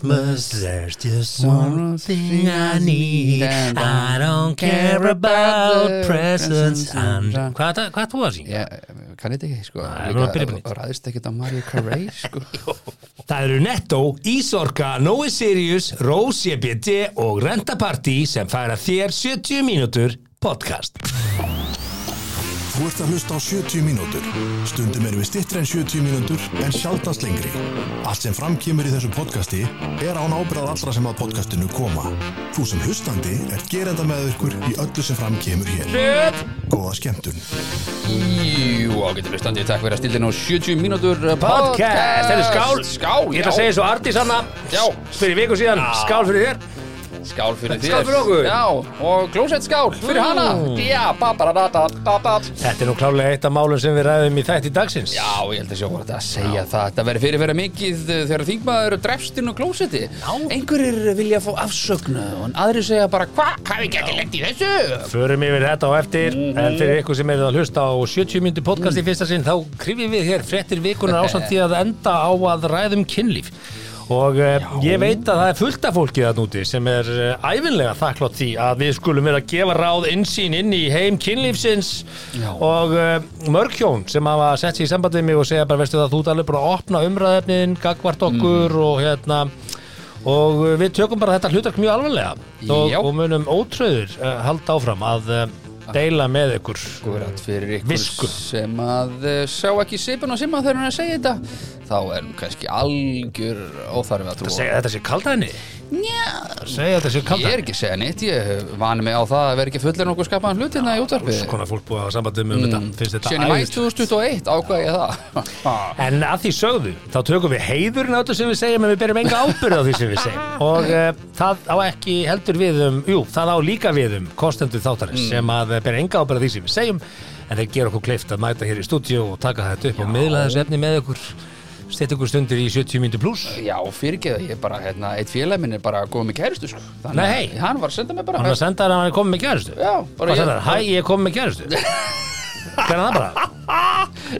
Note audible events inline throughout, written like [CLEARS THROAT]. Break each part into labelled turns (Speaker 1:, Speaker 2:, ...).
Speaker 1: Christmas, there's just one thing I need I don't care about presents and Hvað þetta- hvað þú að syngja?
Speaker 2: Ég kann þetta ekki sko
Speaker 1: Nei, nú er byrjum nýtt.
Speaker 2: og ræðist ekkert á Mario Carey [LAUGHS] sko
Speaker 1: Það eru Netto, Ísorka, Nói Sirius, Rose EBD og Renta Party sem færa þér 70 mínútur podcast.
Speaker 3: Þú ert að hlusta á 70 mínútur. Stundum erum við stittri en 70 mínútur en sjaldast lengri. Allt sem framkýmur í þessu podcasti er án ábyrðað allra sem að podcastinu koma. Þú sem hlustandi er gerenda með ykkur í öllu sem framkýmur hér. Góða skemmtun.
Speaker 2: Jú, ágættur hlustandi, takk fyrir að stilla nú 70 mínútur uh,
Speaker 1: Podcast, þetta er skál.
Speaker 2: Skál,
Speaker 1: Ég ætla að
Speaker 2: já.
Speaker 1: segja svo Arndís Anna,
Speaker 2: Já.
Speaker 1: fyrir viku síðan, skál fyrir þér.
Speaker 2: Skál fyrir Mm. þér
Speaker 1: Skál fyrir okkur.
Speaker 2: Já, og klósett skál fyrir hana Já, babaradadadadat
Speaker 1: Þetta er nú klálega eitt af málum sem við ræðum í þætti dagsins.
Speaker 2: Já, ég held að sjá hvað þetta að segja það Þetta verður fyrirferða mikið uh, þegar þingmaður drefst inn á klósetti Einhverjir vilja fá afsögnu og aðrir segja bara Hva, hvað við getum lengt í þessu?
Speaker 1: Förum yfir þetta á eftir,
Speaker 2: Mhm.
Speaker 1: en fyrir ykkur sem eru að hlusta á 70 myndu podcast í fyrsta sinn, þá krifjum við hér frettir
Speaker 2: [LAUGHS]
Speaker 1: vikunar ásamt því að enda á að ræðum kynlíf. Og uh, ég veit að það er fullt af fólkið þarna úti sem er uh, æfinlega þakklátt því að við skulum vera að gefa ráð innsýn inn í heim kynlífsins
Speaker 2: Já.
Speaker 1: og uh, mörg hjón sem hafa sett sér í samband við mig og segja bara, veistu það, þú ert alveg bara að opna umræðefnin, gagvart
Speaker 2: Mhm.
Speaker 1: okkur og hérna og uh, við tökum bara þetta hlutark mjög alvarlega og,
Speaker 2: Já.
Speaker 1: og munum ótröður uh, halda áfram að uh, deila með ykkur
Speaker 2: Akkurat fyrir ykkur
Speaker 1: Visku.
Speaker 2: sem að uh, sjá ekki sipun og simma þegar hann er að segja þetta þá er nú kannski algjör óþarfi að trúa
Speaker 1: segja þetta sé kaldæðinni
Speaker 2: Njá,
Speaker 1: segja þetta sé
Speaker 2: ég er
Speaker 1: kaldæðinni
Speaker 2: ekki að segja neitt ég vani mig á það að vera ekki fullur nokkuð skapaðan hlut hérna í útvarpi
Speaker 1: svona fólk búið að hafa sambandið
Speaker 2: Mm.
Speaker 1: með um Sko, þetta finnst
Speaker 2: Sérni
Speaker 1: þetta
Speaker 2: mæ
Speaker 1: æðislegt.
Speaker 2: 2021 ákvæði ég það Ha.
Speaker 1: en að því sögðu þá tökum við heiðurinn á þetta sem við segjum en við berjum enga ábyrð á því sem við segjum [LAUGHS] og uh, það á ekki heldur við um jú, það á líka við um kostendur
Speaker 2: Mm.
Speaker 1: þáttarins sem að uh, berja enga ábyrð á því sem við segjum en þeir gera okkur kleift að mæta hér í stúdíu og taka þetta upp og miðla þessu efni með ykkur stett ykkur stundir í 70 mínútur pluss
Speaker 2: [LAUGHS] Já, fyrirgeða ég bara, hérna, eitt félag minn er bara góð með kæristu, sko. Þannig
Speaker 1: Nei,
Speaker 2: að Hann var að senda mig bara.
Speaker 1: Hann var að senda þær að hann er komið með kærustu
Speaker 2: Já, bara
Speaker 1: Hvað
Speaker 2: ég-
Speaker 1: senda þær? Hæ, ég er komið með
Speaker 2: [LAUGHS]
Speaker 1: kærustu Hvernig það bara?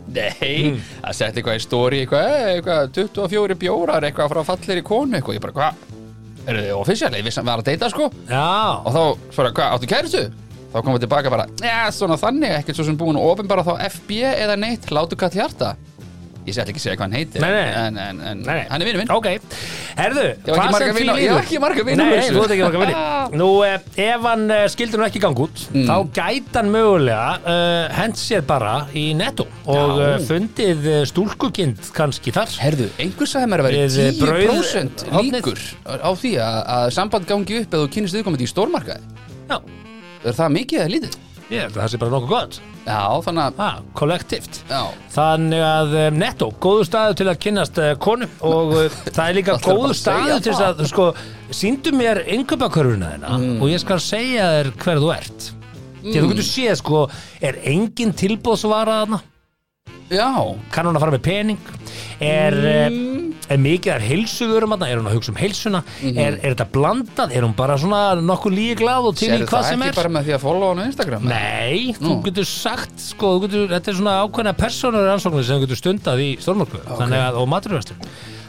Speaker 2: Nei, það setti eitthvað í stóri, eitthvað, eh, eitthvað, 24 bjórar, eitthvað frá fallir í konu, eitthvað. Ég bara, hvað, eru þið ofisjál? Ég vissi að hann var að deyta, sko.
Speaker 1: Já,
Speaker 2: Og þá, svara, hvað, áttu kæristu? Þá komum við tilbaka bara, já, svona þannig, ekkert svo sem búin og ofin bara þá FB eða neitt, látu kall hjarta. Ég ætla ekki að segja hvað hann heitir,
Speaker 1: Nei, nei.
Speaker 2: en, en, en
Speaker 1: nei, nei
Speaker 2: hann er vinur minn.
Speaker 1: Ok, herðu,
Speaker 2: Ég var ekki
Speaker 1: hvað
Speaker 2: marga
Speaker 1: sem því
Speaker 2: vini- ég
Speaker 1: líður
Speaker 2: var ekki marga vini á
Speaker 1: Nei,
Speaker 2: þessu. Ah.
Speaker 1: þú ert ekki marga vini Nú, eh, ef hann eh, skildi nú ekki ganga út
Speaker 2: Mm.
Speaker 1: Þá gæti hann mögulega uh, hent sér bara í netto Og
Speaker 2: Já.
Speaker 1: uh, fundið eh, stúlkukind kannski þar
Speaker 2: Herðu, einhver sagði mér að vera
Speaker 1: Við, eh,
Speaker 2: 10%
Speaker 1: brauð-
Speaker 2: líkur á því að, að samband gangi upp eða þú kynist viðkomandi í stórmarkaði.
Speaker 1: Já,
Speaker 2: Er það mikið eða lítið?
Speaker 1: ég held að það sé bara nokkuð gott
Speaker 2: Já, þannig að...
Speaker 1: Ha, kollektivt
Speaker 2: Já.
Speaker 1: Þannig að um, netto, góðu staðu til að kynnast uh, konu og uh, það er líka
Speaker 2: Það er bara
Speaker 1: góðu
Speaker 2: að
Speaker 1: staðu
Speaker 2: segja
Speaker 1: til þess
Speaker 2: það. Mm.
Speaker 1: að sko, síndu mér yngöpakörfuna þeirna og ég skal segja þér hver þú ert því að þú getur séð sko, er engin tilbóðsvara þarna
Speaker 2: Já,
Speaker 1: kann hún að fara með pening er, mm. er mikið af heilsuðurum er hún að hugsa um heilsuna
Speaker 2: Mhm.
Speaker 1: er, er þetta blandað, er hún bara svona nokkuð líglað og til í
Speaker 2: sérðu
Speaker 1: hvað
Speaker 2: það
Speaker 1: sem
Speaker 2: ekki
Speaker 1: er
Speaker 2: bara með því að followa hann á Instagram?
Speaker 1: Nei, þú getur sagt sko, þú getur, þetta er svona ákveðna persónur rannsóknir sem þú getur stundað í stórmörku okay. og maturvæstum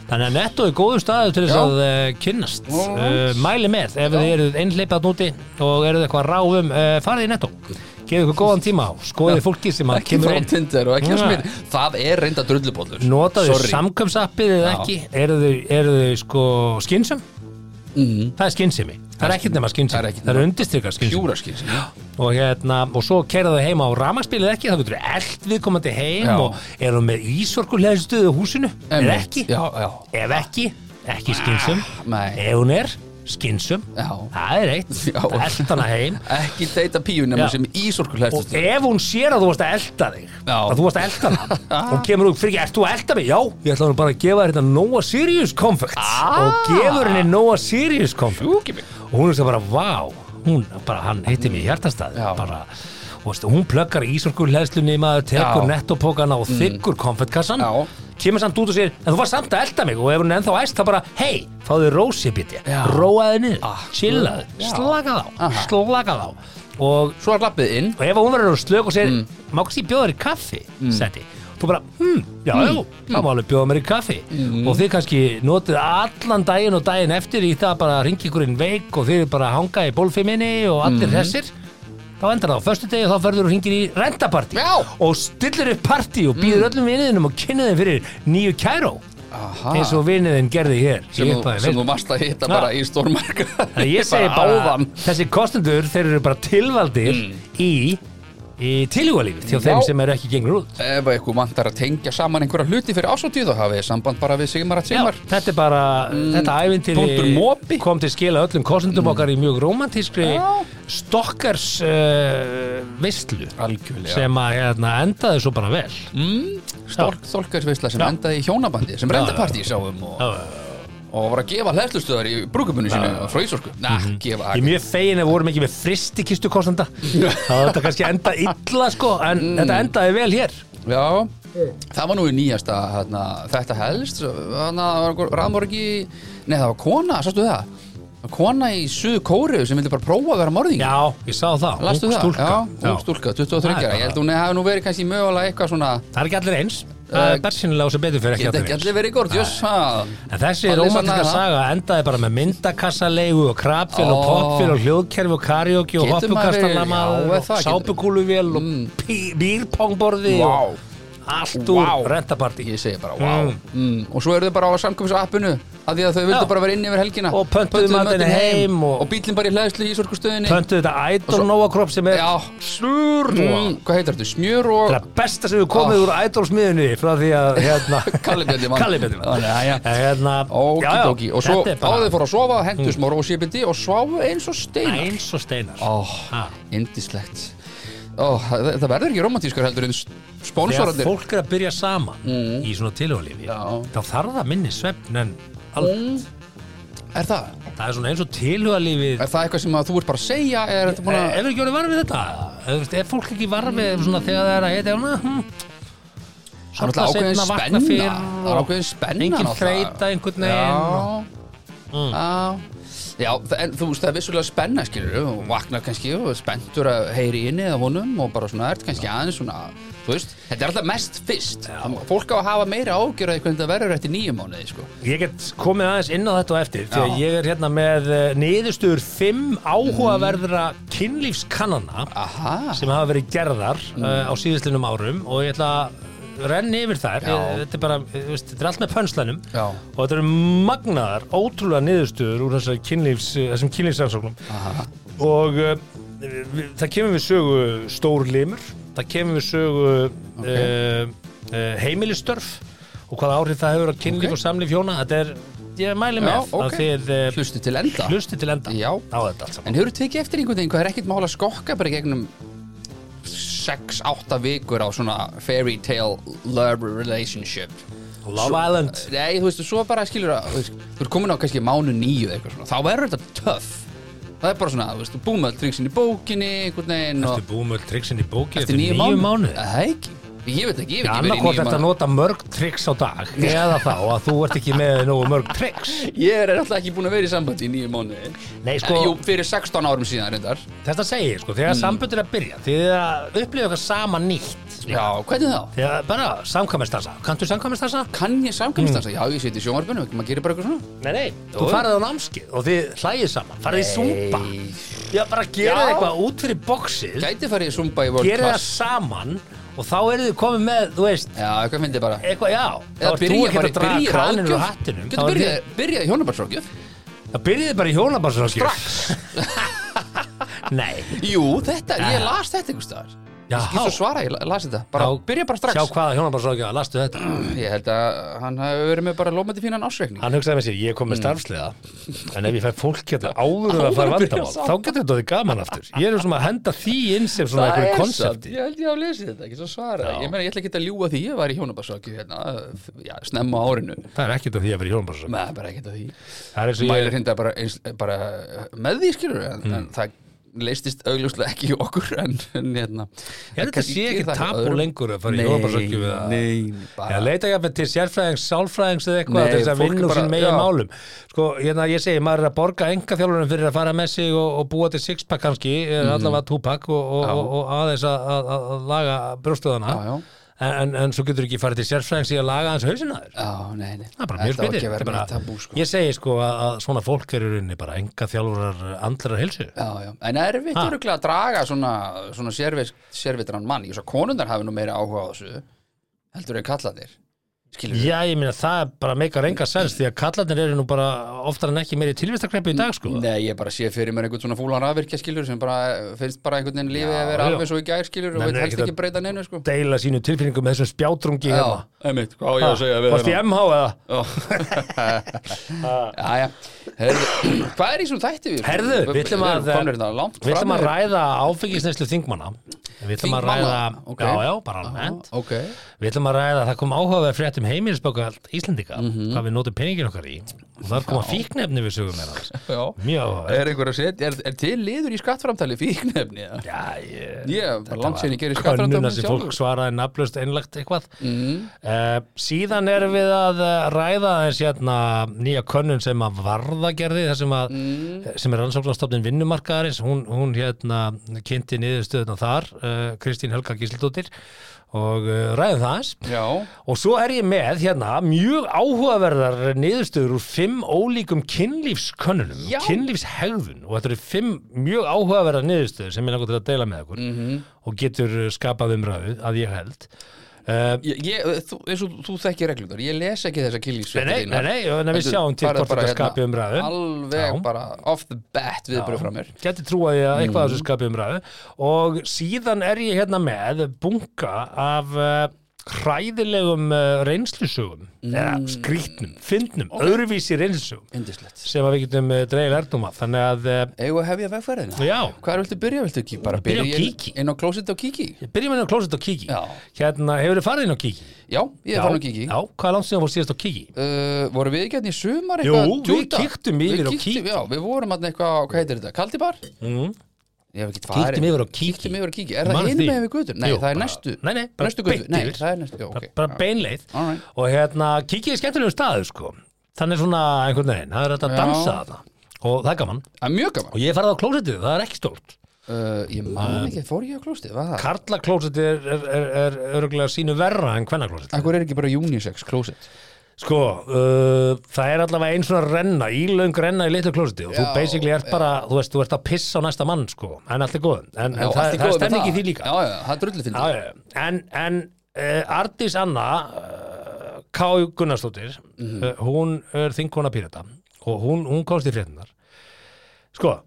Speaker 1: Þannig að netto er góður staðu til þess
Speaker 2: Já.
Speaker 1: að uh, kynnast
Speaker 2: Alright.
Speaker 1: uh, Mæli með ef þið eruð einhleipað núti og eruð eitthvað ráfum uh, farið í netto, gefið ykkur góðan tíma á skoðið fólki sem að
Speaker 2: [LAUGHS] Ekki
Speaker 1: kemur
Speaker 2: fara á
Speaker 1: inn
Speaker 2: Tinder og ekki á
Speaker 1: Nei.
Speaker 2: smil. Það er reynda drullupóllur.
Speaker 1: Notaðu
Speaker 2: Sorry.
Speaker 1: samkvæmsappið eða
Speaker 2: Já.
Speaker 1: ekki Eru þau- eru þau sko skynsum?
Speaker 2: Mhm.
Speaker 1: Það er skynsemi Það er ekkert nema
Speaker 2: Það er
Speaker 1: skynsemi
Speaker 2: ekkert
Speaker 1: Það eru undistrykar skynsemi
Speaker 2: Pjúra skil. Já,
Speaker 1: og hérna, og svo keira þau heima á ramaspilið ekki, þá getur eld viðkomandi heim
Speaker 2: Já.
Speaker 1: og eru með ísorkulegðu stuðu húsinu, er
Speaker 2: [GASPS] Einmitt.
Speaker 1: ekki
Speaker 2: Já, já.
Speaker 1: ef ekki, ekki skynsum
Speaker 2: nei.
Speaker 1: ef hún er, skynsum
Speaker 2: Já.
Speaker 1: það er eitt,
Speaker 2: Já.
Speaker 1: eld hana heim
Speaker 2: Ekki deyta píunum
Speaker 1: Já.
Speaker 2: sem ísorkur hlæstast.
Speaker 1: og ef hún sér að þú varst að elda þig
Speaker 2: Já.
Speaker 1: að þú varst að elda [LAUGHS] hana og kemur hún fyrir ekki, ert þú að elda mig? Já, Ah. ég ætla nú bara að gefa þér þetta Noah Sirius konfekt
Speaker 2: Ah.
Speaker 1: og gefur henni Noah Sirius konfekt
Speaker 2: Sjúki mig.
Speaker 1: og hún er svo bara, vá hún, bara, hann heitti mig í hjartastað
Speaker 2: Já.
Speaker 1: bara, og veistu, hún plöggar ísorkuleðslunni maður tekur
Speaker 2: Já.
Speaker 1: nettopókana og þykkur konfettkassan
Speaker 2: Já.
Speaker 1: kemur samt út og sér, en þú var samt að elda mig og ef hún er ennþá æst, þá bara, hei, fáðu rósibiti
Speaker 2: Já.
Speaker 1: róaði niður, ah,
Speaker 2: Já.
Speaker 1: slakaði á
Speaker 2: Aha.
Speaker 1: slakaði á og,
Speaker 2: Svo er lappið inn.
Speaker 1: og ef hún verður að slök og segir, má kannski bjóða þér í kaffi mm. seti, og bara, hm, já,
Speaker 2: Mm.
Speaker 1: já, það má alveg bjóða mér í kaffi og þið kannski notið allan daginn og daginn eftir í það bara ringi ykkurinn veik og þið bara hanga í bólfiminni og
Speaker 2: Mm.
Speaker 1: allir þessir þá endar það á förstu degi og þá ferður þú hringir í rentapartí
Speaker 2: Já. Mm.
Speaker 1: og stillir upp partí og býður öllum viniðinum og kynnið þeim fyrir nýju kæró
Speaker 2: Aha.
Speaker 1: eins og viniðin gerði hér
Speaker 2: Ah. sem,
Speaker 1: í
Speaker 2: þú,
Speaker 1: upphafi
Speaker 2: sem
Speaker 1: vikunnar.
Speaker 2: þú varst að hitta bara í stórmarka
Speaker 1: Þannig
Speaker 2: [LAUGHS]
Speaker 1: að ég segi bara, þessi kostendur, þeir eru bara tilvaldir í, í tilhugalífið hjá þeim
Speaker 2: Mm. Já.
Speaker 1: sem eru ekki gengur út.
Speaker 2: ef eitthvað vantar að tengja saman einhverja hluti fyrir ásatíð þá hafið þið samband bara við Sigmar að
Speaker 1: Já,
Speaker 2: Sigmar
Speaker 1: þetta er bara, þetta
Speaker 2: Mm. punktur
Speaker 1: æfintýri
Speaker 2: mopi.
Speaker 1: kom til skila öllum kostendum okkar í mjög romantískri
Speaker 2: Já.
Speaker 1: stokkars uh, veistlu
Speaker 2: algjörlega
Speaker 1: sem að hérna, endaði svo bara vel.
Speaker 2: Mm. Stork þólkarsveisla sem endaði í hjónabandi sem rendapartí sáum og,
Speaker 1: Já.
Speaker 2: og var að gefa hlæðslustöðar í brúkupunni sínu og fröýsorku Næ, gefa
Speaker 1: Mhm. Ég er mjög fegin að við vorum ekki með fristikistu kostenda. Það var þetta kannski enda illa sko, en
Speaker 2: Mm.
Speaker 1: þetta endaði vel hér.
Speaker 2: Já, það var nú í nýjasta hana, þetta helst hana, raðmorgi, nei það var kona sástu það, Það var kona í suðu kóriðu sem vildi bara prófa að vera morðing
Speaker 1: Já, ég sá það.
Speaker 2: Lastu
Speaker 1: Ung
Speaker 2: það?
Speaker 1: stúlka.
Speaker 2: Já, ung stúlka, 23
Speaker 1: Það er
Speaker 2: ára. Ég held hún hafi nú verið kannski mögulega eitthvað svona
Speaker 1: Það er ekki allir eins. Það er
Speaker 2: Eh,
Speaker 1: bersinilega sem betur fyrir ekki
Speaker 2: Geta
Speaker 1: allir
Speaker 2: ekki
Speaker 1: eins.
Speaker 2: allir verið górt, jöss
Speaker 1: En þessi
Speaker 2: Allir
Speaker 1: romantika
Speaker 2: sannaði það.
Speaker 1: saga endaði bara með myndakassalegu og krapfél og
Speaker 2: Ó.
Speaker 1: popfél og hljóðkerfi og karaoke og
Speaker 2: Getur maður verið-
Speaker 1: hoppukastalamaður
Speaker 2: Já, er
Speaker 1: og
Speaker 2: það getur-
Speaker 1: sápukúluvél og pí- bírpongborði
Speaker 2: Vá.
Speaker 1: og allt úr
Speaker 2: Vá.
Speaker 1: rentapartí
Speaker 2: Ég segi bara, vá mm. Og svo eru þau bara á samkvæmsappinu að því að þau vildu
Speaker 1: Já.
Speaker 2: bara vera inni yfir helgina
Speaker 1: Og pöntuðu matinn
Speaker 2: matinn
Speaker 1: heim og-
Speaker 2: og, bíllinn bara í hlæðslu í sorgustöðinni
Speaker 1: Pöntuðu þetta Idol Nova Crop sem er
Speaker 2: Já.
Speaker 1: slurr
Speaker 2: mm, Hvað heitir þetta? Smjör og
Speaker 1: Það er besta sem við komið úr Idol smiðunni frá því að hérna
Speaker 2: [LAUGHS] Kalli Björn Diamant.
Speaker 1: Kalli Björn Diamant.
Speaker 2: Þannig að, já.
Speaker 1: En hérna, já, já,
Speaker 2: Okidoki Og svo
Speaker 1: þetta er bara Mm.
Speaker 2: áður fór að sofa, hendur smá rósipindi og sváfu eins og steinar
Speaker 1: eins og steinar
Speaker 2: Ó,
Speaker 1: Ha.
Speaker 2: indislegt Ó, það, það verður ekki romantískar heldur en
Speaker 1: Þegar
Speaker 2: spónsorandir
Speaker 1: fólk er að byrja saman í svona tilhjóðlífi
Speaker 2: Mm. Já. Mm.
Speaker 1: þá þarf það minni svefn en al,
Speaker 2: Er það?
Speaker 1: það er svona eins og tilhjóðlífið
Speaker 2: Er það eitthvað sem að þú ert bara að segja? Er þetta búin að...
Speaker 1: Ef Eh, ekki voru varfið þetta Ef- veist, Er fólk ekki varfið svona þegar það er að heita svona, hm,
Speaker 2: Það er náttúrulega
Speaker 1: sofna
Speaker 2: ákveðin
Speaker 1: seinna,
Speaker 2: spenna
Speaker 1: vakna fyrr
Speaker 2: Það er
Speaker 1: og
Speaker 2: ákveðin spenna
Speaker 1: engin
Speaker 2: náttúrulega.
Speaker 1: þreyta einhvern veginn og-
Speaker 2: Já Já, já það- en þú veist það er vissulega spenna skilur og vaknar kannski og er spenntur að heyri inni af honum og bara svona ert kannski aðeins svona þú veist, þetta er alltaf mest fyrst fólk á að hafa meira ágjörði hvernig það verður eftir nýjum mánuði sko
Speaker 1: Ég get komið aðeins inn á þetta á eftir því að
Speaker 2: Já.
Speaker 1: ég er hérna með niðurstöður fimm áhugaverðra kynlífskannana
Speaker 2: Aha,
Speaker 1: sem hafa verið gerðar
Speaker 2: Mm.
Speaker 1: uh, á síðustlunum árum og ég ætla að renni yfir þær
Speaker 2: Já.
Speaker 1: ég, þetta, er bara, eh, veist, þetta er allt með pönslanum
Speaker 2: Já.
Speaker 1: og þetta eru magnaðar, ótrúlega niðurstöður úr þessari kynlífs, eh, þessum kynlífsansóknum
Speaker 2: Aha.
Speaker 1: og uh, við, það kemur við sögu stór limur það kemur við sögu okay. heimilistörf og hvaða áhrif það hefur að kynlíf
Speaker 2: Ok.
Speaker 1: og samlíf hjóna þetta er, ég mæli með
Speaker 2: Já,
Speaker 1: að
Speaker 2: ok.
Speaker 1: þið uh,
Speaker 2: eh, hlustu til enda
Speaker 1: hlusti til enda
Speaker 2: Já.
Speaker 1: á þetta allt saman
Speaker 2: En hefur þú tekið eftir einhvern veginn hvað er ekkert mála að skokka bara í gegnum 6-8 vikur á svona fairy tale love relationship
Speaker 1: Love Island
Speaker 2: Nei, þú veist, svo bara skilur að þú veist, þú ert komin á kannski mánu nýju eða eitthvað svona þá verður þetta töff Það er bara svona, þú veist, búum öll triksin í bókinni einhvern veginn
Speaker 1: Þetta er búið með öll triksin í bóki
Speaker 2: eftir
Speaker 1: níu
Speaker 2: nýju mánu
Speaker 1: mánuði.
Speaker 2: Það er ekki, ég veit ekki, ég hef ekki verið í
Speaker 1: annarkot
Speaker 2: nýju
Speaker 1: eftir að
Speaker 2: mánu
Speaker 1: nota mörg triks á dag eða þá að þú ert ekki með nógu mörg
Speaker 2: [LAUGHS]
Speaker 1: triks
Speaker 2: Ég er alltaf ekki búin að vera í sambandi í nýju mánu
Speaker 1: Nei, sko-
Speaker 2: Jú, fyrir 16 árum síðan reyndar
Speaker 1: þetta segir sko, þegar mm. samböndur er að byrja þið er að upplifa eitthvað sama nýtt sko.
Speaker 2: Já, hvernig þá?
Speaker 1: þegar bara samkvæmestassa, kanntu samkvæmestassa?
Speaker 2: Kann ég
Speaker 1: Hmm.
Speaker 2: samkvæmst þess að, já, ég seti í sjónvarpinu, maður gerir bara eitthvað svona
Speaker 1: Nei, nei, þú farið á námskið og þið hlægið saman, farið í súpa
Speaker 2: Nei.
Speaker 1: já, bara gera
Speaker 2: Já.
Speaker 1: eitthvað út fyrir bóksið
Speaker 2: Gæti farið í Zumba í World
Speaker 1: gera það
Speaker 2: Class
Speaker 1: saman og þá eru þið komið með, þú veist
Speaker 2: Já, eitthvað fyndi bara
Speaker 1: eitthvað, já, þá
Speaker 2: Eða
Speaker 1: ert þú
Speaker 2: byrja
Speaker 1: ekki
Speaker 2: bara,
Speaker 1: að draga
Speaker 2: byrja
Speaker 1: kraninu úr
Speaker 2: ráðgjöf
Speaker 1: hattinum
Speaker 2: Getur byrjað byrjað í hjónabarsráðgjöf
Speaker 1: það byrjiði bara í hjónabarsráðgjöf [LAUGHS] nei,
Speaker 2: Jú, þetta,
Speaker 1: Já.
Speaker 2: ég las þetta einhvers staðar
Speaker 1: Já.
Speaker 2: Ég skil svo svara, ég la- las þetta bara,
Speaker 1: Já.
Speaker 2: Byrja bara strax
Speaker 1: sjá hvaða hjónabarsráðgjöf lastu þetta
Speaker 2: Ég held að hann hafi verið með bara lómandi fínan ásreikning
Speaker 1: Hann hugsaði með sér, ég er komið með starfsliða En ef ég fæ fólk hérna
Speaker 2: [LAUGHS]
Speaker 1: áður en að fara
Speaker 2: Mm. Áður en að byrja
Speaker 1: vandamál
Speaker 2: saman.
Speaker 1: Þá getur þetta þið gaman aftur Ég er svona að henda því inn sem svona einhverju
Speaker 2: satt,
Speaker 1: konsepti
Speaker 2: ég held ég að lesi þetta, ekki svo svara
Speaker 1: Já.
Speaker 2: Ég meina, ég ætla ekki að ljúga því, ég var í hjónabarsráðgjöf hérna, f- já, snemma á árinu
Speaker 1: Það er ekkert að því að vera í hjónabarsöku
Speaker 2: Nei, bara ekkert að því
Speaker 1: Það er eins og
Speaker 2: Mælir
Speaker 1: ég,
Speaker 2: hérna bara, eins, bara með því skilur en,
Speaker 1: Mm.
Speaker 2: en það leistist augljóslega ekki í okkur en, en hérna
Speaker 1: ég held að þetta
Speaker 2: kannski
Speaker 1: sé ekki
Speaker 2: gerir það hjá
Speaker 1: tapu
Speaker 2: öðrum.
Speaker 1: lengur að fara í
Speaker 2: Nei,
Speaker 1: hjónabarsöku við að
Speaker 2: Nei,
Speaker 1: Já,
Speaker 2: bara
Speaker 1: leita ég til sérfræðings, sálfræðings eða eitthvað
Speaker 2: Nei,
Speaker 1: til þess að
Speaker 2: fólk
Speaker 1: vinna
Speaker 2: er
Speaker 1: úr sín
Speaker 2: bara-
Speaker 1: megin
Speaker 2: já.
Speaker 1: málum Sko, hérna ég segi, maður er að borga enga þjálfurinn fyrir að fara með sig og, og búa til sixpack eh, kannski, mm. allavega tupack og, og, og, og aðeins að, að, að laga brjóstuðana
Speaker 2: Já, já.
Speaker 1: en, en, en svo getur ekki farið til sérfræðings í að laga hans hausinn að þér
Speaker 2: Já, nei, nei
Speaker 1: það er bara mjög
Speaker 2: Þetta á
Speaker 1: spytið
Speaker 2: ekki að vera
Speaker 1: bara,
Speaker 2: með tabú sko
Speaker 1: ég segi sko að, að svona fólk er í rauninni bara enga þjálfurar andrar heilsu
Speaker 2: Já, já, en erfitt
Speaker 1: Ha.
Speaker 2: öruglega að draga svona, svona sérvit, sérvitran mann Ég svo konundar hafi nú meira áhuga á þessu heldur en kallanir Skilur
Speaker 1: já ég meina það er bara meikar enga sens því að kallarnir eru nú bara oftar en ekki meiri tilvistakreipi í dag sko
Speaker 2: Nei, ég bara sé fyrir mér einhvern svona fúlan rafvirkja skilur sem bara eh, finnst bara einhvern veginn lífið að vera
Speaker 1: já.
Speaker 2: alveg svo í gær skilur og
Speaker 1: Nenni
Speaker 2: veit helst
Speaker 1: ekkert að-
Speaker 2: ekki breyta neinu sko
Speaker 1: deila sínu tilfinningum með þessum spjátrungi
Speaker 2: Já,
Speaker 1: hérna.
Speaker 2: einmitt, sko. hvað á ég að hérna. segja við
Speaker 1: varst í MH eða
Speaker 2: [LAUGHS] Já, já, Heyrðu, [CLEARS THROAT] hvað er í svona þætti við?
Speaker 1: Herðu, við ætlum að-
Speaker 2: Komnir þetta langt
Speaker 1: Við ætlum
Speaker 2: fram
Speaker 1: að
Speaker 2: yfir-
Speaker 1: ræða áfengisneslu þingmanna Við ætlum að ræða
Speaker 2: Þingmanna? Ok.
Speaker 1: Já, já, bara almennt
Speaker 2: Ok,
Speaker 1: Við ætlum að ræða, það kom áhugaverð frétt um heimilisbókald Íslendinga
Speaker 2: Mhm.
Speaker 1: Hvað við notum peningin okkar í Og þar koma fíknefni við sögum með hans
Speaker 2: já
Speaker 1: Mjög áhugaverð
Speaker 2: Er einhver að setja, er, er til liður í skattframtali fíknefni? eða?
Speaker 1: Já, ég
Speaker 2: Ég, bara langt sér ég gerir
Speaker 1: Könnuna
Speaker 2: skattframtali
Speaker 1: sem fólk svaraði nafnlust einlagt eitthvað
Speaker 2: Mm-hmm.
Speaker 1: Eh, Síðan erum við að eh, ræða þess hérna nýja könnun sem að varða gerði þessum að eh, sem er rannsóknarstofnin vinnumarkaðarins hún, hún hérna kynnti niðurstöðuna þar eh, Kristín Helga Gísildóttir og eh, ræðum það hans
Speaker 2: Já,
Speaker 1: og svo er ég með hérna mjög áhugaverðar niðurstöður úr fimm ólíkum kynlífskönnunum
Speaker 2: Já.
Speaker 1: kynlífshegðun og þetta eru fimm mjög áhugaverðar niðurstöður sem ég langar til að deila með okkur -hmm. og getur skapað umræðu að ég held uh,
Speaker 2: ég, ég, þú, eins og þú þekki reglunar, ég les ekki þessa kýlísveita
Speaker 1: Nei, nei, nei, nei, nei við sjáum til hvort
Speaker 2: hérna
Speaker 1: þetta skapi umræðu
Speaker 2: Alveg
Speaker 1: Já.
Speaker 2: bara off the bat viðbröð frá mér
Speaker 1: Gæti trúaði að eitthvað af þessu
Speaker 2: Mm.
Speaker 1: skapi umræðu og síðan er ég hérna með bunga af uh, hræðilegum uh, reynslusögum eða
Speaker 2: Mm.
Speaker 1: skrýtnum, fyndnum, öðruvísi reynslusögum
Speaker 2: Indislegt
Speaker 1: sem að við getum eh, dregið lærdóma þannig að eh,
Speaker 2: Eigum við að hefja vegferðina?
Speaker 1: já,
Speaker 2: Hvað viltu byrja, viltu ekki? Bara
Speaker 1: Byrja á
Speaker 2: byrja inn-
Speaker 1: kíki.
Speaker 2: inn á klósitt og kíki
Speaker 1: byrjum við á klósett og kíki
Speaker 2: Já.
Speaker 1: hérna, hefur þið farið inn á kíki?
Speaker 2: Já, ég er farin á kíki
Speaker 1: já, hvað er langt síðan voru síðast á kíki?
Speaker 2: Uh, voru við ekki hérna í sumar
Speaker 1: Jú,
Speaker 2: eitthvað að
Speaker 1: við
Speaker 2: djúta?
Speaker 1: kíktum yfir
Speaker 2: Við
Speaker 1: á
Speaker 2: kíktum-
Speaker 1: kíki.
Speaker 2: Já, við vorum hérna eitthvað, á- hvað heitir þetta, kaldibar? Mm. Ég hef ekki farið
Speaker 1: Kíktum yfir á kíki.
Speaker 2: Kíktum yfir á kíki, er
Speaker 1: Man
Speaker 2: það einu
Speaker 1: því.
Speaker 2: með við götur? Nei,
Speaker 1: Jú,
Speaker 2: það
Speaker 1: bara-
Speaker 2: er næstu
Speaker 1: Nei, nei, bara
Speaker 2: Næstu götur,
Speaker 1: beint
Speaker 2: nei,
Speaker 1: yfir.
Speaker 2: það er næstu, já, ok
Speaker 1: bara beinleið
Speaker 2: Alright.
Speaker 1: og hérna, kíkið er skemmtilegum staðu sko þannig svona einhvern veginn, það er hægt að
Speaker 2: Já.
Speaker 1: dansa þarna og það er gaman
Speaker 2: Það er mjög gaman
Speaker 1: og ég hef farið á klósettið, það er ekki stórt
Speaker 2: uh, Ég man ekki, fór ég á klóstið, hvað það?
Speaker 1: Karla klósettið er, er, er, er örgulega sínu verra en hvenna klósettið
Speaker 2: Akkur er ekki bara unisex klósett?
Speaker 1: Sko, uh, það er allavega einn svona renna, ílöng renna í litlu klósiti og þú
Speaker 2: Já,
Speaker 1: basically ert bara, þú veist, þú ert að pissa á næsta mann, sko, en allt er góð en, en það, það er stemning í því líka
Speaker 2: Já, já, það er drullu fyndið
Speaker 1: Já, já, já. En, en uh, Ardís Anna uh, K. Gunnarsdóttir
Speaker 2: Mhm.
Speaker 1: uh, hún er þingkona pírata og hún, hún komst í fréttinar sko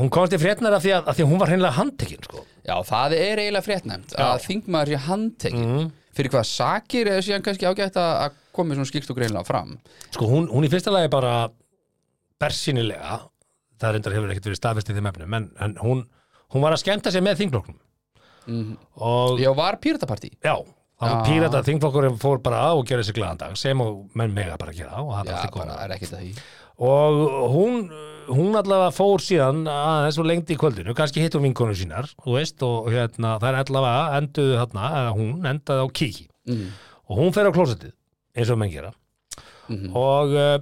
Speaker 1: hún komst í fréttinar af því að, af því að hún var hreinlega handtekinn, sko
Speaker 2: Já, það er eiginlega fréttnæmt að þingmaður sé handtekinn
Speaker 1: Mhm.
Speaker 2: fyrir hvað sakir eða síðan kannski ágætt að að komi svona skipt og greinlega fram
Speaker 1: sko hún, hún í fyrsta lagi bara bersýnilega það reyndar hefur ekkert verið staðfest í þeim efnum en, en hún, hún var að skemmta sér með þingflokknum og
Speaker 2: Já, var píratapartí?
Speaker 1: já, það var
Speaker 2: Mhm. Já.
Speaker 1: pírata þingflokkurinn fór bara á og gerði sér glaðan dag sem og menn mega bara gera og það er
Speaker 2: Já,
Speaker 1: allt í
Speaker 2: bara
Speaker 1: góða
Speaker 2: er ekkert að því
Speaker 1: og hún, hún allavega fór síðan aðeins og lengdi í kvöldinu kannski hittum vinkonu sínar, þú veist og hérna, það er allavega enduðu þarna eða hún endaði á kíki
Speaker 2: mm.
Speaker 1: og hún fer á klósettið eins og menn gera og uh,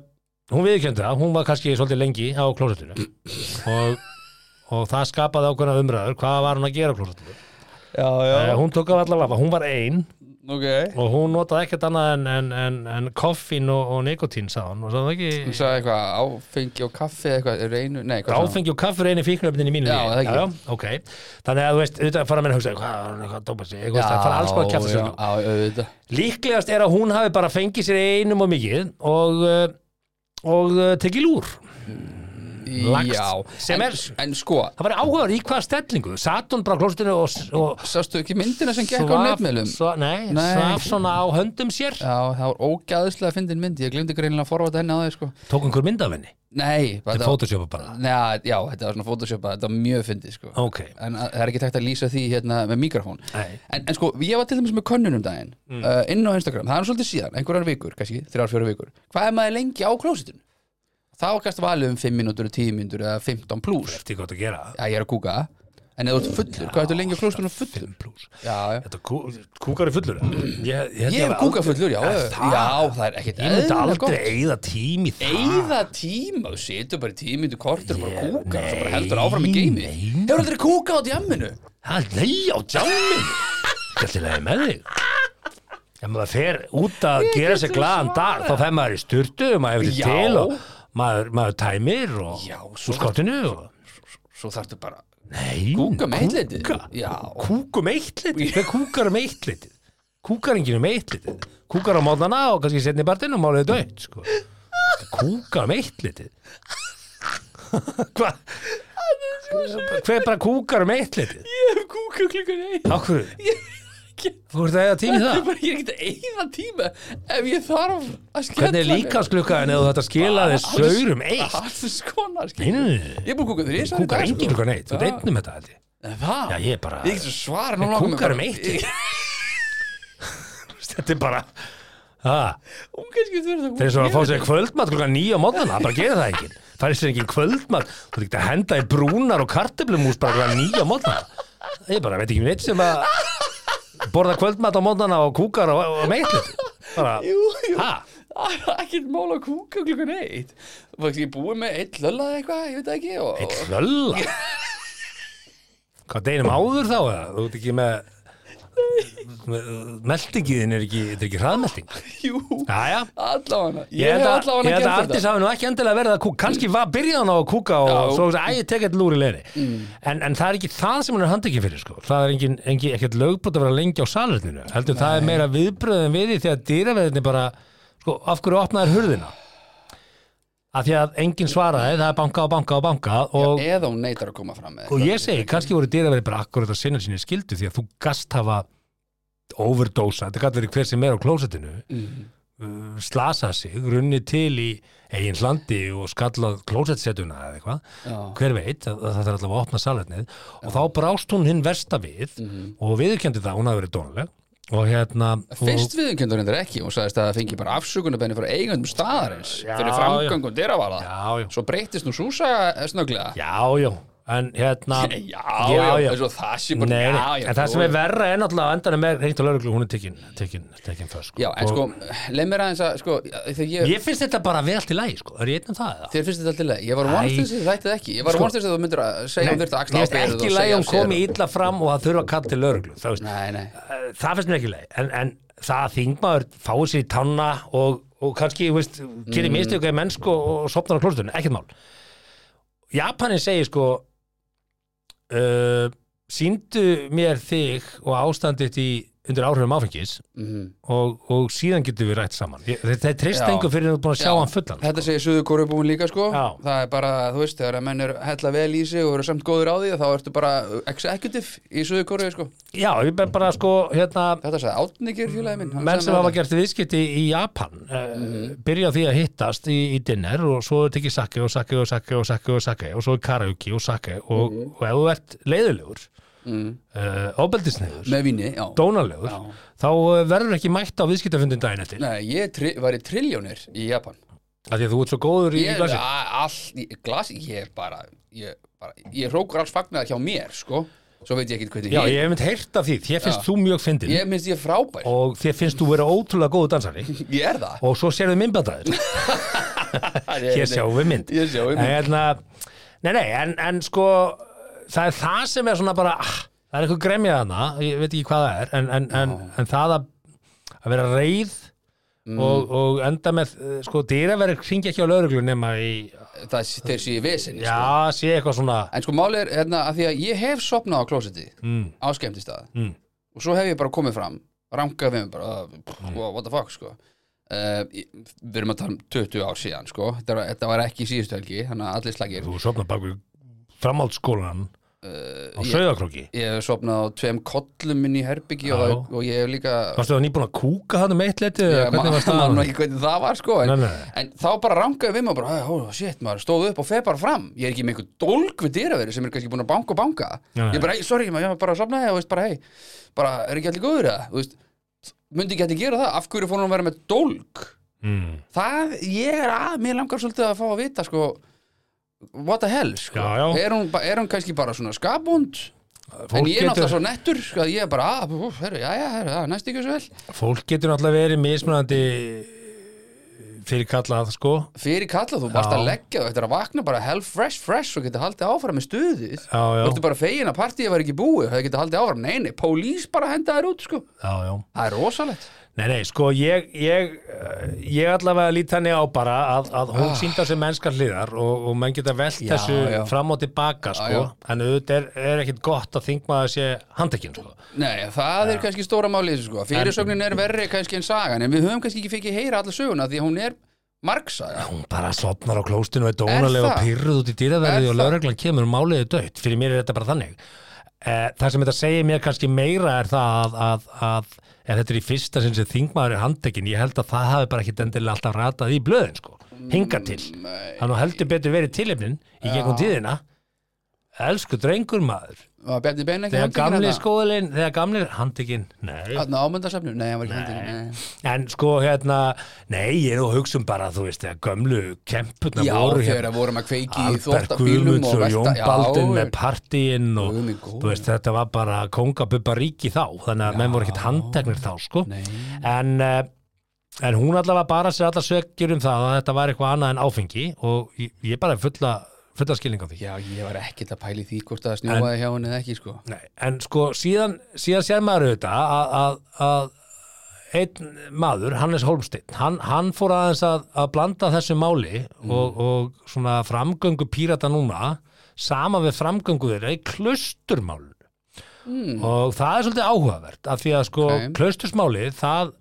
Speaker 1: hún viðkjöndi það, hún var kannski svolítið lengi á klósettinu og, og það skapaði ákveðna umræður hvað var hún að gera á klósettinu
Speaker 2: Já,
Speaker 1: uh, hún tók af allavega, hún var ein
Speaker 2: Ok
Speaker 1: og hún notaði ekkert annað en, en, en, en koffín og, og nikotín sá hún og sá það
Speaker 2: Hún
Speaker 1: ekki
Speaker 2: sagði eitthvað áfengi og kaffi eitthvað reynu, nei, hvað sagði hún?
Speaker 1: áfengi og kaffir einu fíknöfnin í mínu
Speaker 2: Já,
Speaker 1: lífi.
Speaker 2: það ekki.
Speaker 1: ok þannig að þú veist, auðvitað fara menn að hugsa hvað, var hún eitthvað að dópa sig, eitthvað, það fara alls konar kjafta
Speaker 2: Já, já, auðvitað
Speaker 1: Líklegast er að hún hafi bara fengið sér einum og mikið og, uh, og uh, tekið lúr. Lagst,
Speaker 2: Já,
Speaker 1: sem
Speaker 2: en,
Speaker 1: er-
Speaker 2: en sko,
Speaker 1: Það var áhugaður í hvaða stellingu. Satt hún bara á klóstinu og, og
Speaker 2: sástu ekki myndina sem gekk á netmiðlum?
Speaker 1: svo, nei,
Speaker 2: Nei.
Speaker 1: svaf svona á höndum sér.
Speaker 2: Já, það var ógæðislega fyndin mynd, ég glemdi greinilega að forvata henni á því, sko
Speaker 1: Tók einhver mynd af henni
Speaker 2: Nei,
Speaker 1: til
Speaker 2: þetta-
Speaker 1: fótusjópa bara.
Speaker 2: Nei, já, þetta var svona Photoshop þetta var mjög fyndið sko
Speaker 1: Ok.
Speaker 2: en að- það er ekki tægt að lýsa því hérna með mikrofón
Speaker 1: Nei.
Speaker 2: en, en sko, ég var til dæmis með könnunum daginn
Speaker 1: Mm.
Speaker 2: uh, inn á Instagram, það er nú svolítið síðan einhverjar vikur, kannski, þrjár, fjóra vikur hvað er maður lengi á klósitun? þá kannski valið um 5 mínútur, 10 mínútur eða 15 plus,
Speaker 1: Eftir gott að gera.
Speaker 2: já ég er að kúka en eða þú ert fullur, hvað ertu lengi á klósitunum fullur?
Speaker 1: 5 plus.
Speaker 2: Já, já
Speaker 1: Þetta kú, kúkar er fullur. eða? Ég, ég,
Speaker 2: Ég er kúka fullur, já, já,
Speaker 1: Það,
Speaker 2: já, það er ekkit
Speaker 1: ég myndi
Speaker 2: eðlilega
Speaker 1: aldrei
Speaker 2: gott.
Speaker 1: eigða tími í það.
Speaker 2: Eyða tíma, þú setur bara í tímindu kortur og bara
Speaker 1: Ég-
Speaker 2: kúkar og svo bara
Speaker 1: nei,
Speaker 2: heldur áfram í geimi
Speaker 1: nei.
Speaker 2: Hefur aldrei kúkað á djamminu?
Speaker 1: Það er leið á djáminu. er til aðeins með þig ef maður fer út að gera sér glaðan dag þá fær maður í styrtu og maður hefur
Speaker 2: Já.
Speaker 1: sér til og maður, maður tæmir og
Speaker 2: Já,
Speaker 1: úr
Speaker 2: svo-
Speaker 1: skottinu og
Speaker 2: Svo þarftu bara
Speaker 1: Nei,
Speaker 2: Kúka með eitleitið?
Speaker 1: kúka.
Speaker 2: Já.
Speaker 1: Kúka með eittlitið? Hvað kúkar um eittlitið? Kúkar enginn um eittlitið Kúkar á mótnana og kannski setni partinn og málið döitt sko. Kúkar um eittlitið Hvað? Hver bara kúkar um eittlitið?
Speaker 2: Ég hef kúka klukkan einn
Speaker 1: Akkur,
Speaker 2: Ég
Speaker 1: þú ert að eða tími í
Speaker 2: er
Speaker 1: það
Speaker 2: bara ég er ekkert eigða tíma Ef ég þarf að skella
Speaker 1: Hvernig er líkansklukkaðin eða þú þetta
Speaker 2: Ah,
Speaker 1: skilaði saurum eitt?
Speaker 2: Alls skonar skilur
Speaker 1: Einu,
Speaker 2: Ég er búin að kúka þér
Speaker 1: kúkar enginn klukkan eitt Þú deitnum þetta held ég
Speaker 2: sko. Það?
Speaker 1: Já, ég er bara-
Speaker 2: Ah. Ég er ekki svo
Speaker 1: Ég
Speaker 2: svara nú langar mig
Speaker 1: kúkar um
Speaker 2: bara-
Speaker 1: eitt.
Speaker 2: Ég-
Speaker 1: Þetta er bara Það
Speaker 2: Hún kannski þurfti að
Speaker 1: Þeir svo að fá
Speaker 2: kúka.
Speaker 1: sér kvöldmat klukkan nýja á mótnana, það bara gerir það ekki. Það er sér ekki kvöldmat, þú ert ekki að henda í brúnar og kartöflumús bara klukkan nýja á mótnana. Ég bara veit ekki um neitt sem að borða kvöldmat á mótnana og kúkar og, og meitlut. Bara,
Speaker 2: Jú, jú
Speaker 1: ha?
Speaker 2: Það er ekkert mál að kúka klukkan eitt Það er ég búið með eitt lölla eða eitthvað, ég veit það ekki og...
Speaker 1: Eitt hlölla. Hvað deginum áður þá eða? Þú ert ekki með, með meldingiðin er ekki, þetta er ekki hraðmelding.
Speaker 2: Jú,
Speaker 1: Jæja.
Speaker 2: allavega Ég,
Speaker 1: Ég
Speaker 2: hef
Speaker 1: held að,
Speaker 2: allavega
Speaker 1: ég held að
Speaker 2: gert
Speaker 1: Artís
Speaker 2: þetta
Speaker 1: hafi nú ekki endilega verið að kúka kannski var byrjað hann á að kúka og
Speaker 2: Já. Mm.
Speaker 1: svo að ég tek eitthvað lúri leiri en, en það er ekki það sem hann er handekinn fyrir sko. það er engin, engin, ekkert lögbrot að vera lengi á salerninu heldur það er meira viðbröð en við því þegar dýraverðinni bara sko, af hverju opnaðir hurðina af því að enginn svaraði það er banka og banka og banka og,
Speaker 2: Eða hún neitar að koma fram með
Speaker 1: og ég segi, kannski voru dýraverði bara akkurat að sinna sinni skildu því að þú gast hafa overdosa, þetta gæti verið hver sem er á klósettinu
Speaker 2: mm.
Speaker 1: uh, slasað sig, runnið til í eigin landi og skallað klósettsetuna eða eitthvað,
Speaker 2: Já,
Speaker 1: hver veit að, að það er allavega að opna salernnið og þá brást hún hinn versta við
Speaker 2: Mhm.
Speaker 1: og viðurkendi það, hún hafi verið dónuleg og hérna
Speaker 2: Fyrst viðumkjöndur hendur ekki og sagðist að það fengi bara afsökunabenni frá eigandum staðarins
Speaker 1: Já,
Speaker 2: fyrir framgöngum dyravala
Speaker 1: og, já, já,
Speaker 2: Svo breytist nú Súsa snögglega
Speaker 1: já, já en hérna
Speaker 2: [LAUGHS] já,
Speaker 1: Já,
Speaker 2: já,
Speaker 1: já.
Speaker 2: eins og það sé
Speaker 1: Nei,
Speaker 2: bara
Speaker 1: nei,
Speaker 2: já, já,
Speaker 1: en það
Speaker 2: þú-
Speaker 1: sem er verra er náttúrulega að endanum er reynt og lauruglu, hún er tekin, tekin, tekin föst, sko.
Speaker 2: Já, en sko,
Speaker 1: Og
Speaker 2: leið mér aðeins að sko, þegar ég,
Speaker 1: ég finnst þetta bara vel til lægi, sko, er ég einn um það eða?
Speaker 2: Þér finnst þetta alltaf leið, ég var að vonast
Speaker 1: Æ.
Speaker 2: þess að þetta ekki Ég var að
Speaker 1: Sko-
Speaker 2: vonast þess að þú myndir að segja um þyrfti að
Speaker 1: Mér
Speaker 2: axla
Speaker 1: finnst ekki lægi að hún komi illa fram og það þurfa að kalla til lauruglu, þá veist,
Speaker 2: Nei, nei,
Speaker 1: Eh, það finnst mér ekki leið en, en það að þingmaður fáið sér í tanna og, og kannski, þú veist, gerir mm. mistöku í mennsku og, og sopnar á klóstunni, ekkert mál Japanin segir sko uh, síndu mér þig og ástandið í undir áhrifum áfengis
Speaker 2: mhm
Speaker 1: og, og síðan getum við rætt saman Ég- þetta er trist
Speaker 2: Já.
Speaker 1: engu fyrir að þú ert búin að sjá
Speaker 2: Já.
Speaker 1: hann fullan
Speaker 2: Þetta segir Suður Kórubúin líka sko
Speaker 1: Já.
Speaker 2: Það er bara, þú veist, þegar að menn er hella vel í sig og eru samt góður á því þá ertu bara executive í Suður Kórubu sko
Speaker 1: já, ég ber bara sko, hérna
Speaker 2: Þetta sagði átningir félagi minn hann
Speaker 1: menn
Speaker 2: sagði
Speaker 1: sem
Speaker 2: mér
Speaker 1: hafa
Speaker 2: þetta.
Speaker 1: gert viðskipti í Japan uh,
Speaker 2: Mhm.
Speaker 1: byrja á því að hittast í, í dinner og svo er tekið sake og sake og sake og sake og sake og svo er karaoke og sake og,
Speaker 2: Mhm.
Speaker 1: og ef þú ert leiðilegur
Speaker 2: mm.
Speaker 1: uh, ofbeldisnegur,
Speaker 2: Með vini, já
Speaker 1: dónalegur
Speaker 2: Já.
Speaker 1: þá eh, verður ekki mætt á viðskiptafundin daginn eftir
Speaker 2: Nei, ég tri, var í trilljónir í Japan
Speaker 1: af því að þú ert svo góður í
Speaker 2: Ég,
Speaker 1: glasi
Speaker 2: a- all, í glasi, ég bara ég, bara, ég hrókur alls fagnaði hjá mér sko Svo veit ég ekkert hvernig
Speaker 1: já, ég hef mynd heyrt af því, þér finnst
Speaker 2: Já.
Speaker 1: þú mjög fyndin
Speaker 2: ég minnst ég frábær
Speaker 1: og þér finnst þú vera ótrúlega góðu dansari
Speaker 2: Ég er það
Speaker 1: og svo sérðu myndbandaðir
Speaker 2: [LAUGHS]
Speaker 1: hér sjáum við mynd
Speaker 2: Hér sjáum við
Speaker 1: En
Speaker 2: mynd.
Speaker 1: hérna, nei, nei, en, en sko það er það sem er svona bara ah, það er eitthvað gremjað hana, ég veit ekki hvað það er en, en, en, en það að, að vera reið
Speaker 2: Mm.
Speaker 1: og, og enda með, eh, sko, dýraverk hringi ekki á lauruglu nema í
Speaker 2: Það er þeir séu í vesinni sko.
Speaker 1: já, sé eitthvað svona
Speaker 2: En sko málið er hérna að því að ég hef sopnað á klósetti
Speaker 1: mm,
Speaker 2: á skemmtistað
Speaker 1: Mm.
Speaker 2: og svo hef ég bara komið fram rankað við mig bara, uh, pff,
Speaker 1: Mm.
Speaker 2: what the fuck sko Uh, ég- við erum að tala um 20 ár síðan sko. þetta, var, þetta var ekki í síðustu helgi þannig að allir slagir
Speaker 1: þú sopnar bak við framhaldsskólan á
Speaker 2: Eh, ég-
Speaker 1: Sauðakróki
Speaker 2: ég hef sopnað á tveim kollum minni í herbyggi og,
Speaker 1: Já.
Speaker 2: og ég hef líka
Speaker 1: varstu það nýbúin að kúka hann um eitt leti eða
Speaker 2: ég
Speaker 1: hvernig var
Speaker 2: [LAUGHS] man nú
Speaker 1: staðan?
Speaker 2: ekki hvernig það var sko en,
Speaker 1: Nei, nei.
Speaker 2: en þá bara rankaði við mig og bara, oh, shit maður, stóð upp og feð bara fram ég er ekki með einhver dólg við dýraveri sem er kannski búin að banka og banka
Speaker 1: Nei.
Speaker 2: ég bara, hey, sorry maður, ég var bara að sopna og veist bara, hei, bara, er ekki allir góður eða Þú veist, myndi ekki allir gera það af hverju fór hún að vera með dólg
Speaker 1: Mm.
Speaker 2: það, ég er að, mér langar svolítið að fá að vita sko what the hell, sko
Speaker 1: Já, já.
Speaker 2: Er, hún, ba- er hún kannski bara svona skapund en
Speaker 1: Fólk
Speaker 2: ég er
Speaker 1: getur-
Speaker 2: náttúrulega svo nettur sko, að ég er bara, að, herru, já, já, herru, það næst ekki svo vel
Speaker 1: fólk getur náttúrulega verið mismunandi fyrir kallað sko
Speaker 2: fyrir kalla þú varst
Speaker 1: Já.
Speaker 2: að leggja þú eftir að vakna bara hell fresh fresh og geta haldið áfram með stuðið
Speaker 1: Já, já.
Speaker 2: þú ertu bara fegin að partíið var ekki búið það geta haldið áfram, nei nei, pólís bara henda þér út sko.
Speaker 1: Já, já
Speaker 2: það er rosalegt
Speaker 1: Nei, nei, sko, ég, ég, eh, ég allavega lít henni á bara að, að hún ah. sínda sem mennskar hliðar og, og menn geta velt
Speaker 2: Já,
Speaker 1: þessu
Speaker 2: já.
Speaker 1: fram og tilbaka, sko.
Speaker 2: já.
Speaker 1: En auðvitað er, er ekkit gott að þingmaður sé handekinn, sko.
Speaker 2: nei, það er kannski stóra málið sko. fyrirsögnin er verri kannski en sagan en við höfum kannski ekki fikið heyra alla söguna því að hún er margsaga
Speaker 1: Hún bara sopnar á klóstinu og er dónalega
Speaker 2: það?
Speaker 1: pyrruð út í
Speaker 2: Er
Speaker 1: dýraverði og
Speaker 2: það?
Speaker 1: lögreglan kemur og máliði dött. Fyrir mér er þetta bara þannig. Eh, Það sem þetta segir mér kannski meira er það að, að, að ef þetta er í fyrsta sinn sem þingmaður er handekinn, ég held að það hafi bara ekkit endilega alltaf ratað í blöðin, sko. Hinga til.
Speaker 2: Mm, Nei,
Speaker 1: Það nú heldur betur verið tilefnin í gegnum tíðina. Elsku drengur maður.
Speaker 2: var Bjarni Ben ekki
Speaker 1: Þegar
Speaker 2: handtekinn hérna?
Speaker 1: gamli sko-
Speaker 2: þarna?
Speaker 1: skólinn, þegar gamli handikinn, nei.
Speaker 2: Þarna á ámyndasafnum? Nei, hann var ekki handtekinn nei.
Speaker 1: En sko hérna, nei, ég er nú að hugsa um bara, þú veist, þegar gömlu kempurna
Speaker 2: Já,
Speaker 1: voru
Speaker 2: þegar
Speaker 1: hérna.
Speaker 2: að vorum að kveiki í
Speaker 1: Albert
Speaker 2: þvóttabílum
Speaker 1: Guðmunds og Jón Baldin með partíinn og
Speaker 2: Guð minn góður.
Speaker 1: þú veist, þetta var bara kongabubba ríki þá, þannig að menn voru ekkert handteknir þá, sko.
Speaker 2: Nei.
Speaker 1: En, eh, en hún allavega bara sér allar sökjur um það að þetta var eitthvað annað en áfengi og ég, ég bara hef fulla, fulla skilning á því.
Speaker 2: Já, ég var ekkert að pæli því hvort það snjóaði hjá henni eða ekki, sko.
Speaker 1: Nei, en sko síðan, síðan sér maður auðvitað að, að, að einn maður, Hannes Holmsteinn hann, hann fór aðeins að, að blanda þessu máli
Speaker 2: Mm.
Speaker 1: og, og svona framgöngu pírata núna sama við framgöngu þeirra í klusturmálun og það er svolítið áhugavert af því að sko
Speaker 2: Mm. Ok.
Speaker 1: klustursmálið það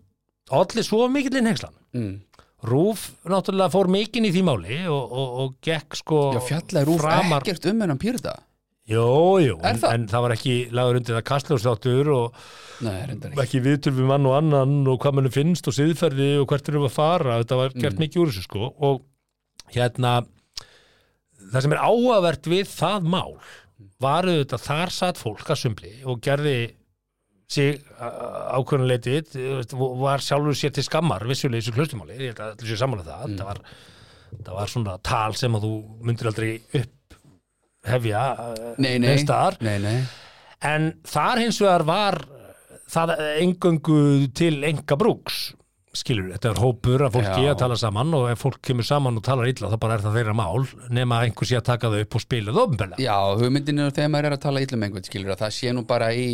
Speaker 1: olli svo mikillinn hengslan
Speaker 2: Mm.
Speaker 1: Rúf náttúrulega fór mikinn í því máli og, og, og gekk sko
Speaker 2: Já, fjallaði rúf
Speaker 1: framar
Speaker 2: ekkert um hennan pyrta.
Speaker 1: Jó, jú,
Speaker 2: Er
Speaker 1: en,
Speaker 2: það?
Speaker 1: en það var ekki lagur undir það kastljóðsáttur og
Speaker 2: Nei, reyndar ekki.
Speaker 1: ekki viðtur við mann og annan og hvað mannum finnst og siðferði og hvert erum við að fara, þetta var
Speaker 2: Mm.
Speaker 1: gert mikið úr þessu sko og hérna það sem er áhugavert við það mál var auðvitað þar satt fólk að sumbli og gerði sig ákvörnuleitið var sjálfur sér til skammar vissulega í þessu klustumáli, ég held að allir séu samanlega það mm. það, var, það var svona tal sem að þú myndir aldrei upp hefja
Speaker 2: Nei, nei.
Speaker 1: staðar
Speaker 2: Nei, nei.
Speaker 1: en þar hins vegar var uh, það engöngu til enga brúks skilur, þetta er hópur að fólki
Speaker 2: Já.
Speaker 1: að tala saman og ef fólk kemur saman og talar illa þá bara er það þeirra mál nema að einhver sé að taka þau upp og spila það ofnbæla
Speaker 2: Já, hugmyndin er þegar maður er að tala illum einhvern, skilur, að það sé nú bara í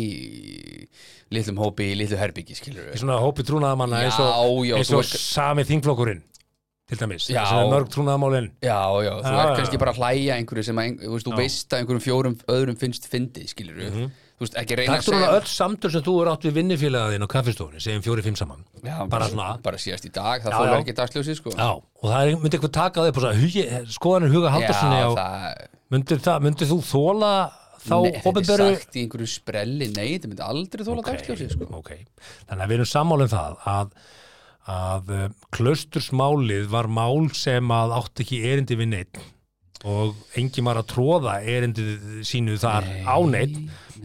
Speaker 2: litlum hópi, í litlu herbyggi, skilur.
Speaker 1: í svona hópi trúnaðamanna eins og,
Speaker 2: Já, já,
Speaker 1: eins
Speaker 2: þú
Speaker 1: og
Speaker 2: ert-
Speaker 1: sami þingflokkurinn til dæmis,
Speaker 2: Já.
Speaker 1: sem er mörg trúnaðamálin
Speaker 2: Já, já, þú
Speaker 1: Já,
Speaker 2: ert
Speaker 1: já,
Speaker 2: kannski
Speaker 1: já.
Speaker 2: bara að hlæja einhverju sem að, ein- þú veist, þú veist að einhverjum fjórum öðrum finnst fyndið, skilur. Þú veist, ekki reyna að
Speaker 1: Takktur hún
Speaker 2: segja.
Speaker 1: að Mhm. öll samtöl sem þú er átt við vinnifélagaðin og kaffistofunni, segjum fjóri-fimm saman
Speaker 2: Já,
Speaker 1: bara svona,
Speaker 2: Bara síðast í dag, það
Speaker 1: Já,
Speaker 2: fólar
Speaker 1: já.
Speaker 2: ekki dagsljósið, sko.
Speaker 1: já, og það er, myndi eitthvað taka þau upp og sagði, hugi- skoðanir huga haldarsinni á,
Speaker 2: það...
Speaker 1: myndir, það, myndir þú þóla þá
Speaker 2: Nei, þetta
Speaker 1: opinberu
Speaker 2: er sagt í einhverju sprelli, nei, þetta myndi aldrei þóla okay. dagsljósi sko.
Speaker 1: ok, þannig að við erum sammála um það að, að eh, klaustursmálið var mál sem að átti ekki erindi við neitt og engin var að tróða erindið sínu þar á neitt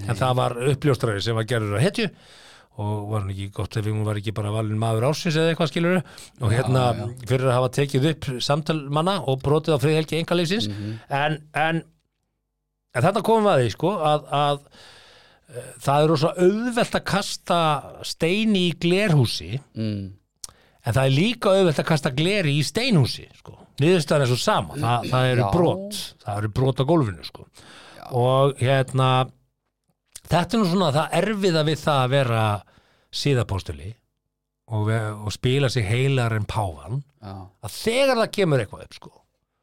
Speaker 1: en það var uppljóstrari sem var gerður að hetju og var hann ekki gott ef hún var ekki bara valin maður ásins eða eitthvað skilur og hérna fyrir að hafa tekið upp samtal manna og brotið á friðhelgi engalífsins en, en, en þetta komum við að því sko að, að það er rosa auðvelt að kasta steini í glerhúsi
Speaker 2: mm.
Speaker 1: en það er líka auðvelt að kasta gleri í steinhúsi sko. niðurstaðan er svo sama Þa, það eru
Speaker 2: Já.
Speaker 1: brot, það eru brot á gólfinu sko. og hérna þetta er nú svona það erfiða við það að vera síðapóstuli og, ve- og spila sig heilar en páfan
Speaker 2: Já,
Speaker 1: að þegar það kemur eitthvað upp sko,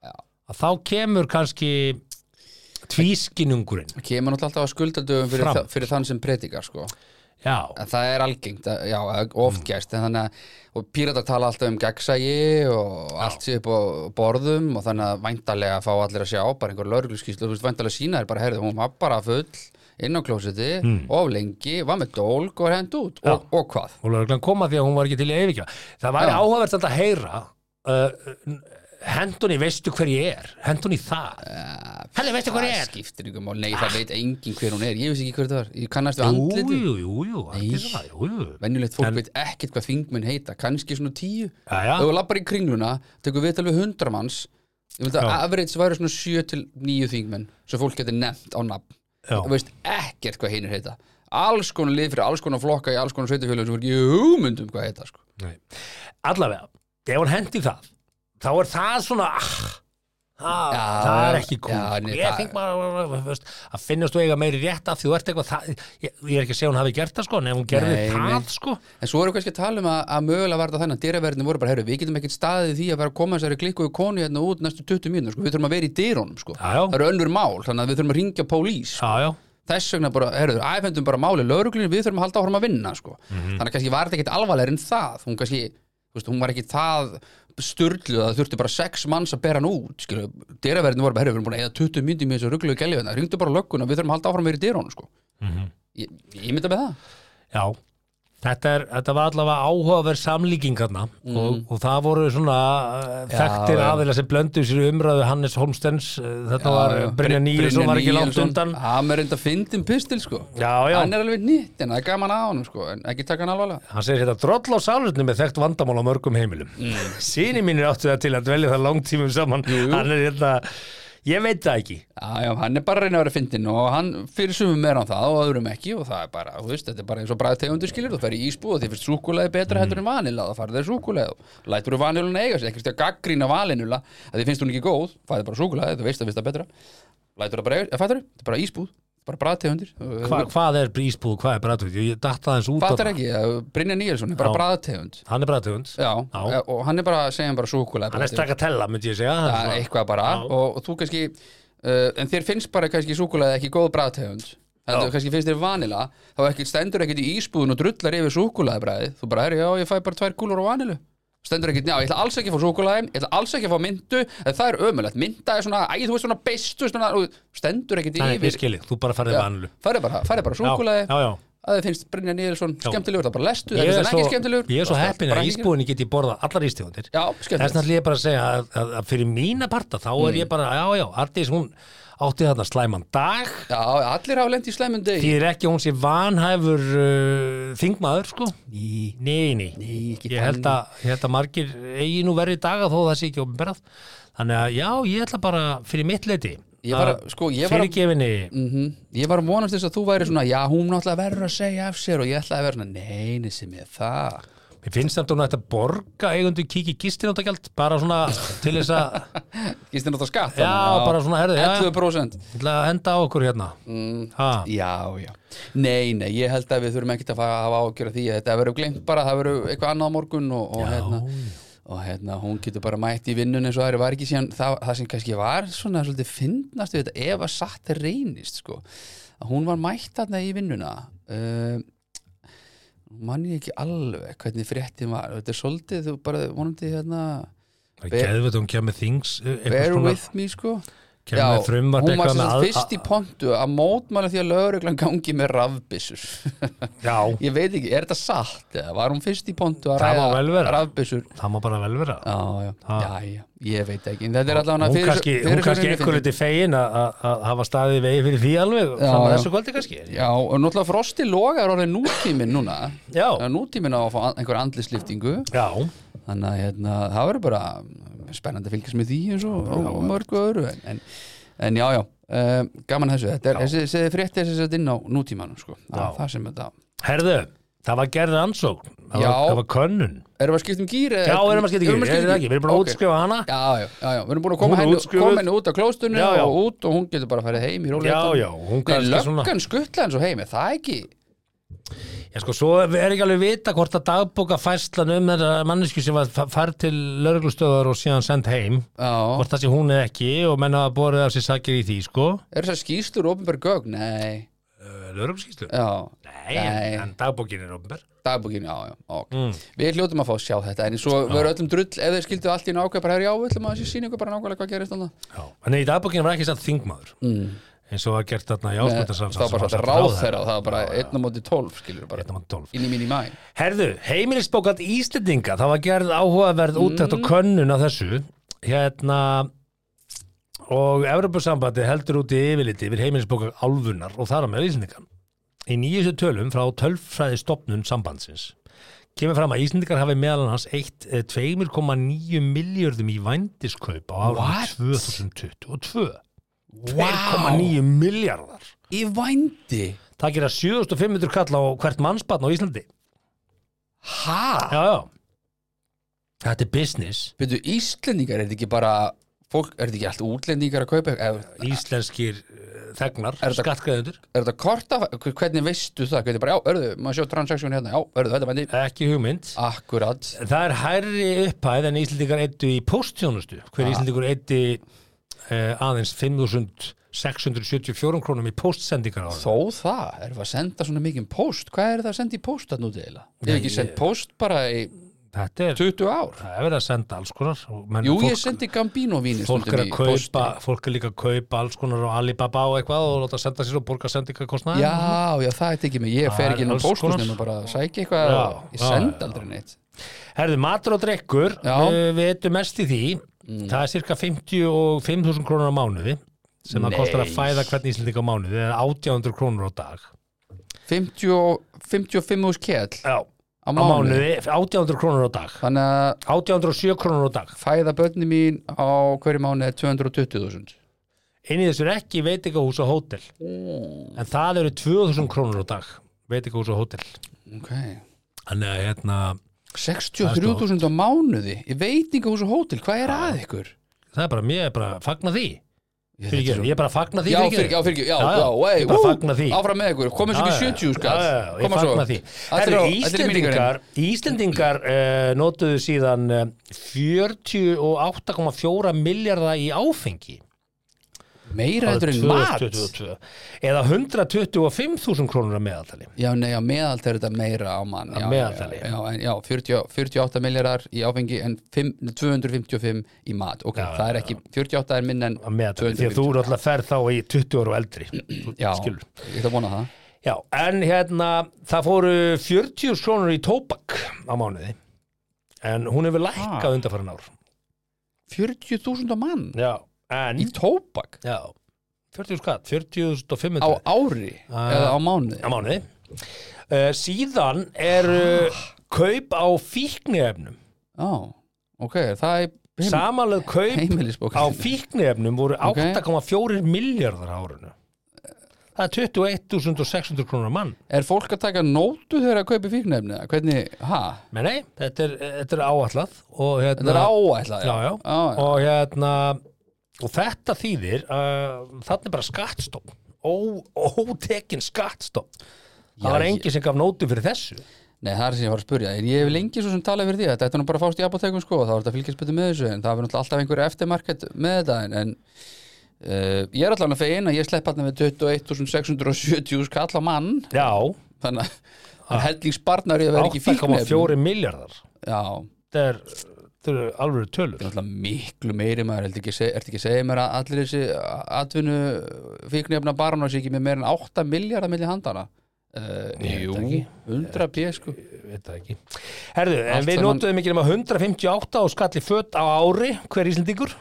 Speaker 2: já.
Speaker 1: að þá kemur kannski tvískinungurinn
Speaker 2: Það kemur náttúrulega alltaf að skulda dögum fyrir,
Speaker 1: Fram.
Speaker 2: þa fyrir þann sem predikar sko.
Speaker 1: já,
Speaker 2: En það er algengt, að- já, og oft
Speaker 1: Mm.
Speaker 2: gæst en þannig að og píratar tala alltaf um gegnsægi og allt sé upp á borðum og þannig að væntalega fá allir að sjá bara einhver lörgluskíslu, þú veist, væntalega sína er bara herðu, hún var bara full inn á klósiti
Speaker 1: Mm.
Speaker 2: of lengi, var með dólg og hend út, og, og hvað?
Speaker 1: og lögreglan kom að því að hún var ekki til í yfirkja það væri
Speaker 2: Já.
Speaker 1: áhugavert samt að heyra uh, hendunni veistu hver ég er hendunni það
Speaker 2: Eh,
Speaker 1: Helli, veistu hver ég
Speaker 2: Það
Speaker 1: er?
Speaker 2: skiptir ykkur mál, nei, það veit enginn hver hún er, ég veist ekki hver það var, ég kannast við
Speaker 1: Jú,
Speaker 2: andlitu
Speaker 1: jú, jú, jú, allt
Speaker 2: Nei.
Speaker 1: er það, jú, jú.
Speaker 2: Venjulegt fólk
Speaker 1: En-
Speaker 2: veit ekkert hvað þingmenn heita kannski svona tíu
Speaker 1: Jæja.
Speaker 2: Ef þú lappar í kringluna, tekur við alveg hundra manns Ég myndi að
Speaker 1: Já.
Speaker 2: average væri svona sjö til níu þingmenn sem fólk getur nefnt á nafn
Speaker 1: Já.
Speaker 2: Þú veist ekkert hvað hinn heita Alls konar lið fyrir alls konar flokka í alls konar sveitafjölu sem voru ekki hugmyndum hvað heita sko.
Speaker 1: Nei. allavega, ef hún hendi það þá er það svona ah, ah,
Speaker 2: Já,
Speaker 1: það er ekki kúl
Speaker 2: já, nei,
Speaker 1: ég
Speaker 2: það-
Speaker 1: fengi bara þú veist, að finnast þú eiga meiri rétt af því þú ert eitthvað það, ég, ég er ekki að segja að hún hafi gert það sko en ef hún gerði
Speaker 2: Nei,
Speaker 1: það
Speaker 2: nei.
Speaker 1: sko
Speaker 2: En svo erum við kannski að tala um að, að mögulega var það þannig að dyraverðinu voru bara, heyrðu, við getum ekkert staðið í því að vera að koma þessari klikku konu hérna út næstu 20 mínútur, sko, við þurfum að vera í dyrunum, sko.
Speaker 1: Já, já.
Speaker 2: Það eru önnur mál, þannig að við þurfum að ringja pólís.
Speaker 1: já, já,
Speaker 2: Þess vegna bara, heyrðu, æfendum bara máli lögreglunni, við þurfum að halda áfram að vinna, sko.
Speaker 1: Mhm.
Speaker 2: Þannig að kannski var þetta ekkert alvarlegri en það, hún kannski, þú veist, hún var ekki það sturluð að það þurfti bara sex manns að bera hann út, skilu, dyraverðinu voru bara, heyrðu, við erum búin að eða 20 myndi með þessu ruggluðu gæljöfina, ringdu bara lögguna, við þurfum að halda áfram að vera í dyrunum, sko.
Speaker 1: Mhm.
Speaker 2: Ég, ég mynda með það.
Speaker 1: já. Þetta, er, þetta var allavega áhugaverð samlíkingarna mm. og, og það voru svona uh, þekktir
Speaker 2: já.
Speaker 1: aðeila sem blöndu sér í umræðu Hannes Holmstens, uh, þetta var
Speaker 2: já.
Speaker 1: Brynja Níelsson var ekki langt
Speaker 2: Níelsson,
Speaker 1: undan
Speaker 2: hann er reynda að fyndin pistil sko
Speaker 1: Já, já.
Speaker 2: hann er alveg nýtt en það er gaman að honum sko en ekki taka hann alvarlega
Speaker 1: Hann segir hérna, droll á salutinu með þekkt vandamál á mörgum heimilum. [LAUGHS] Mm. Sýni mínir áttu það til að dvelja það langtímum saman.
Speaker 2: jú.
Speaker 1: Hann er hérna, ég veit það ekki.
Speaker 2: já, já, hann er bara að reyna að vera fyndin og hann fyrir sumum er hann það og öðrum ekki og það er bara, þú veist, þetta er bara eins og bræða tegundur skilur þú fer í ísbúð og þið finnst súkulæði betra heldur
Speaker 1: Mm.
Speaker 2: en vanila það farið þeir súkulæði og lætur þú vaniluna eiga sér ekkert að gaggrýna valinula að þið finnst hún ekki góð, fæði bara súkulæði, þú veist það finnst það betra lætur það bara, eiga- eða fattarðu? þetta er bara ísbúð, bara bræða
Speaker 1: Hva, hvað er ísbúð, hvað er bræðtönd? Ég datt aðeins út
Speaker 2: fattar
Speaker 1: það.
Speaker 2: ekki, eh, Brynjar Níelsson er bara
Speaker 1: Já.
Speaker 2: bræðategund
Speaker 1: Hann er bræðtönd.
Speaker 2: Já,
Speaker 1: Já.
Speaker 2: og hann er bara að segja bara súkulega
Speaker 1: Hann er strakatella, myndi ég segja. Það er svona-
Speaker 2: eitthvað bara
Speaker 1: Já.
Speaker 2: og, og þú kannski uh, en þér finnst bara kannski súkulega ekki góð bræðtegund
Speaker 1: Já.
Speaker 2: heldur kannski finnst þér vanila þá ekki stendur ekkit í ísbúðun og drullar yfir súkulega bræði þú bara, herri, já, ég fæ bara tvær kúlur á vanilu stendur ekkit, já, ég ætla alls ekki að fá súkulega ég ætla alls ekki að fá myndu, en það er ömulegt mynda er svona, æ, þú veist svona bestu svona, og stendur ekkit
Speaker 1: Nei, ég
Speaker 2: yfir
Speaker 1: skilji, þú bara farið vanlu.
Speaker 2: farið bara, farið bara
Speaker 1: Já,
Speaker 2: súkulega
Speaker 1: já, já.
Speaker 2: að þið finnst Brynja Níðilsson
Speaker 1: Já.
Speaker 2: skemmtilegur, það bara lestu,
Speaker 1: Ég
Speaker 2: það
Speaker 1: er
Speaker 2: finnst hann ekki
Speaker 1: svo,
Speaker 2: skemmtilegur
Speaker 1: ég er svo
Speaker 2: Bara-
Speaker 1: heppin
Speaker 2: bara
Speaker 1: að
Speaker 2: ekki-
Speaker 1: ísbúðinni get ég borðað allar ístíðundir.
Speaker 2: Já,
Speaker 1: Þess
Speaker 2: skemmtilegt Mm.
Speaker 1: vegna ætla ég bara að segja að, að, að fyrir mína parta þá er ég bara, já, já, Artís hún átti þarna slæman dag
Speaker 2: Já, allir hafa lent í slæmum degi
Speaker 1: Þýðir ekki að hún sé vanhæfur uh, þingmaður, sko? Ný. Nei, nei.
Speaker 2: Nei, ekki
Speaker 1: ég, held að, ég held að margir eigi nú verri daga þó það sé ekki ofnberað. Þannig að já, ég ætla bara fyrir mitt leiti.
Speaker 2: Ég var að- sko, ég var að-
Speaker 1: Fyrirgefinni,
Speaker 2: mm Ég var að vonast þess að þú væri svona Já, hún náttúrulega verður að segja af sér Og ég ætlaði að vera svona, neini sem ég það
Speaker 1: mér finnst samt að hún ætti að borga eigundu kiki gistináttakjald, bara svona til þess að,
Speaker 2: Gist þér náttúrulega skatt
Speaker 1: Já,
Speaker 2: þannig,
Speaker 1: bara svona, herðu, já.
Speaker 2: 11%
Speaker 1: ég ætla að henda á okkur hérna. Mm. Ha,
Speaker 2: Já, já Nei, nei, ég held að við þurfum ekkert að fara að hafa ágjöra því að Þetta verður glemt bara, það verður eitthvað annað á morgun Og, og hérna Og hérna, hún getur bara mætt í vinnun eins og það var ekki síðan það, það sem kannski var svona svolítið fyndnast við þetta ef að satt reynist sko. að hún var mætt þarna í vinnuna uh, mann ég ekki alveg hvernig fréttin var þetta er svolítið, þú bara vonandi hérna
Speaker 1: það
Speaker 2: Be-
Speaker 1: er geðvöld að hún kemur þings, eh, eitthvað
Speaker 2: bear
Speaker 1: svona,
Speaker 2: with me sko
Speaker 1: kemur frumvart
Speaker 2: hún var
Speaker 1: eitthvað
Speaker 2: sem
Speaker 1: með
Speaker 2: sagt
Speaker 1: að-
Speaker 2: fyrst í pontu að mótmæla því að lögreglan gangi með rafbissur
Speaker 1: Já,
Speaker 2: [LAUGHS] ég veit ekki, er þetta satt eða var hún fyrst í pontu að
Speaker 1: Það má vel vera.
Speaker 2: rafbissur
Speaker 1: það má bara vel vera.
Speaker 2: Já, já,
Speaker 1: Ha.
Speaker 2: já, já, ég veit ekki En þetta er allavega
Speaker 1: hún kannski, hún kannski einhver liti fegin að að- að hafa staðið í vegi fyrir því alveg
Speaker 2: Já,
Speaker 1: fram að
Speaker 2: já.
Speaker 1: þessu kvöldi kannski
Speaker 2: Já, og náttúrulega Frosti Loga er orðið nútíminn núna
Speaker 1: Já.
Speaker 2: Það er Nútíminn á að fá an- einhver andlisliftingu
Speaker 1: já,
Speaker 2: Þannig að hérna, það verður bara spennandi að fylgjast með því eins og, og, og mörgu öðru En, en, en já, já, um, gaman þessu Þetta er, þessi, þessi frétti þessi sett inn á nútímanum sko. Það
Speaker 1: Já.
Speaker 2: er það sem þetta
Speaker 1: herðu það var gerð rannsókn, það,
Speaker 2: Já.
Speaker 1: var, það var könnun
Speaker 2: Erum við að skipta um gýr?
Speaker 1: já, erum að skipta ekki, erum við ekki, við erum búin að útskrifa hana
Speaker 2: um Já, já, já, já, við erum búin að koma
Speaker 1: Hún er
Speaker 2: henni,
Speaker 1: útskrifuð.
Speaker 2: koma henni út af klóstunni
Speaker 1: Já, já.
Speaker 2: og út og hún getur bara að fara heim í
Speaker 1: já,
Speaker 2: rólegheitunum.
Speaker 1: já, hún
Speaker 2: Nei,
Speaker 1: kannski svona
Speaker 2: löggan skuttla hans og heim, er það ekki?
Speaker 1: já, sko, svo er ekki alveg vita hvort að dagbóka færslan um þetta mannesku sem var færð til lögreglustöðar og síðan send heim
Speaker 2: Já.
Speaker 1: hvort það sé hún eða ekki og menn hafa borðið af sér sakir í því, sko
Speaker 2: Er það skýstur opinber gögn? Nei.
Speaker 1: lögreglustíslu?
Speaker 2: Já.
Speaker 1: Nei, en, en dagbókin er ofnber
Speaker 2: Dagbúkin, já, já. ok.
Speaker 1: Mm.
Speaker 2: Við hljótum að fá að sjá þetta, en svo verður öllum drull ef þeir skildu allt í nákvæm, bara herri á, við ætlum að þessi síningu bara nákvæmlega hvað gerist þannig.
Speaker 1: Já, en í dagbókinu var ekki satt þingmaður mm. eins og var gert þarna í ásköldarsans
Speaker 2: Það var Eh, bara þetta ráð þeirra, það var bara einn á móti 12, skilur bara.
Speaker 1: Einn á móti 12.
Speaker 2: Inn í mín í mæ.
Speaker 1: Herðu, heimilisbókald Íslendinga það var gerð áhugaverð úttækt og könnun á þessu hérna og Evropasambandi heldur úti yfirliti yfir heimilisbókald álfunar og þar á með Íslendingan Í nýjustu tölum frá tölfræði stopnun sambandsins kemur fram að Íslendingar hafi meðal eh, hans 2,9 miljörðum í vændiskaup á
Speaker 2: What?
Speaker 1: árið 2022 2,9 miljardar
Speaker 2: Í vændi?
Speaker 1: Það gera 7500 kall á hvert mannsbarn á Íslandi
Speaker 2: Hæ?
Speaker 1: Já, já Þetta er business
Speaker 2: Byrju, Íslendingar er þetta ekki bara fólk, er þetta ekki allt útlendingar að kaupa eitthvað? Eða-
Speaker 1: Íslenskir eh, þegnar,
Speaker 2: Er þetta-
Speaker 1: skattgreðendur
Speaker 2: Er þetta korta, hvernig veistu það? Hvernig bara, já, örðu, maður sjá transaksjónu hérna, já, örðu, þetta mændi
Speaker 1: Ekki hugmynd
Speaker 2: Akkurat,
Speaker 1: Það er hærri upphæð en Íslendingar eittu í póstþjónustu Hver Íslendingur eitti uh, aðeins 5.674 krónum í póstsendingar á það
Speaker 2: þó það, erum við að senda svona mikið um post Hvað er það að senda í post þarna út eiginlega? Ég hef ekki sendt post bara í
Speaker 1: Þetta er,
Speaker 2: 20 ár
Speaker 1: það er verið að senda alls konar og menn,
Speaker 2: Jú, ég
Speaker 1: fólk,
Speaker 2: sendi Gambino víni
Speaker 1: fólk, er að kaupa, fólk er líka að kaupa alls konar á Alibaba og eitthvað og láta senda sér og borga sendingakostnað
Speaker 2: Já, já, það er ekki mig, ég
Speaker 1: Það
Speaker 2: fer
Speaker 1: er
Speaker 2: ekki inn á
Speaker 1: alls
Speaker 2: postus
Speaker 1: konar.
Speaker 2: nema bara að sækja eitthvað
Speaker 1: Já,
Speaker 2: Ég
Speaker 1: já,
Speaker 2: send
Speaker 1: já.
Speaker 2: aldrei neitt
Speaker 1: Herðu, matur og drekkur,
Speaker 2: Já.
Speaker 1: eh, við eittum mest í því Það er cirka 55.000 krónur á mánuði sem það
Speaker 2: Nei.
Speaker 1: kostar að fæða hvern Íslending á mánuði eða 800 krónur á dag
Speaker 2: 50 og- 55 úr skell
Speaker 1: Já,
Speaker 2: á
Speaker 1: á
Speaker 2: mánu
Speaker 1: mánuði, 800 krónur á dag
Speaker 2: Þannig að
Speaker 1: 807 krónur á dag
Speaker 2: fæða börni mín á hverju mánu er 220.000
Speaker 1: inn í þessu er ekki veitingahús og hótel en það eru 2000 krónur á dag veitingahús og hótel
Speaker 2: Ok
Speaker 1: þannig að hérna
Speaker 2: 63.000 á mánuði í veitingahús og hótel, hvað er að ykkur?
Speaker 1: það er bara, mér er bara að fagna því
Speaker 2: Ég,
Speaker 1: fyrir ég er bara að fagna því
Speaker 2: Já,
Speaker 1: fyrirgefðu.
Speaker 2: fyrir ekki, já, fyrir ekki, já,
Speaker 1: Já, já.
Speaker 2: já, ei,
Speaker 1: Ég bara
Speaker 2: ú,
Speaker 1: fagna því.
Speaker 2: Áfram með ykkur, komum svo
Speaker 1: Já,
Speaker 2: ekki
Speaker 1: já,
Speaker 2: 70 skall
Speaker 1: já, já, ég
Speaker 2: Koma svo.
Speaker 1: fagna því
Speaker 2: Allir hérna.
Speaker 1: Herru,
Speaker 2: á- allir í minningurinn.
Speaker 1: Íslendingar, Íslendingar uh, notuðu síðan uh, 48,4 milljarða í áfengi
Speaker 2: Meira
Speaker 1: árið
Speaker 2: heldur en mat
Speaker 1: 2022. eða 125.000 krónur að meðaltali
Speaker 2: Já, nei, á meðal er þetta meira á mann
Speaker 1: Að
Speaker 2: já,
Speaker 1: meðaltali.
Speaker 2: Já, já, en, já 40, 48 miljardar í áfengi en 5, 255 í mat Ok, það er ekki, 48 er minn en
Speaker 1: að meðaltali, því að þú eru alltaf ferð þá í 20 ára og eldri Þú
Speaker 2: Já,
Speaker 1: skilur.
Speaker 2: ég ætla að vona það
Speaker 1: Já, en hérna, það fóru 40 krónur í tóbak á mánuði en hún hefur lækkað ah.
Speaker 2: Ah.
Speaker 1: undarfæran ár
Speaker 2: 40.000 á mann
Speaker 1: Já, en
Speaker 2: í tóbak
Speaker 1: Já, 40 skatt,
Speaker 2: á
Speaker 1: 40.500 á,
Speaker 2: ári
Speaker 1: Ah.
Speaker 2: eða á mánuði
Speaker 1: á mánuði uh, Síðan er uh, kaup á fíkniefnum
Speaker 2: Já, ok, það er heim-
Speaker 1: Samanlega kaup
Speaker 2: heimilisbók
Speaker 1: á fíkniefnum voru
Speaker 2: Ok.
Speaker 1: 8,4 miljardar á árinu Það er 21.600 krónur á mann
Speaker 2: Er fólk að taka nótu þegar að kaupi fíknefni? eða Hvernig, ha?
Speaker 1: Men nei, þetta er, þetta er áallað og hérna,
Speaker 2: Þetta er áætlað,
Speaker 1: já, já.
Speaker 2: já.
Speaker 1: og hérna og þetta þýðir uh, þannig bara skattstopp Ó, ótekin skattstopp það
Speaker 2: Já,
Speaker 1: var
Speaker 2: ég-
Speaker 1: engin sem gaf nótu fyrir þessu
Speaker 2: Nei, það er sem ég var að spurja. En ég hef lengi svo sem talað fyrir því að þetta er nú bara að fást í apotekum sko og þá er þetta að fylgjast betur með þessu en það er náttúrulega alltaf einhver eftirmarked með þetta en, en uh, ég er allan að fegin að ég slepp hann með 21.670 skall á mann
Speaker 1: já,
Speaker 2: þannig að það
Speaker 1: Ah.
Speaker 2: er hellingsbarnar í að vera ekki í fíknefni.
Speaker 1: 8,4 miljardar
Speaker 2: Já, það
Speaker 1: þetta er, þetta eru alveg tölur
Speaker 2: er náttúrulega miklu meiri maður. Ertu ekki, að seg- ertu ekki að segja mér að allir þessi atvinnu fíknefna barnar sé ekki með meir en 8 miljardar milli handana? Uh,
Speaker 1: Ég
Speaker 2: jú,
Speaker 1: veit ekki.
Speaker 2: 100 pjö sko.
Speaker 1: Ég veit það ekki herðu, en
Speaker 2: Allt
Speaker 1: við
Speaker 2: saman-
Speaker 1: notuðum ekki nema 158 og skalli fött á ári hver íslendingur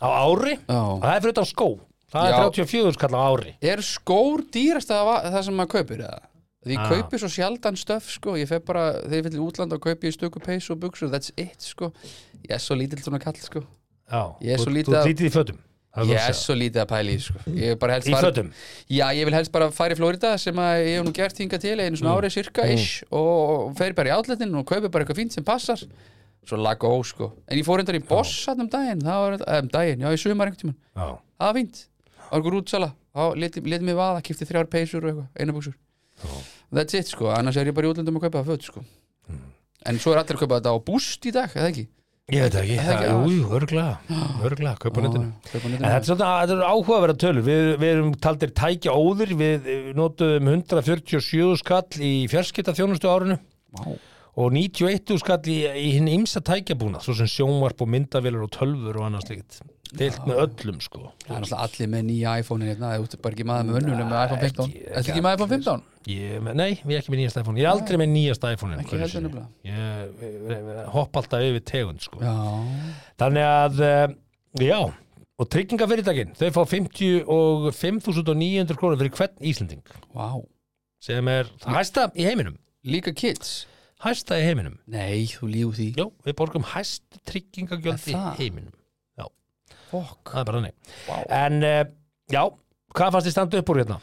Speaker 1: á ári
Speaker 2: Já.
Speaker 1: og það er fyrir utan skó það er
Speaker 2: Já.
Speaker 1: 34 skall á ári
Speaker 2: Er skór dýrast að það sem maður kaupir eða? Því ég
Speaker 1: Ah.
Speaker 2: kaupi svo sjaldan stöf sko, ég fer bara, þegar ég fyrir útland og kaupi ég stöku peysu og buksur, that's it sko Ég er svo lítill svona kall sko
Speaker 1: já,
Speaker 2: Ég er
Speaker 1: þú,
Speaker 2: svo
Speaker 1: þú
Speaker 2: lítið
Speaker 1: ert
Speaker 2: að-
Speaker 1: lítið í fötum það er
Speaker 2: Ég
Speaker 1: gott að
Speaker 2: er
Speaker 1: segja.
Speaker 2: svo lítið að pæli sko Ég er bara helst
Speaker 1: Í
Speaker 2: fara-
Speaker 1: fötum?
Speaker 2: Já, ég vil helst bara fara í Florida sem að ég hef nú gert hingað til einu
Speaker 1: Mm.
Speaker 2: svona árið cirka ish og fer bara í outletin og kaupi bara eitthvað fínt sem passar Svo laga ó sko En ég fór endar í boss hann um daginn, það var, eh, um daginn, já ég sumar einhvern tímann
Speaker 1: Já.
Speaker 2: það var fínt það var einhver útsala, þá letið leti mig vaða kipti þrjár peysur og eitthvað, einu buksur that's it sko, annars er ég bara í útlöndum að kaupa það föt sko
Speaker 1: Mm.
Speaker 2: en svo er allir að kaupa þetta á búst í dag, eða ekki?
Speaker 1: Ég veit það ekki,
Speaker 2: Það er
Speaker 1: það,
Speaker 2: ekki
Speaker 1: jú, jú,
Speaker 2: [GASPS]
Speaker 1: örglega, örglega, kaupa á netinu.
Speaker 2: Já, kaupa á
Speaker 1: En
Speaker 2: netinu.
Speaker 1: þetta er svona, þetta er áhugaverða tölur, við, við erum taldir tækja óður, við eh, notuðum 147 skall í fjarskipta þjónustu árinu
Speaker 2: Vá.
Speaker 1: og 91 skall í, í hinn ymsa tækjabúna, svo sem sjónvarp og myndavélar og tölfur og annars líkt, deilt með öllum sko.
Speaker 2: það er alltaf allir með nýja iPhone hérna, það er út- bara ekki maður með önnum með iPhone 15
Speaker 1: ekki- sko.
Speaker 2: Þetta ekki með iPhone 15?
Speaker 1: Ég, nei, ég er ekki með nýjast iPhone, ég er aldrei með nýjast iPhone.
Speaker 2: Ekki heldur nefnilega.
Speaker 1: Ég, ég, ég hopp alltaf yfir tegund sko.
Speaker 2: Já,
Speaker 1: Þannig að, eh, já, og tryggingafyrirtækin, þau fá 55.900 krónur fyrir hvern Íslending
Speaker 2: vá
Speaker 1: sem er það hæsta í heiminum,
Speaker 2: Líka kids?
Speaker 1: hæsta í heiminum.
Speaker 2: Nei, þú lífu því
Speaker 1: Jó, við borgum hæst tryggingagjöld
Speaker 2: Er
Speaker 1: í
Speaker 2: það?
Speaker 1: heiminum. Já,
Speaker 2: Fokk
Speaker 1: það er bara þannig.
Speaker 2: Vá.
Speaker 1: En, eh, já, hvað fannst þið standa upp úr hérna?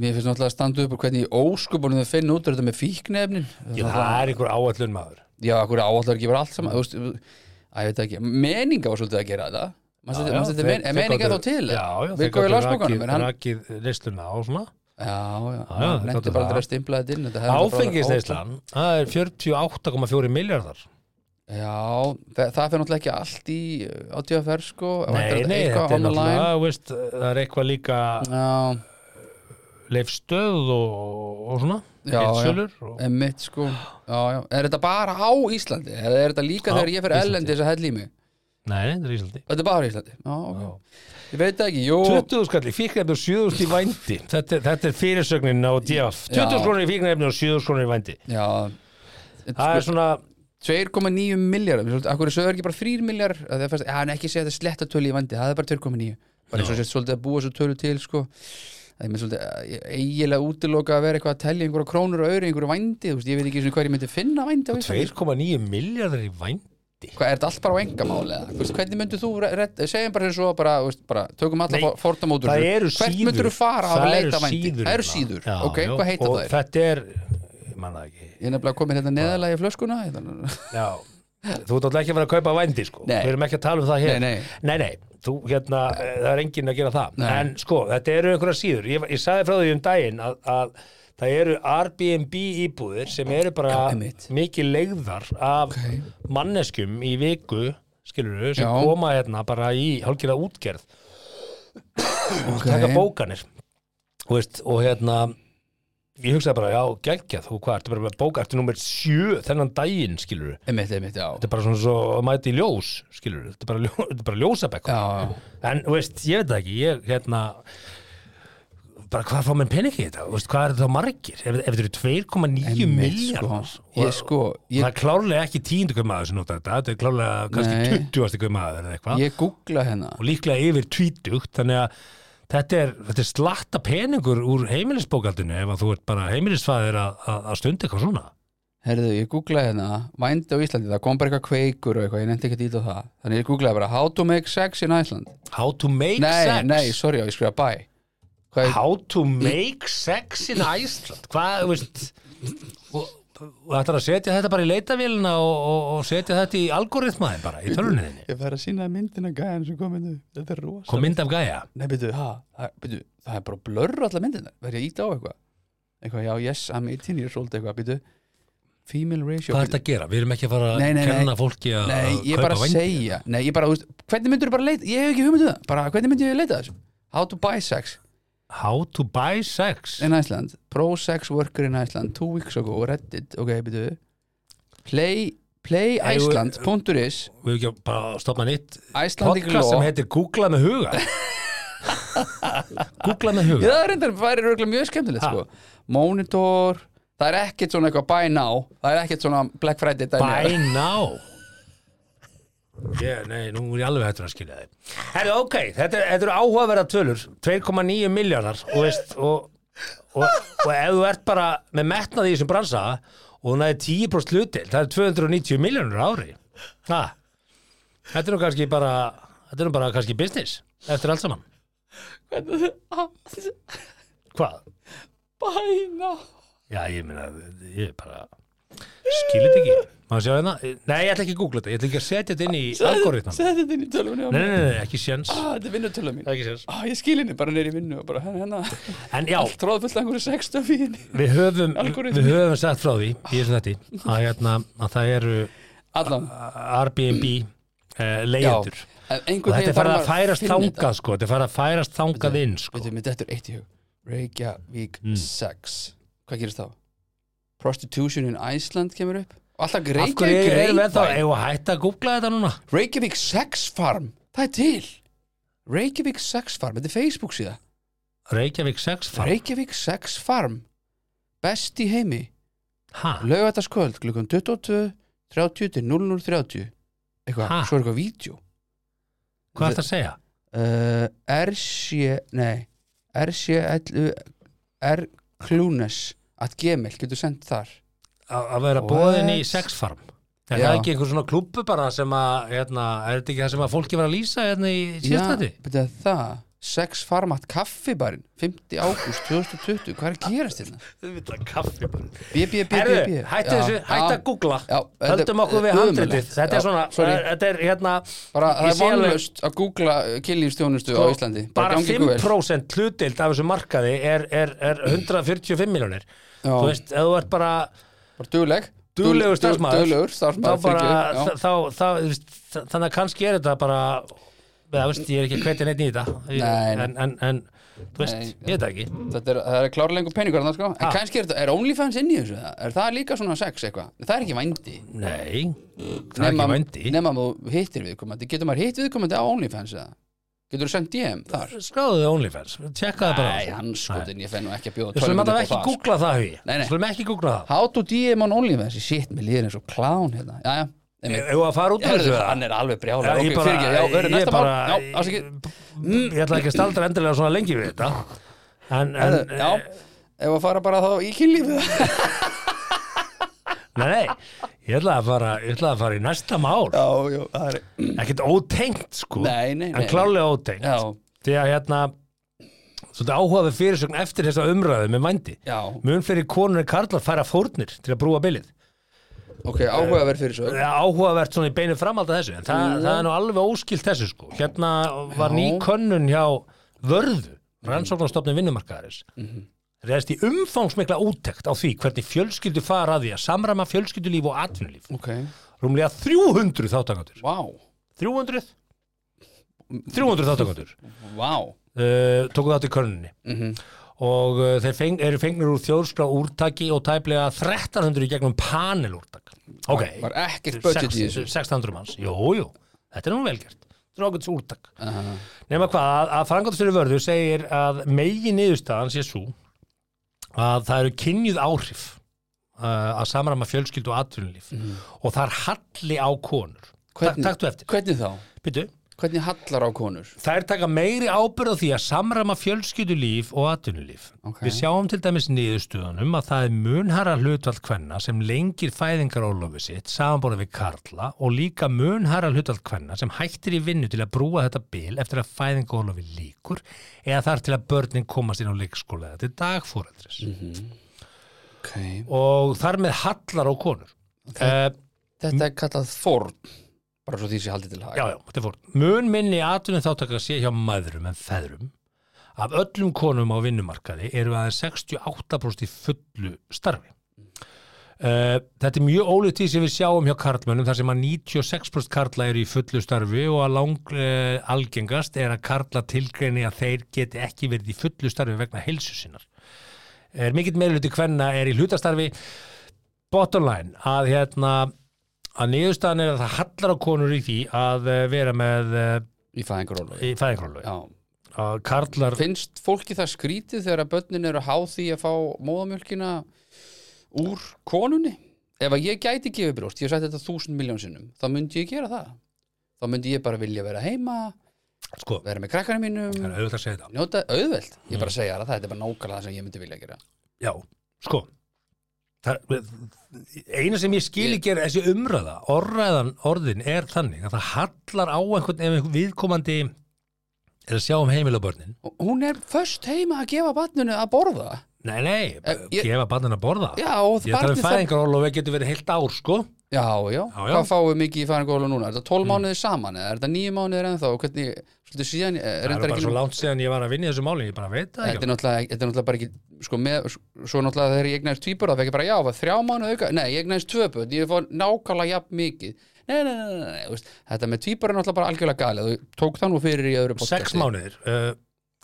Speaker 2: Mér finnst náttúrulega að standa upp úr hvernig í óskupunum þau finna út úr þetta með fíknefnin
Speaker 1: Ég, það er einhver áallun maður.
Speaker 2: já, akkur áallar ekki bara allt saman þú veist, að ég veit ekki, menninga var svolítið að gera þetta Manstu þetta- manstu þetta men- er menninga þá til
Speaker 1: Já, já,
Speaker 2: við góðum í lásbókanum
Speaker 1: rakið,
Speaker 2: en hann, já,
Speaker 1: rakið neistuna og svona
Speaker 2: já,
Speaker 1: já,
Speaker 2: hann
Speaker 1: þeir
Speaker 2: nefndi
Speaker 1: gátu
Speaker 2: bara
Speaker 1: það.
Speaker 2: aldrei að stimpla þetta inn þetta hefði bara-
Speaker 1: Áfengisneislan, það er 48,4 miljardar
Speaker 2: já, það, það fyrir náttúrulega ekki allt í uh, á DFR sko
Speaker 1: Nei, nei, þetta er náttúrulega, þú veist, það er eitthvað líka
Speaker 2: náttúrulega
Speaker 1: leifstöð og, og svona,
Speaker 2: Já, já.
Speaker 1: bitsölur og...
Speaker 2: Emmitt sko já, já. Er þetta bara á Íslandi? Eða er þetta líka
Speaker 1: Á
Speaker 2: þegar ég fyrir
Speaker 1: Íslandi.
Speaker 2: ellendis að hella í mig?
Speaker 1: Nei, nei, þetta er Íslandi
Speaker 2: Þetta er bara á Íslandi já, okay. Ég veit það ekki, jú
Speaker 1: 20 skalli, fíknefni og 7000 í vændi þetta, er- þetta er fyrirsögnin á DF 20
Speaker 2: Já.
Speaker 1: skrónir í fíknefni og 7000 skrónir í vændi
Speaker 2: Já sko,
Speaker 1: Það er svona,
Speaker 2: 2,9 miljard Akkur er sögur ekki bara 3 miljard Það er fast, ja, en ekki segja þetta sletta tölu í vandi Það er bara 2,9 Bara eins og sést svolítið að búa svo tölu til sko Það er mér svolítið eh, eiginlega útiloka að vera eitthvað að telja einhverja krónur og öðru einhverju vændi, þú veist, ég veit ekki einu sinni hvað ég myndi finna vændi á Íslandi.
Speaker 1: 2,9 miljardar í vændi
Speaker 2: Hvað, er þetta allt bara á engamáli eða? Þú veist, Hvernig myndir þú, redd, segjum bara eins og bara, þú veist, bara tökum alla
Speaker 1: Nei,
Speaker 2: for- fordóma út úr
Speaker 1: það
Speaker 2: þessu.
Speaker 1: eru
Speaker 2: Hvert
Speaker 1: síður
Speaker 2: myndir þú fara
Speaker 1: það
Speaker 2: að
Speaker 1: eru
Speaker 2: leita vændi?
Speaker 1: síður
Speaker 2: Það eru
Speaker 1: hérna.
Speaker 2: síður,
Speaker 1: Já,
Speaker 2: ok,
Speaker 1: já,
Speaker 2: hvað heita
Speaker 1: og
Speaker 2: það?
Speaker 1: þetta er, ég manna ekki
Speaker 2: Ég er nefnilega komin hérna neðalega í flöskuna hérna.
Speaker 1: já, þú ert alltaf ekki að vera að kaupa vændi sko,
Speaker 2: Nei.
Speaker 1: við erum ekki að tala um það hér
Speaker 2: Nei, nei.
Speaker 1: þú, hérna, eh, það er enginn að gera það
Speaker 2: Nei.
Speaker 1: en sko, þetta eru einhverja síður ég, ég sagði frá því um daginn að, að það eru Airbnb íbúðir sem eru bara
Speaker 2: Já, einmitt.
Speaker 1: mikið legðar af manneskjum í viku skilur sem
Speaker 2: Já.
Speaker 1: koma hérna bara í hálfgerða útgerð taka
Speaker 2: Ok.
Speaker 1: bókanir Þú veist, og hérna ég hugsaði bara, já, geggjað og hvað, ertu bara með bóka, ertu nummer sjö þennan daginn, skilur
Speaker 2: Einmitt, einmitt, já.
Speaker 1: þetta er bara svona svo að mæta í ljós, skilur þetta er bara, ljó, [LAUGHS] þetta er bara ljósabekk
Speaker 2: Já, já.
Speaker 1: en, þú veist, ég veit það ekki, ég, hérna bara hvað fá menn peningi í þetta, Þú veist, hvað eru það margir ef, ef þetta eru 2,9
Speaker 2: Einmitt,
Speaker 1: miljardar
Speaker 2: sko. Ég, sko, ég-
Speaker 1: það er klárlega ekki tíundu hver maður sem nota þetta, þetta er klárlega
Speaker 2: Nei.
Speaker 1: kannski 20. hver maður eða eitthvað
Speaker 2: Ég googla hérna.
Speaker 1: og líklega yfir tvítugt þannig að þetta er, þetta er slatta peningur úr heimilisbókaldinu ef að þú ert bara heimilisfæðir að, að, að stundi eitthvað svona
Speaker 2: Herðu, ég googlaði hérna, vændi á Íslandi, það kom bara eitthvað kveikur og eitthvað, ég nefndi ekki að dýta á það. Þannig ég googlaði bara, how to make sex in Iceland.
Speaker 1: How to make
Speaker 2: nei,
Speaker 1: sex
Speaker 2: nei, sorry, já, ég skrifa bæ. Hvað er,
Speaker 1: How to make sex in Iceland Hvað, þú veist og, og þetta er að setja þetta bara í leitavélina og, og, og setja þetta í algoritmaðin bara í tölunniðinni
Speaker 2: ég fær að sína myndina gæðan sem kom inn, þetta er rosa.
Speaker 1: Kom mynd af gæja
Speaker 2: Nei, byrju, ha, það, byrju, það er bara blörr allar myndina Verði ég íta á eitthvað Eitthvað, já, yes, I'm 18 years old eitthvað, byrju Female ratio
Speaker 1: Hvað er þetta að gera? Við erum ekki að fara
Speaker 2: Nei,
Speaker 1: að
Speaker 2: nei, nei.
Speaker 1: kenna fólki að
Speaker 2: Nei,
Speaker 1: að
Speaker 2: ég er bara
Speaker 1: kaupa
Speaker 2: að
Speaker 1: vændi
Speaker 2: segja Nei, ég bara, þú veist, hvernig myndur þú bara leita Ég hef ekki hugmyndu það, bara hvernig myndur ég leita að þessu How to buy sex
Speaker 1: How to buy sex
Speaker 2: in Iceland Pro sex worker in Iceland Two weeks ago, reddit, ok, byrju Play, playiceland.is
Speaker 1: Við erum ekki að bara stopna nýtt
Speaker 2: Icelandic
Speaker 1: podcast
Speaker 2: law
Speaker 1: sem heitir Google með huga [LAUGHS] Google með
Speaker 2: Já,
Speaker 1: huga
Speaker 2: það er reyndar, það er örgulega mjög skemmtilegt sko. Monitor, það er ekkert svona eitthvað buy now, það er ekkert svona Black Friday
Speaker 1: By
Speaker 2: dæmi
Speaker 1: now yeah, Nei, nú er ég alveg hættur að skilja þig Herri, ok, þetta, þetta eru áhugaverða tölur 2,9 miljardar og, veist, og, og, og ef þú ert bara með metnað í þessum bransa og hún aðeins 10% hlutil það er 290 miljónur ári ha, Þetta er nú kannski bara þetta er nú bara kannski business eftir allt saman Hvað?
Speaker 2: Buy now
Speaker 1: Já, ég meina, ég er bara skilir þetta ekki Má sjá hérna? Nei, ég ætla ekki að googla þetta, ég ætla ekki að setja þetta inn í algoritman Nei,
Speaker 2: Sæði þetta inn í tölvunni á
Speaker 1: nei,
Speaker 2: mig
Speaker 1: nei, nei, ekki séns
Speaker 2: Ah, Þetta er vinnutölvun mín
Speaker 1: Ekki séns
Speaker 2: ah, Ég skil henni bara neyri vinnu og bara "Hérna, henni henni
Speaker 1: En já,
Speaker 2: Tróð fullt af einhverju sextöf í henni
Speaker 1: við höfum,
Speaker 2: Algoritmi.
Speaker 1: við höfum sagt frá því í þessu þetta að, hérna, að það eru
Speaker 2: Allan
Speaker 1: Ah, Airbnb eh, leigjendur og
Speaker 2: Einhvern
Speaker 1: þetta
Speaker 2: veginn
Speaker 1: er farið
Speaker 2: þarf
Speaker 1: að
Speaker 2: maður
Speaker 1: færast
Speaker 2: finna þetta.
Speaker 1: þangað sko, þetta er farið að færast þangað inn sko.
Speaker 2: Veitum, þetta er eitt í hug Reykjavík
Speaker 1: Mm.
Speaker 2: sex Hvað gerist þá? Prostitution in Iceland kemur upp Og Alltaf
Speaker 1: Af hverju
Speaker 2: Reykjavík
Speaker 1: erum við þá,
Speaker 2: Grapevine.
Speaker 1: eigum við að hætta að googla þetta núna?
Speaker 2: Reykjavík Sex Farm Það er til Reykjavík Sex Farm, þetta er Facebook síða
Speaker 1: Reykjavík 6 farm,
Speaker 2: Reykjavík Sex Farm Best í heimi
Speaker 1: ha,
Speaker 2: Laugataskvöld klukkan 22 30 til 0030 Eitthvað,
Speaker 1: Ha?
Speaker 2: svo er eitthvað vídeo
Speaker 1: hvað er þetta að segja?
Speaker 2: uh, RC Nei, RC11 R Clunes at gmail, getur sendt þar
Speaker 1: að að vera
Speaker 2: What?
Speaker 1: bóðin í sexfarm Er það
Speaker 2: Já.
Speaker 1: ekki einhver svona klúbbu bara sem að, hérna, er þetta ekki það sem að fólki var að lýsa hérna í síðstætti?
Speaker 2: betur það sex farmat kaffibarinn 5. ágúst 2020, hvað er að gerast hérna?
Speaker 1: Þau vilja kaffi bara.
Speaker 2: B, B, B, B,
Speaker 1: Herðu,
Speaker 2: B
Speaker 1: hættu þessu, hættu að googla
Speaker 2: Já, þetta er
Speaker 1: Höldum okkur við
Speaker 2: ömurlegt.
Speaker 1: handritið Þetta
Speaker 2: Já,
Speaker 1: er svona,
Speaker 2: sorry.
Speaker 1: þetta er hérna
Speaker 2: Bara, það
Speaker 1: ég
Speaker 2: er
Speaker 1: sé alveg- Sko,
Speaker 2: vonlust að googla kynlífstjónustu á Íslandi
Speaker 1: bara
Speaker 2: gangi ykkur vel.
Speaker 1: 5% hlutild af þessu markaði er, er, er 145 miljónir
Speaker 2: Já.
Speaker 1: þú veist, ef þú ert bara
Speaker 2: Bara dugleg
Speaker 1: duglegur starfsmaður
Speaker 2: Duglegur
Speaker 1: þá
Speaker 2: starfsmaður
Speaker 1: bara,
Speaker 2: fyrirgefðu, já.
Speaker 1: þá, þá, þá, þú veist, þa- þannig að kannski er þetta bara eða, þú veist, ég er ekki hvetin einn í þetta Ég-
Speaker 2: Nei, nei.
Speaker 1: en, en, en þú veist,
Speaker 2: Nei.
Speaker 1: ég veit það ekki
Speaker 2: Þetta er, það er klárlengur peningur þarna, sko. En kannski er, þetta- er OnlyFans inn í þessu það? Er það líka svona sex eitthvað? Það er ekki vændi
Speaker 1: nei, það er ekki vændi
Speaker 2: Nefnum þú hittir viðkomandi Getur maður hitt viðkomandi á OnlyFans eða? Getur þú sendt DM þar?
Speaker 1: skráðu þið OnlyFans, tjekka það bara
Speaker 2: Nei, hann skotin, ég fenn nú ekki að bjóða
Speaker 1: Við skulum alltaf
Speaker 2: upp á
Speaker 1: ekki
Speaker 2: það, sko.
Speaker 1: googla það hugi
Speaker 2: Nei, nei.
Speaker 1: Við skulum ekki googla það
Speaker 2: How to DM on OnlyFans Ég Shit, mér líður eins og klán hérna Jæja, einmitt.
Speaker 1: Ef að fara út af
Speaker 2: Herðu,
Speaker 1: þessu
Speaker 2: hann er alveg brjála
Speaker 1: Já,
Speaker 2: Eh, Ok,
Speaker 1: ég bara-
Speaker 2: fyrirgeð, já,
Speaker 1: ég
Speaker 2: verður næsta mál
Speaker 1: bara- Mm.
Speaker 2: Já, ásækið
Speaker 1: ég ætla ekki að staldra endilega svona lengi við þetta en, en
Speaker 2: Herðu, Já, ef að fara bara þá í kynlífið
Speaker 1: nei, nei, ég ætla að fara ég ætla að fara í næsta mál
Speaker 2: [LAUGHS] Já, já, það er
Speaker 1: ekkert ótengt sko
Speaker 2: Nei, nei, nei
Speaker 1: en klárlega ótengt
Speaker 2: Já,
Speaker 1: því að hérna svolítið áhugaði fyrirsögn eftir þessa umræðu með vændi
Speaker 2: já,
Speaker 1: mun fyrir konur en karlar færa fórnir til að brúa bilið
Speaker 2: ok, áhugaverð fyrir svo
Speaker 1: Það er eh, áhugavert svona í beinu framhald að þessu en það, það er nú alveg óskilt þessu sko hérna var
Speaker 2: Já.
Speaker 1: ný könnun hjá vörðu, rannsóknarstofnum vinnumarkaðaris
Speaker 2: Mhm.
Speaker 1: reyðist í umfangsmikla úttekt á því hvernig fjölskyldu fara að því að samrama fjölskyldulíf og atvinnulíf
Speaker 2: Ok,
Speaker 1: rúmlega 300 þáttakandur
Speaker 2: vá,
Speaker 1: 300? 300 þáttakandur
Speaker 2: vá
Speaker 1: uh, tóku þátt í könnunni
Speaker 2: Mhm.
Speaker 1: og uh, þeir feng, eru fengnir úr þjóðskrá úrtaki og tæplega 1300 í gegnum panel úrtak ok,
Speaker 2: Var ekkert budget í þessu
Speaker 1: 600 manns, jú, jú þetta er nú velgjert, drókins úrtak
Speaker 2: Aha.
Speaker 1: nema hvað, að- að frangatastjóri vörðu segir að megin niðurstaðan sé svo að það eru kynjuð áhrif uh, að samrama fjölskyldu og atvinnulíf og það er halli á konur
Speaker 2: Mhm. Hvernig?
Speaker 1: Hvernig? taktu eftir,
Speaker 2: Hvernig þá?
Speaker 1: Býtu,
Speaker 2: Hvernig hallar á konur?
Speaker 1: þær taka meiri ábyrð á því að samrama fjölskyldulíf og atvinnulíf
Speaker 2: Ok.
Speaker 1: við sjáum til dæmis niðurstöðunum að það er munharra hlutvald kvenna sem lengir fæðingarólofi sitt samanbóra við karla og líka munharra hlutvald kvenna sem hættir í vinnu til að brúa þetta bil eftir að fæðingarólofi líkur eða þar til að börnin komast inn á leikskóla eða til dagfóreldris
Speaker 2: Ok
Speaker 1: og þar með hallar á konur Eh, okay.
Speaker 2: Þetta er kallað forn Bara svo því sé haldið til hag
Speaker 1: Já, já, þetta er fór. Mun minni atvinnum þáttaka sé hjá maðurum en feðrum. Af öllum konum á vinnumarkaði eru aðeins 68% í fullu starfi. Uh, þetta er mjög ólíkt því sem við sjáum hjá karlmönnum þar sem að 96% karla eru í fullu starfi og að lang uh, algengast er að karla tilgreini að þeir geti ekki verið í fullu starfi vegna heilsu sinnar. Er mikill meirluti hvenna er í hlutastarfi bottom line að hérna að niðurstaðan er að það hallar á konur í því að eh, vera með eh,
Speaker 2: Í fæðingarólu
Speaker 1: í fæðingrólu
Speaker 2: Já
Speaker 1: að karlar
Speaker 2: Finnst fólki það skrítið þegar að börnin eru háð því að fá móðamjölkina úr konunni? Ef að ég gæti gefið brjóst, ég hef sagt þetta þúsund miljón sinnum, þá myndi ég gera það. Þá myndi ég bara vilja vera heima,
Speaker 1: sko, það
Speaker 2: vera með krakkarinn mínum,
Speaker 1: er auðvitað að segja þetta
Speaker 2: njóta auðvelt.
Speaker 1: Mm.
Speaker 2: Ég bara segja það, þetta er bara nákvæmlega það sem ég myndi vilja gera.
Speaker 1: já, sko það, eina sem ég skil ekki er þessi umræða, orðræðan orðin er þannig að það hallar á einhvern ef einhvern viðkomandi er að sjá um heimilabörnin
Speaker 2: Og Hún er först heima að gefa barninu að borða.
Speaker 1: nei, nei,
Speaker 2: Eh, ég-
Speaker 1: gefa barnin að borða
Speaker 2: Já, og
Speaker 1: ég tala um
Speaker 2: barnið þarf-
Speaker 1: fæðingrólu og við getum verið heilt ár sko
Speaker 2: Já, já,
Speaker 1: Já, Mm. já.
Speaker 2: hvað fáum mikið í fæðingarólu núna? Er þetta 12 mánuðið saman eða er þetta 9 mánuðir ennþá? Og Hvernig, svolítið síðan, er
Speaker 1: það er
Speaker 2: reyndar
Speaker 1: bara
Speaker 2: ekki
Speaker 1: svo
Speaker 2: nú-
Speaker 1: langt síðan ég var að vinna í þessu máli ég bara veit það
Speaker 2: Þetta
Speaker 1: ekki
Speaker 2: er náttúrulega, þetta er náttúrulega bara ekki sko með, svo náttúrulega þegar ég egnaðist tvíbur það fekk ég bara já, var þrjá mánu auka nei, ég egnaðist tvö börn, ég fór nákvæmlega jafn mikið nei, nei, nei, nei, nei, nei þú veist, þetta með tvíbur er náttúrulega bara algjörlega galið þú tók það nú fyrir í öðru
Speaker 1: sex mánuðir uh,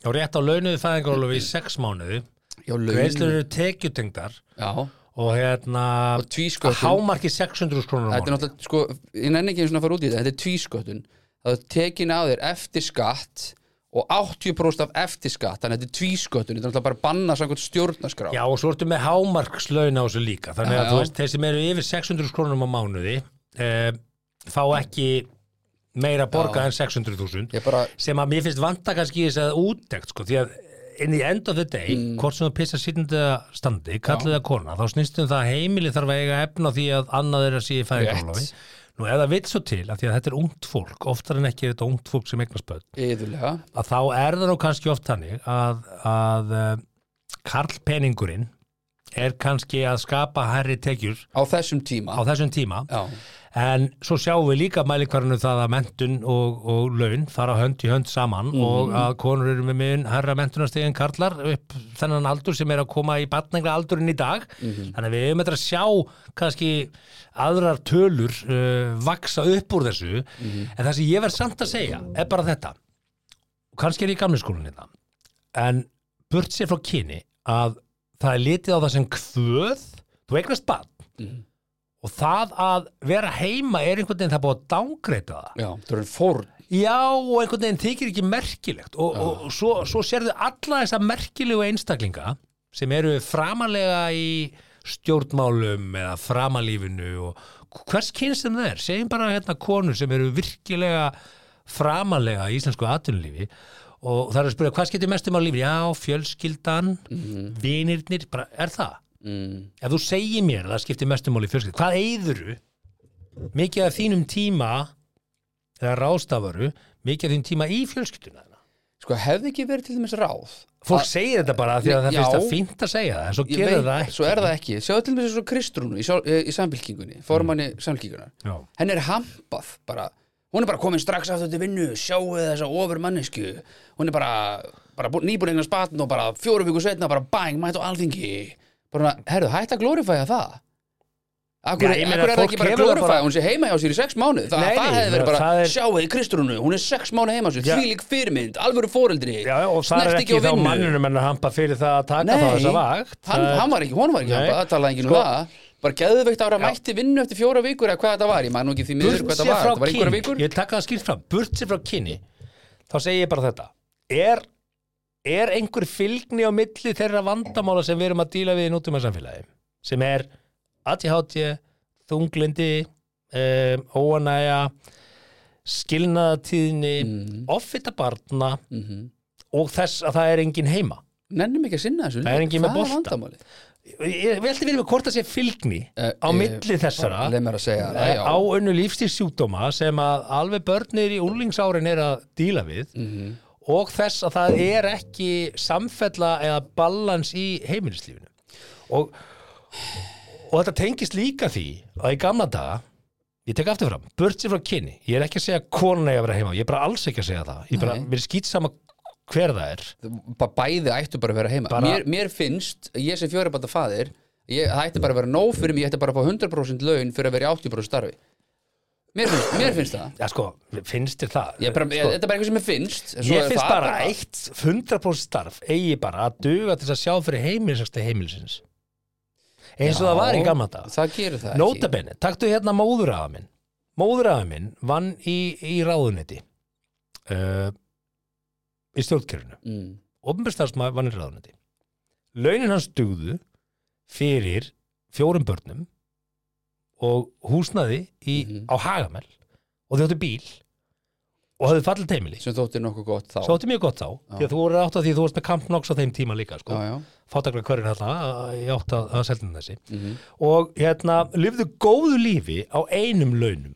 Speaker 1: og rétt á launuðu fæðingarólofi í sex mánuði
Speaker 2: mánu
Speaker 1: greiðslur eru tekjutengdar
Speaker 2: já, og
Speaker 1: og hérna að
Speaker 2: tvískötun
Speaker 1: hámarki 600 krónur á
Speaker 2: þetta er
Speaker 1: mánuði
Speaker 2: náttúrulega, sko, ég nenni ekki einu svona að fara út í þetta þetta er tvískötun, það er tekin á þér eftir skatt og 80% af eftir skatt, þannig að þetta er tvískötun þetta er náttúrulega bara banna samkvæmt stjórnarskrá
Speaker 1: Já og svo ertu með hámarkslaun á þessu líka þannig að
Speaker 2: Já, já.
Speaker 1: þú veist þeir sem eru yfir 600 krónum á mánuði uh, fá ekki meira borgað en 600.000
Speaker 2: ég bara,
Speaker 1: sem að mér finnst vanta kannski í þess að úttekt sko því að inn í end of the day hvort sem þú pissar sýtnda um standi kallið það kona þá snýstum það að heimili þarf að eiga efna því að annað er að sé í fæðingarlofi Nú ef það vill svo til, af því að þetta er ungt fólk, oftar en ekki er þetta ungt fólk sem eignast börn,
Speaker 2: Yðurlega,
Speaker 1: að þá er það nú kannski oft hannig að, að eh, karlpeningurinn er kannski að skapa herri tekjur
Speaker 2: á þessum tíma
Speaker 1: á þessum tíma
Speaker 2: Já,
Speaker 1: en svo sjáum við líka mælikvarinu það að mentun og, og laun fara hönd í hönd saman og að konur eru með mun herra mentunastegin karlar upp þennan aldur sem er að koma í batnengra aldurinn í dag þannig að við hefum þetta að sjá kannski aðrar tölur uh, vaksa upp úr þessu en það sem ég verð samt að segja er bara þetta og kannski er ég í gamli skólinni það en burt sér frá kyni að það er litið á það sem kvöð þú eignast batn og það að vera heima er einhvern veginn það búið að dángreita það
Speaker 2: já, það er fórn
Speaker 1: já og einhvern veginn þykir ekki merkilegt og, og, og svo, svo sérðu alla þessa merkilegu einstaklinga sem eru framalega í stjórnmálum eða framalífinu og hvers kyns sem það er segjum bara hérna konur sem eru virkilega framalega í íslensku atvinnulífi og það er að spyrja hvað skiptir mest um á lífi já, fjölskyldan, vinirnir bara, er það?
Speaker 2: mm.
Speaker 1: ef þú segir mér að það skiptir mestum máli í fjölskyld, hvað eigðuru mikið af þínum tíma eða rástafaru mikið af þínum tíma í fjölskylduna þína?
Speaker 2: Sko, hefði ekki verið til dæmis ráð
Speaker 1: fólk
Speaker 2: Að-
Speaker 1: segir þetta bara af því að það
Speaker 2: Já.
Speaker 1: finnst það fínt að segja það en svo
Speaker 2: Ég
Speaker 1: gerir
Speaker 2: veit,
Speaker 1: það ekki
Speaker 2: Svo er það ekki, sjáðu til dæmis eins og Kristrúnu í, sjál- í samfélkingunni, formanni samfélkingunar
Speaker 1: Já.
Speaker 2: henn er hampað bara hún er bara komin strax aftur til vinnu sjáu þessa ofur mannesku hún er bara, bara bú- nýbúin eignast batn og bara fjóru viku setna bara bang, mætt á alþingi bara, herðu, hætt að glorifæja það Akkur,
Speaker 1: Já,
Speaker 2: Já,
Speaker 1: ég meina,
Speaker 2: akkur er það
Speaker 1: fólk
Speaker 2: ekki bara
Speaker 1: hefur það
Speaker 2: að glorifæja,
Speaker 1: bara-
Speaker 2: hún sé heima hjá sér í sex mánu Þa,
Speaker 1: Nei, nei,
Speaker 2: það hefði verið bara,
Speaker 1: það er-
Speaker 2: er... sjáuði Kristrúnu hún er sex mánu heima hjá sér,
Speaker 1: Já.
Speaker 2: þvílík fyrirmynd alvöru foreldri,
Speaker 1: Já, já, og það er
Speaker 2: snert
Speaker 1: ekki
Speaker 2: ekki
Speaker 1: þá
Speaker 2: á vinnu
Speaker 1: mannunum en að hampa fyrir það að taka þá þessa vakt
Speaker 2: hann,
Speaker 1: Það er-
Speaker 2: hann var ekki, hún var ekki,
Speaker 1: Nei.
Speaker 2: hann bara talaði ekki um
Speaker 1: Sko-
Speaker 2: það bara geðveikt ára mætti vinnu eftir fjóra vikur eða hvað þetta var, ég man nú ekki því miður
Speaker 1: burt
Speaker 2: hvað
Speaker 1: sér
Speaker 2: þetta var,
Speaker 1: frá
Speaker 2: þetta var einhverja
Speaker 1: kyni
Speaker 2: vikur
Speaker 1: ég taka það skýrt fram, burt sér frá kyni þá segi ég bara þetta er, er einhver fylgni á milli þeirra vandamála sem við erum að díla við í nútum samfélagi sem er ATHT, þunglindi um, óanæja skilnaðatíðni offita barna og þess að það er engin heima
Speaker 2: Mhm. nennum ekki að sinna þessu
Speaker 1: Það er engin með
Speaker 2: Hvað
Speaker 1: bolta.
Speaker 2: vandamálið?
Speaker 1: ég veldi við með hvort það sé fylgni
Speaker 2: Eh,
Speaker 1: á
Speaker 2: eh,
Speaker 1: milli þessara
Speaker 2: leið mér að segja það, já.
Speaker 1: Eh, á önnu lífstíðsjúkdóma sem að alveg börnir í úlingsárin er að díla við
Speaker 2: Mhm.
Speaker 1: og þess að það er ekki samfella eða ballans í heimilislífinu og, og þetta tengist líka því að í gamla daga ég tek aftur fram, burt sér frá kynni ég er ekki að segja konan eigi að vera heima ég er bara alls ekki að segja það ég bara,
Speaker 2: Nei.
Speaker 1: mér er skýt sama hver það er
Speaker 2: Bara bæði ættu bara að vera heima
Speaker 1: Bara-
Speaker 2: mér, mér finnst, ég sem fjóra bata faðir ég, það ætti bara að vera nóg fyrir mig ég ætti bara að fá 100% laun fyrir að vera í 80% starfi mér finnst, mér finnst það
Speaker 1: ja, sko, finnst þér það Sko,
Speaker 2: ég bara, ég, þetta er bara eitthvað sem mér finnst en svo
Speaker 1: Ég
Speaker 2: er
Speaker 1: finnst
Speaker 2: það
Speaker 1: bara eitt 100% starf eigi bara að duga til þess að sjá fyrir heimilisaksti heimilisins eins og það var í
Speaker 2: Já,
Speaker 1: gamla dag
Speaker 2: það gerir það
Speaker 1: Nota benni, taktu hérna móðurafa minn Móðurafa minn vann í, í ráðuneti uh, í stjórnkerfinu
Speaker 2: ekki mm.
Speaker 1: Opinbjörnstafsmaður vann í ráðuneti Launin hans dugðu fyrir fjórum börnum og húsnaði í,
Speaker 2: Mhm.
Speaker 1: á Hagamel og þau áttu bíl og hafðu fallið heimili
Speaker 2: sem þótti nokkuð gott þá
Speaker 1: Svo átti mjög gott þá, því að þú voru átt að því að þú varst með Camp Knox á þeim tíma líka, sko.
Speaker 2: já, já.
Speaker 1: Fátaklega hverjir hérna, ég átt að, að selja þessi.
Speaker 2: Mhm.
Speaker 1: Og hérna, lifðu góðu lífi á einum launum.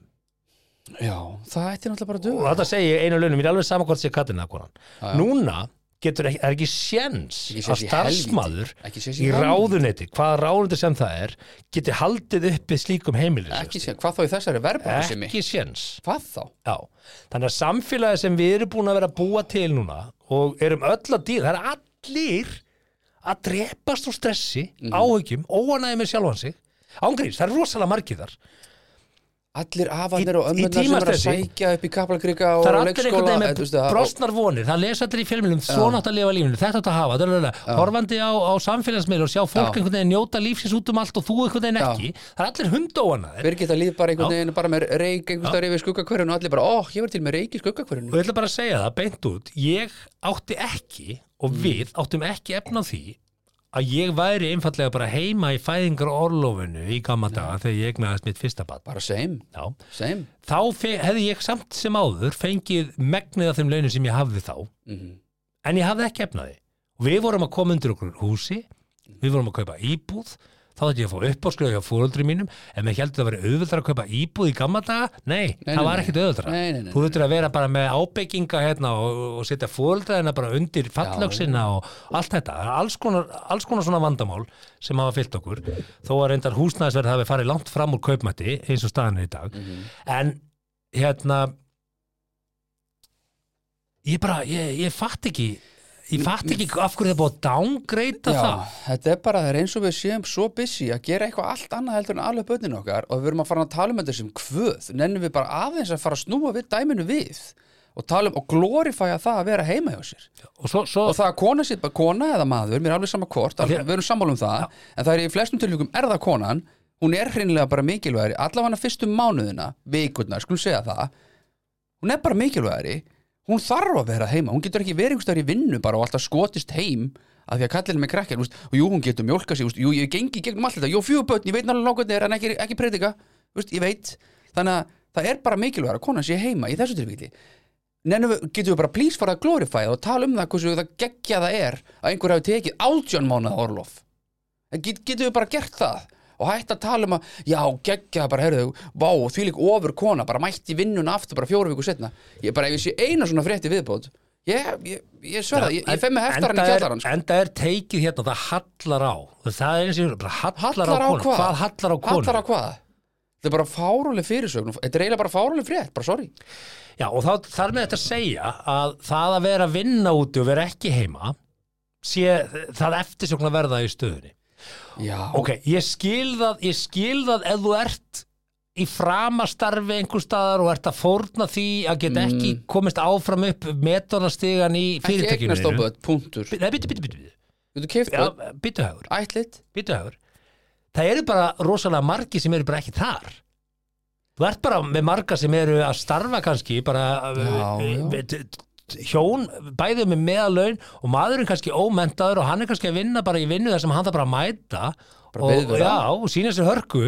Speaker 2: Já, það ætti náttúrulega bara að
Speaker 1: Og
Speaker 2: duga
Speaker 1: þetta segi ég einum launum, mér er alveg sama hvort sé kattin eða konan.
Speaker 2: Já, já.
Speaker 1: Núna getur ekki, er ekki séns
Speaker 2: Ekki séns
Speaker 1: að
Speaker 2: í
Speaker 1: starfsmaður
Speaker 2: helvíti. Ekki séns í
Speaker 1: í
Speaker 2: helvíti.
Speaker 1: ráðuneyti, hvaða ráðuneyti sem það er, geti haldið uppi slíkum heimilis.
Speaker 2: ekki sé, Hvað þá í þessari verðbæðisemi?
Speaker 1: ekki séns.
Speaker 2: Hvað þá?
Speaker 1: Já, þannig að samfélagi sem við erum búin að vera að búa til núna og erum öll að dýra, það er allir að drepast úr stressi,
Speaker 2: Mhm.
Speaker 1: áhyggjum, óanæði með sjálfan sig, ángríns, það er rosalega margir þar.
Speaker 2: Allir afarnir
Speaker 1: Í-
Speaker 2: og
Speaker 1: í
Speaker 2: ömmurnar sem er að
Speaker 1: tímastressi.
Speaker 2: sækja upp í kaplakrika og
Speaker 1: Það er allir
Speaker 2: leikskóla
Speaker 1: einhvern veginn
Speaker 2: eh, þú veist það,
Speaker 1: með
Speaker 2: og-
Speaker 1: brostnar vonir, það lesa allir í fjölmjölum, svona átt að lifa lífinu, þetta átt að hafa, dörlega, horfandi á, á samfélagsmiðl og sjá fólk
Speaker 2: Já.
Speaker 1: einhvern veginn njóta lífsins út um allt og þú einhvern veginn
Speaker 2: Já.
Speaker 1: ekki, það er allir hundóanæðir.
Speaker 2: Birgitta líf bara einhvern veginn bara með reik einhvern stær yfir skuggakverjun og allir bara, ó, ég verð til með reik í
Speaker 1: og
Speaker 2: skuggakverjun
Speaker 1: ég ætla bara að segja það beint út ég átti ekki og
Speaker 2: Mm.
Speaker 1: við áttum ekki efna því að ég væri einfallega bara heima í fæðingar orlofinu í gamla daga þegar ég egnaðist mitt fyrsta bad
Speaker 2: Bara same,
Speaker 1: Já.
Speaker 2: same
Speaker 1: þá fe- hefði ég samt sem áður fengið megnið af þeim launum sem ég hafði þá
Speaker 2: Mhm.
Speaker 1: en ég hafði ekki efnaði við vorum að koma undir okkur húsi við vorum að kaupa íbúð þá þátti ég að fá uppáskrifað hjá fóröldri mínum en mér heldur það að vera auðvöldra að kaupa íbúð í gamla daga nei,
Speaker 2: Nei, nei,
Speaker 1: það var
Speaker 2: nei.
Speaker 1: ekkit auðvöldra
Speaker 2: Nei, nei, nei,
Speaker 1: þú þurftur að vera bara með ábygginga hérna og, og setja fóröldraðina bara undir fallöksina og allt þetta Það er alls konar, alls konar svona vandamál sem hafa fyllt okkur þó að reyndar húsnæðisverð hafi farið langt fram úr kaupmætti eins og staðan er í dag
Speaker 2: Mhm.
Speaker 1: en hérna ég bara, ég, ég fatt ekki ég fatt ekki af hverju það er búið að downgreita
Speaker 2: Já,
Speaker 1: það
Speaker 2: þetta er bara, það er eins og við séum svo busy að gera eitthvað allt annað heldur en alveg bönninu okkar og við erum að fara að tala um þetta sem kvöð nennum við bara aðeins að fara að snúa við dæminu við og tala um og glorifæja það að vera heima hjá sér
Speaker 1: og svo, svo
Speaker 2: og það að kona sér, bara kona eða maður, mér er alveg sama hvort alveg,
Speaker 1: Þér-
Speaker 2: við erum sammála um það, en það er í flestum tilfellum er það konan, hún er hreinlega bara mikilvægri, allavega fyrstu mánuðina vikurnar, skulum segja það hún er bara mikilvægri, hún þarf að vera heima, hún getur ekki verið einhverstaðar í vinnu bara og alltaf skotist heim af því að kallin með krakkar, úst, og jú, hún getur mjólka sig, úst, jú, ég gengi í gegnum allt þetta, jú, fjögur börn, ég veit náttúrulega nákvæmni er en ekki, ekki predika, úst, ég veit þannig að það er bara mikilvægara, konan sé heima í þessu tilvíkli Nennum við, getum við bara please fara að glorify það og tala um það hversu það geggja það er að einhver hafi tekið átjón mánuða orlof En Get, getum við bara gert það og hætt að tala um að já, geggja það bara, heyrðu, vá, því lík ofur kona bara mætti vinnuna aftur bara fjóru viku setna ég bara, ef ég sé eina svona frétti viðbót ég, ég, ég sverða, ég, ég fem með heftar hann í
Speaker 1: Enda er-
Speaker 2: kjallarann sko.
Speaker 1: Enda er teikið hérna, það hallar á Það er eins og ég- bara hallar,
Speaker 2: Hallar
Speaker 1: á
Speaker 2: á
Speaker 1: konu
Speaker 2: hvað?
Speaker 1: Hvað hallar á konu?
Speaker 2: Hallar á hvað? Þetta er bara fáruleg fyrirsögn Þetta er eiginlega bara fáruleg frétt, bara sorry
Speaker 1: Já, og þá, þar með þetta að segja að það að vera að vinna úti og vera ekki heima sé það eftirsjókn að verða í stöðunni
Speaker 2: Já,
Speaker 1: Ok, ég skil það, ég skil það ef þú ert í framastarfi einhver staðar og ert að fórna því að geta ekki komist áfram upp metornastigan í
Speaker 2: Mm. ekki
Speaker 1: fyrirtækinu
Speaker 2: eignast á
Speaker 1: þínu.
Speaker 2: börn, punktur
Speaker 1: Nei, byttu, byttu, byttu, byttu.
Speaker 2: Getur keift börn,
Speaker 1: Já, byttu hagur.
Speaker 2: ætlit
Speaker 1: Býtu hefur Það eru bara rosalega margi sem eru bara ekki þar Þú ert bara með marga sem eru að starfa kannski bara
Speaker 2: Já,
Speaker 1: eh,
Speaker 2: já.
Speaker 1: eh, t- t- hjón, bæðið með meðalaun og maðurinn kannski ómentaður og hann er kannski að vinna bara í vinnu þar sem hann það bara að mæta
Speaker 2: Bara
Speaker 1: og,
Speaker 2: viðvera.
Speaker 1: já, og sína sér hörku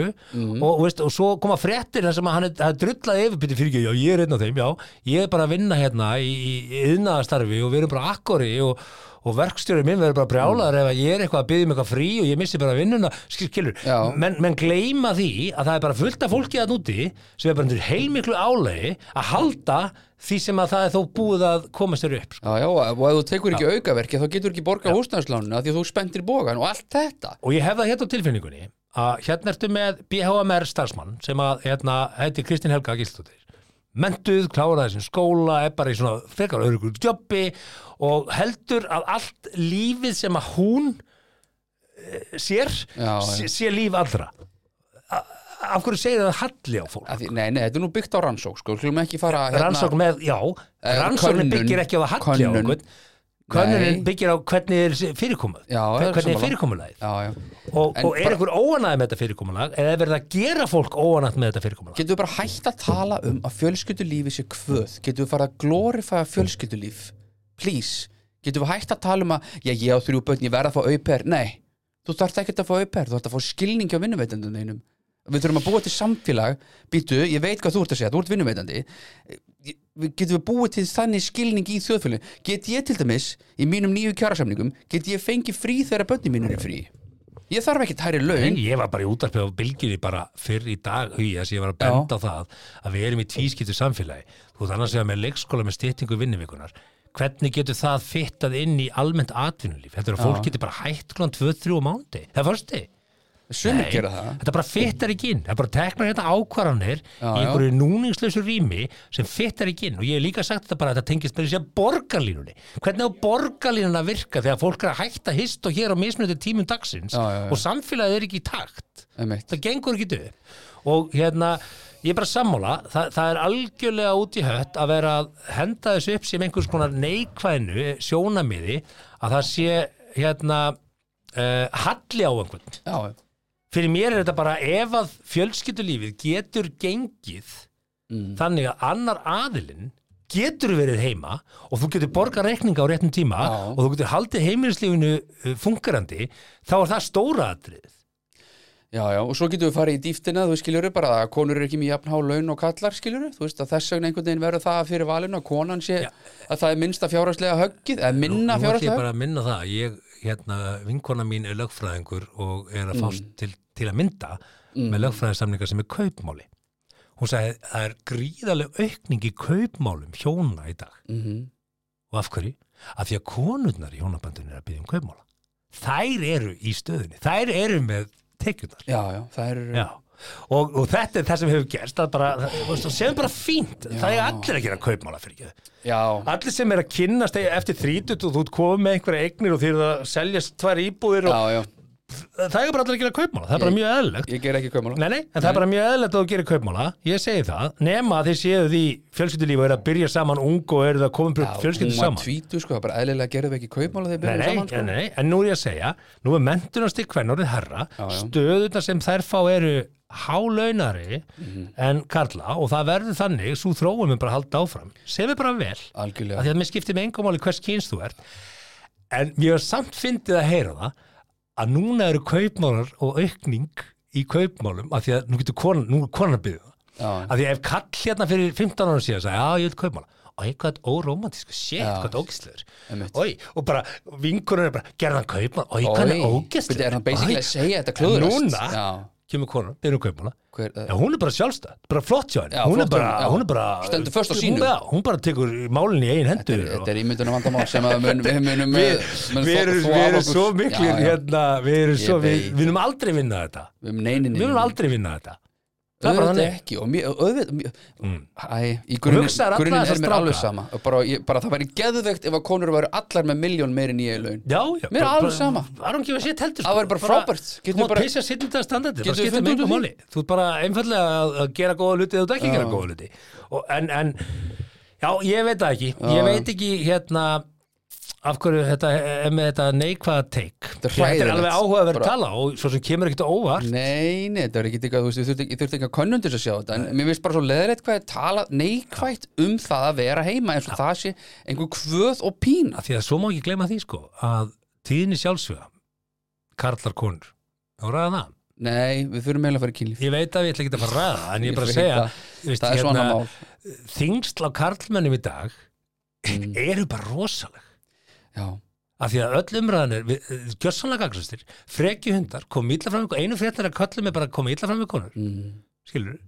Speaker 1: og, veist, og svo koma fréttir þar sem að hann er, er drullað yfirbyrði fyrir ekki, já ég er einn af þeim, já ég er bara að vinna hérna í, í yðnaðastarfi og við erum bara akkori og, og verkstjórið minn verður bara brjálaður ef að ég er eitthvað að byggja um eitthvað frí og ég missi bara vinnuna skil- skilur,
Speaker 2: Já.
Speaker 1: menn, menn gleyma því að það er bara fullt af fólki að núti sem er bara undir heilmiklu álegi að halda því sem að það er þó búið að koma sér upp sko.
Speaker 2: Já, já, og ef þú tekur ekki aukaverki þá getur ekki borga húsnæðslánuna því að þú spendir bógan og allt þetta
Speaker 1: og ég hef það hérna á tilfinningunni að hérna ertu með BHMR starfsmann sem að hérna heiti Kristín Helga Gísldóttir mentuð, kláraði sin skóla er bara í svona frekar öðrugur jobbi og heldur að allt lífið sem að hún eh, sér,
Speaker 2: Já, já.
Speaker 1: sé, sé líf allra A- af hverju segir það halli á fólk
Speaker 2: Af því, Nei, nei, þetta er nú byggt á rannsók sko, hljóðum ekki fara hérna,
Speaker 1: rannsókn með, já,
Speaker 2: Eh,
Speaker 1: rannsóknin
Speaker 2: könnun,
Speaker 1: byggir ekki á að halli á
Speaker 2: könnun.
Speaker 1: okkur könnunin
Speaker 2: Nei.
Speaker 1: byggir á hvernig er fyrirkomuð
Speaker 2: Já, ég er
Speaker 1: hvernig er
Speaker 2: sammála.
Speaker 1: fyrirkomulagið
Speaker 2: Já, já
Speaker 1: og,
Speaker 2: En
Speaker 1: og er
Speaker 2: bara-
Speaker 1: einhver óanæð með þetta fyrirkomulag eða er verið að gera fólk óanæð með þetta fyrirkomulag
Speaker 2: Getum við bara hægt að tala um að fjölskyldulífi sé kvöð Getum við fara að glorifæða fjölskyldulíf Please Getum við hægt að tala um að Já, ég á þrjú börn, ég verð að fá auper Nei, þú þarft ekkert að fá auper Þú þarft að fá skilningi á vinnuveitendum þeinum Við þurfum að búa til samfélag Býtu, ég veit hvað þú ert að segja, þú ert vinnuveitandi Ég- við- Getum við búið til þannig skilning í þjóðfélagi Get ég til dæmis, í mínum nýju kjarasamningum Get ég fengið frí þegar börnum mínur er frí Ég þarf ekkert hærri laun
Speaker 1: En ég var bara í útarpið á bylginni bara fyrr í dag í þess að ég var að benda á það að við erum í tvískiptu samfélagi þú ert annars vegar með leikskóla með styttingu vinnuvikunar hvernig getur það fittað inn í almennt atvinnulíf heldur að fólk getur bara hætt klant 2-3 á mándi það fórst þið
Speaker 2: Sumir
Speaker 1: Nei,
Speaker 2: gera það
Speaker 1: Þetta bara fittar ekki inn, það bara teknar hérna ákvarðanir í
Speaker 2: já.
Speaker 1: einhverju núningslausu rými sem fittar ekki inn og ég hef líka sagt þetta bara að þetta tengist með þessi borgarlínunni hvernig á borgarlínun að virka þegar fólk er að hætta hist og hér á mismunandi tímum dagsins
Speaker 2: Já, já, já.
Speaker 1: og samfélagið er ekki í takt
Speaker 2: Einmitt.
Speaker 1: það gengur ekki upp og hérna, ég er bara sammála það, það er algjörlega út í hött að vera að henda þessu upp sem einhvers konar neikvæðinu sjónamiði að það sé hérna uh, halli á einhvern
Speaker 2: Já, já
Speaker 1: fyrir mér er þetta bara ef að fjölskyldulífið getur gengið
Speaker 2: Mm.
Speaker 1: þannig að annar aðilinn getur verið heima og þú getur borgað reikninga á réttum tíma
Speaker 2: Já.
Speaker 1: og þú getur haldið heimilislífinu uh, fungerandi, þá er það stóra atrið.
Speaker 2: Já, já, og svo getum við farið í dýftina, þú skiljur bara að konur eru ekki með jafnhá laun og kallar, skiljur þú veist að þess vegna einhvern veginn verður það fyrir valinu að konan sé að það er minnsta fjárhagslega höggið, eða minna
Speaker 1: Nú ætlum ég
Speaker 2: fjárhagslega höggið. Mm.
Speaker 1: bara að minna það, ég, hérna, vinkona mín er lögfræðingur og er að fást til til að mynda með lögfræðarsamninga sem er kaupmáli hún sagði það er gríðaleg aukning í kaupmálum hjóna í dag
Speaker 2: mm -hmm.
Speaker 1: og af hverju? af því að konurnar í hjónabandinu er að byggja um kaupmála þær eru í stöðunni, þær eru með tekjurnar
Speaker 2: Já, já, það eru
Speaker 1: Já. Og, og þetta er það sem hefur gerst það er bara, það, þú veist, það séum bara fínt það er allir að gera kaupmála fyrir
Speaker 2: já,
Speaker 1: allir sem er að kynnast þegar eftir 30 og þú ert komið með einhverja eignir og þeir eru að seljast tvær íbúðir og
Speaker 2: já, já,
Speaker 1: það er bara allir að gera kaupmála, það er bara
Speaker 2: Ég-
Speaker 1: mjög eðlilegt
Speaker 2: ég ger ekki kaumala
Speaker 1: Nei, nei, en það er bara mjög eðlilegt að þú gerir kaupmála ég segi það, nema að þeir séu því fjölskyldulíf og eru að byrja saman ung og eru það komið fjölskyldu
Speaker 2: Hún var
Speaker 1: saman
Speaker 2: tvítu, sko, það er bara eðlilega gerðum ekki kaupmála þegar
Speaker 1: Nei,
Speaker 2: byrjum
Speaker 1: nei,
Speaker 2: saman, sko
Speaker 1: nei, en nú er ég að segja, nú er mentunastig kvennórið herra,
Speaker 2: Já, já.
Speaker 1: stöðuna sem þær fá eru hálaunari
Speaker 2: Mhm.
Speaker 1: en karla og það verður þannig, svo þróum við bara að halda áfram, sem er bara vel, af
Speaker 2: Algjörlega,
Speaker 1: því að mér skiptir með engum áli hvers kyns þú ert, en mér er samt fyndið að heyra það að núna eru kaupmálar og aukning í kaupmálum, af því að nú getur konan, nú er konan að byggja það,
Speaker 2: já,
Speaker 1: af því að ef kall hérna fyrir 15 ára síðan sagði, já, ég vil kaupmála og eitthvað óromantísku, shit,
Speaker 2: Já.
Speaker 1: hvað ógislegur
Speaker 2: Einmitt.
Speaker 1: Oi, og bara vinkurinn er bara, gerði hann kaupmála og hvað hann er
Speaker 2: Byrja, er hann basically að
Speaker 1: ógislegur
Speaker 2: segja þetta klöður
Speaker 1: Núna?
Speaker 2: Já,
Speaker 1: kemur konan, byrjum kaupmála
Speaker 2: hver, eh,
Speaker 1: Já, hún er bara sjálfstætt, bara flott hjá henni
Speaker 2: Já,
Speaker 1: hún, er
Speaker 2: flott hjá
Speaker 1: bara,
Speaker 2: henni, já.
Speaker 1: hún er bara
Speaker 2: Stendur föst á
Speaker 1: hún,
Speaker 2: sínu.
Speaker 1: já, hún bara tekur málin í eigin hendur og-
Speaker 2: þetta er ímyndunum vandamál sem að mun, við munum
Speaker 1: Við
Speaker 2: munum
Speaker 1: við
Speaker 2: þó-
Speaker 1: erum
Speaker 2: þó
Speaker 1: við
Speaker 2: af
Speaker 1: erum
Speaker 2: okkur-
Speaker 1: svo miklir
Speaker 2: Já, já,
Speaker 1: hérna, við erum
Speaker 2: Ég
Speaker 1: svo, við
Speaker 2: veit.
Speaker 1: við munum aldrei vinna þetta
Speaker 2: Við munum neinin
Speaker 1: við munum aldrei vinna þetta það er bara þannig.
Speaker 2: ekki og mér, auðvitað mér-
Speaker 1: Mm.
Speaker 2: Æ, í
Speaker 1: Og
Speaker 2: grunin,
Speaker 1: hugsaðar alla
Speaker 2: grunin
Speaker 1: þessa
Speaker 2: er mér
Speaker 1: stráka.
Speaker 2: alveg sama Og bara, ég, bara það væri geðvegt ef að konur væri allar með miljón meir en ég í laun
Speaker 1: Já, já
Speaker 2: Mér er
Speaker 1: bara-
Speaker 2: alveg sama.
Speaker 1: bara- I don't give a shit heldur
Speaker 2: Það væri bara frábært. Getum
Speaker 1: Getur bara Þú
Speaker 2: bara-
Speaker 1: mátt pissa sitt í þetta standardi
Speaker 2: Getum
Speaker 1: Það
Speaker 2: við
Speaker 1: skiptir með
Speaker 2: fundið út úr
Speaker 1: einhver
Speaker 2: því?
Speaker 1: máli Þú ert bara einfallega að- að gera góða luti eða þú ert ekki að gera góða luti Og- En, en Já, ég veit það ekki Ég veit ekki hérna af hverju þetta er með þetta neikvaða teik
Speaker 2: Þetta er
Speaker 1: Þetta er
Speaker 2: hræðilegt.
Speaker 1: alveg áhugaverð
Speaker 2: Bara-
Speaker 1: tala og svo sem kemur ekkert á óvart
Speaker 2: Nei, nei, þetta var ekki eitthvað, þú veist, ég þurfti ekki, þurft ekki að könnundur að sjá þetta, en mér finnst bara svo leðrætt hvað er tala neikvætt um það að vera heima eins og það sé einhver kvöð og pína.
Speaker 1: að því að svo má ekki gleyma því sko að tíðinni sjálfsögða karlar konur og ræða það
Speaker 2: Nei, við þurfum eiginlega að fara í kynlíf.
Speaker 1: ég veit að ég ætla ekki að fara að ræða það en ég er
Speaker 2: Ég
Speaker 1: bara að
Speaker 2: veit
Speaker 1: segja hérna-
Speaker 2: það.
Speaker 1: þú veist,
Speaker 2: Það er svona mál.
Speaker 1: þyngsl á karlmennum í dag
Speaker 2: Mm.
Speaker 1: [LAUGHS] eru bara rosaleg
Speaker 2: Já,
Speaker 1: af því að öll umræðanir, gjössanlega gagnastir freki hundar, koma illa fram við einu fréttar að köllum er bara að koma illa fram við konur
Speaker 2: mm.
Speaker 1: skilur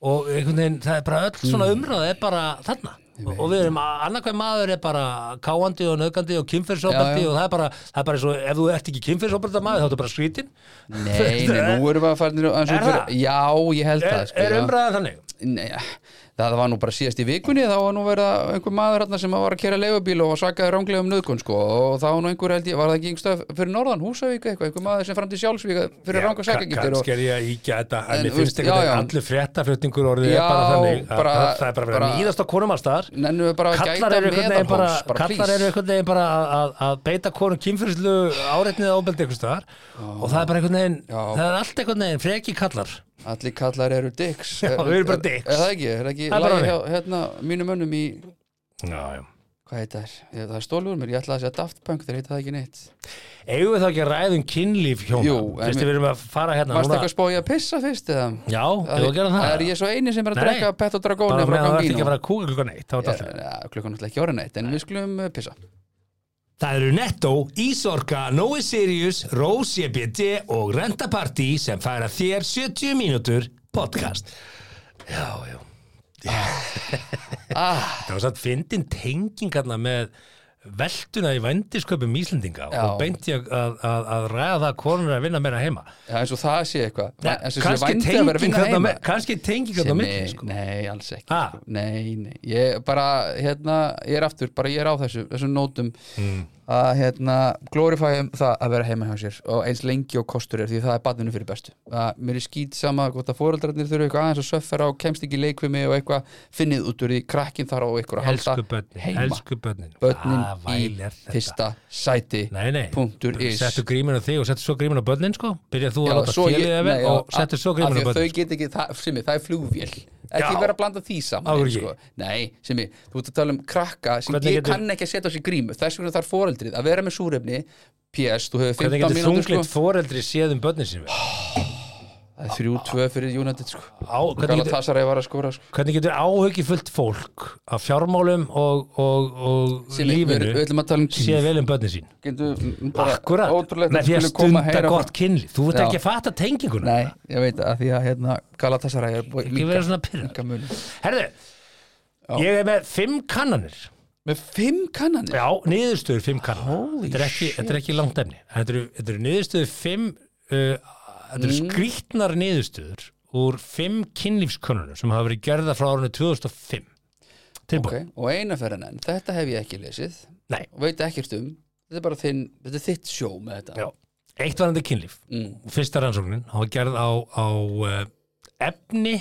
Speaker 1: og einhvern veginn, það er bara öll svona
Speaker 2: Mm.
Speaker 1: umræða er bara þarna og og við erum, annarkvæm maður er bara káandi og nöðgandi og kynferðsopandi
Speaker 2: Já, já.
Speaker 1: og það er bara, það er bara svo, ef þú ert ekki kynferðsopandi maður, þá ertu bara skrítin [LAUGHS]
Speaker 2: nei, nei, nú erum við að fara
Speaker 1: Er
Speaker 2: aðeins út fyrir,
Speaker 1: það?
Speaker 2: já, ég held það,
Speaker 1: er,
Speaker 2: sko,
Speaker 1: er
Speaker 2: já.
Speaker 1: umræðan þannig
Speaker 2: Nei, það var nú bara síðast í vikunni þá var nú verið einhver maður hérna sem var að kera leifubíl og var sakaði ránglega um nöðkun sko, og þá var nú einhver held ég, var það ekki einhverstað fyrir norðan, Húsavík eitthvað, einhver maður sem fram til sjálfsvíka fyrir ranga sakagiftir og
Speaker 1: kannski er ég að íkja þetta
Speaker 2: En,
Speaker 1: en mér
Speaker 2: þú veist,
Speaker 1: finnst einhvern
Speaker 2: já, já.
Speaker 1: veginn allir fréttaflutningur orðið
Speaker 2: Já,
Speaker 1: er bara þannig að-
Speaker 2: bara-
Speaker 1: að það er bara verið
Speaker 2: bara-
Speaker 1: að nýðast á konum allstaðar
Speaker 2: Nennum við bara að
Speaker 1: kallar
Speaker 2: gæta
Speaker 1: eru einhvern veginn bara,
Speaker 2: meðalhófs, bara
Speaker 1: kallar
Speaker 2: please.
Speaker 1: eru einhvern veginn bara að, að, að beita konum kynfyrslu áreitnið ábeldi einhvern staðar og það er bara einhvern veginn
Speaker 2: Já.
Speaker 1: það er allt einhvern veginn freki kallar
Speaker 2: Allir kallar eru dicks
Speaker 1: Já, við erum bara dicks.
Speaker 2: Er, er það ekki, er það ekki
Speaker 1: Það er bara
Speaker 2: lagi
Speaker 1: þannig.
Speaker 2: hjá, hérna, mínum mönnum í
Speaker 1: já, já.
Speaker 2: Hvað heit það er? Ég- Það er stólur mér, ég ætla að segja Daft Punk þeir heita það ekki neitt
Speaker 1: eigum við þá ekki að ræðum kynlíf hjóna
Speaker 2: Jú, en
Speaker 1: Fyrst
Speaker 2: mér-
Speaker 1: við erum að fara hérna
Speaker 2: Varst
Speaker 1: núna-
Speaker 2: ekki að spá ég að pissa fyrst eða?
Speaker 1: já, ef við gerum
Speaker 2: er
Speaker 1: það
Speaker 2: ég svo eini sem er að
Speaker 1: Nei,
Speaker 2: drekka Pet og Dragóni
Speaker 1: bara
Speaker 2: frá
Speaker 1: meðan það
Speaker 2: gangi
Speaker 1: ert ekki að fara að kúka klukkan eitt þá er þetta allt í lagi.
Speaker 2: Klukkan náttúrulega ekki ára neitt, en við skulum eh, pissa
Speaker 1: Það eru Netto, Ísorka, Nói Sirius, Rose EBD og Renta Party sem færa þér 70 mínútur podcast. Já, já.
Speaker 2: ah,
Speaker 1: Það var satt fyndin tengingarna með veltuna í vendisköpum Íslendinga
Speaker 2: Já.
Speaker 1: og beinti að, að, að ræða það konur er að vinna meira heima.
Speaker 2: Já, eins og það sé eitthvað Væ- eins og sé
Speaker 1: Kanski
Speaker 2: vændi að vera að vinna
Speaker 1: tengingarna
Speaker 2: heima.
Speaker 1: með, kannski tengingarna
Speaker 2: Sem
Speaker 1: með,
Speaker 2: er-
Speaker 1: sko.
Speaker 2: Nei, alls ekki
Speaker 1: Ha?
Speaker 2: sko. Nei, nei, ég bara hérna, ég er aftur, bara ég er á þessu þessum nótum
Speaker 1: Mm.
Speaker 2: að hérna glorifæum það að vera heima hjá sér og eins lengi og kostur er því það er badinu fyrir bestu að mér er skýt sama hvort að foreldrarnir þurfa eitthvað aðeins að söffera og kemst ekki í leikvimi og eitthvað finnið út úr því krakkin þar á eitthvað að halda
Speaker 1: Elsku börnin,
Speaker 2: heima
Speaker 1: elsku börnin.
Speaker 2: börnin
Speaker 1: Hvað væl
Speaker 2: í
Speaker 1: er Ah, þetta?
Speaker 2: fyrsta sæti
Speaker 1: Nei, nei,
Speaker 2: punktur is
Speaker 1: settu grímin á þig og settu svo grímin á börnin sko Byrjað þú
Speaker 2: Já,
Speaker 1: að láta
Speaker 2: svo ég-
Speaker 1: félagið að
Speaker 2: nei,
Speaker 1: vera
Speaker 2: já,
Speaker 1: og settu svo
Speaker 2: af
Speaker 1: grímin á
Speaker 2: því að
Speaker 1: börnin sko.
Speaker 2: Þau get ekki, það, simmi, það er flugvél ekki
Speaker 1: Já.
Speaker 2: vera að blanda því
Speaker 1: Af
Speaker 2: saman
Speaker 1: hverju
Speaker 2: sko. Nei, simmi, þú ert að tala um krakka sem
Speaker 1: Hvernig
Speaker 2: ég
Speaker 1: getur-
Speaker 2: kann ekki að setja á sig grímu þess vegna þarf foreldrið að vera með súrefni PS, þú hefur
Speaker 1: Hvernig
Speaker 2: 15
Speaker 1: getur
Speaker 2: mínútur
Speaker 1: þunglind
Speaker 2: sko.
Speaker 1: foreldri séð um börnin sinni vel?
Speaker 2: Það er þrjú, tvö fyrir United sko
Speaker 1: Á, hvernig, getur,
Speaker 2: Galatasaray var að skora sko
Speaker 1: hvernig getur áhugifullt fólk af fjármálum og, og, og
Speaker 2: Sem við-
Speaker 1: lífinu
Speaker 2: Við ætlum að tala um
Speaker 1: séð vel um börnin sín
Speaker 2: Getur m- bara
Speaker 1: Akkurat,
Speaker 2: Ótrúlegt
Speaker 1: með því að
Speaker 2: skuli koma
Speaker 1: stunda
Speaker 2: heyra frá-
Speaker 1: gott kynlíf Þú veit
Speaker 2: Já.
Speaker 1: ekki að fatta tenginguna
Speaker 2: Nei, ég veit að því að hérna Galatasaray er búið
Speaker 1: Ekki vera svona pyrrandi
Speaker 2: líka muni
Speaker 1: Herðu, ég er með fimm kannanir
Speaker 2: Með fimm kannanir
Speaker 1: Já, niðurstöður fimm kannanir
Speaker 2: Holy
Speaker 1: Þetta er ekki, þetta er ekki langt efni Þetta eru, þetta eru niðurstöður fimm uh, Þetta eru
Speaker 2: Mm.
Speaker 1: skrýtnar niðurstöður úr fimm kynlífskönnunum sem hafa verið gerða frá árunni 2005 Tilbúin,
Speaker 2: okay. Og eina ferðan enn, þetta hef ég ekki lesið
Speaker 1: nei,
Speaker 2: og veit ekkert um Þetta er bara þinn, þetta er þitt sjó með þetta
Speaker 1: já Eitt varandi kynlíf
Speaker 2: mm.
Speaker 1: fyrsta rannsóknin hafa gerð á, á uh, efni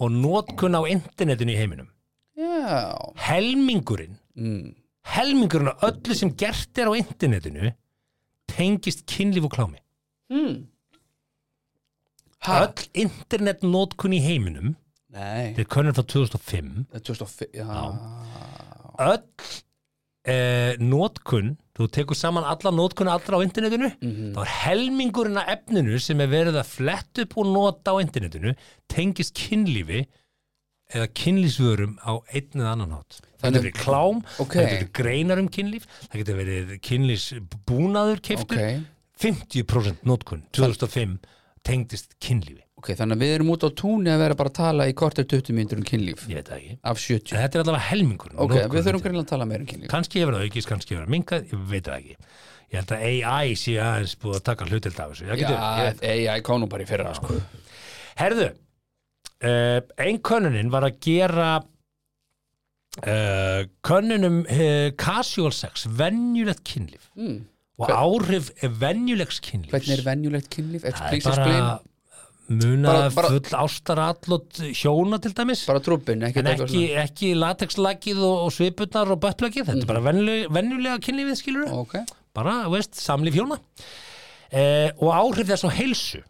Speaker 1: og notkun á internetinu í heiminum.
Speaker 2: Já
Speaker 1: Helmingurinn,
Speaker 2: mm.
Speaker 1: helmingurinn á öllu sem gert er á internetinu tengist kynlíf og klámi.
Speaker 2: Mm. Ha?
Speaker 1: Öll internetnotkun í heiminum,
Speaker 2: Nei
Speaker 1: þetta er könnun frá 2005,
Speaker 2: Það er 2005 já.
Speaker 1: öll uh, notkun, þú tekur saman alla notkun allra á internetinu,
Speaker 2: Mhm.
Speaker 1: þá er helmingurinn af efninu sem er verið að flett upp og nota á internetinu tengist kynlífi eða kynlífsvörum á einn eða annan hátt. Það
Speaker 2: Þannig-
Speaker 1: getur verið klám,
Speaker 2: Ok.
Speaker 1: það getur verið greinar um kynlíf, það getur verið kynlífsbúnaður
Speaker 2: Ok,
Speaker 1: keiftur. 50% notkun 2005 tengdist kynlífi.
Speaker 2: ok, þannig að við erum út á túni að vera bara að tala í kortir 20 mínútur um kynlíf
Speaker 1: Ég veit það ekki.
Speaker 2: af 70
Speaker 1: En þetta er allavega helmingurinn.
Speaker 2: Ok,
Speaker 1: notkun
Speaker 2: við þurfum
Speaker 1: þetta.
Speaker 2: greinlega að tala meira um kynlíf
Speaker 1: Kannski hefur það aukist, kannski hefur það minkað, ég veit það ekki. Ég held að AI sé aðeins búið að taka hlutild af þessu. Það
Speaker 2: Já,
Speaker 1: getur, ég,
Speaker 2: ég, ég kom nú bara í fyrra sko.
Speaker 1: Herðu, uh, einn könnunin var að gera uh, könnunum uh, casual sex, venjulegt kynlíf
Speaker 2: mm.
Speaker 1: og áhrif venjulegs kynlífs.
Speaker 2: Hvernig er venjulegt kynlíf?
Speaker 1: Það er
Speaker 2: Explain,
Speaker 1: bara
Speaker 2: explain
Speaker 1: muna
Speaker 2: Bara- bara-
Speaker 1: full ástarallot hjóna til dæmis.
Speaker 2: Bara trúbin, ekki
Speaker 1: En ekki, ekki latexlakið og, og svipurnar og bötplakið, þetta er bara venjulega, venjulega kynlífið skilur
Speaker 2: Ok,
Speaker 1: bara, þú veist, samlíf hjóna eh, og áhrif þess á heilsu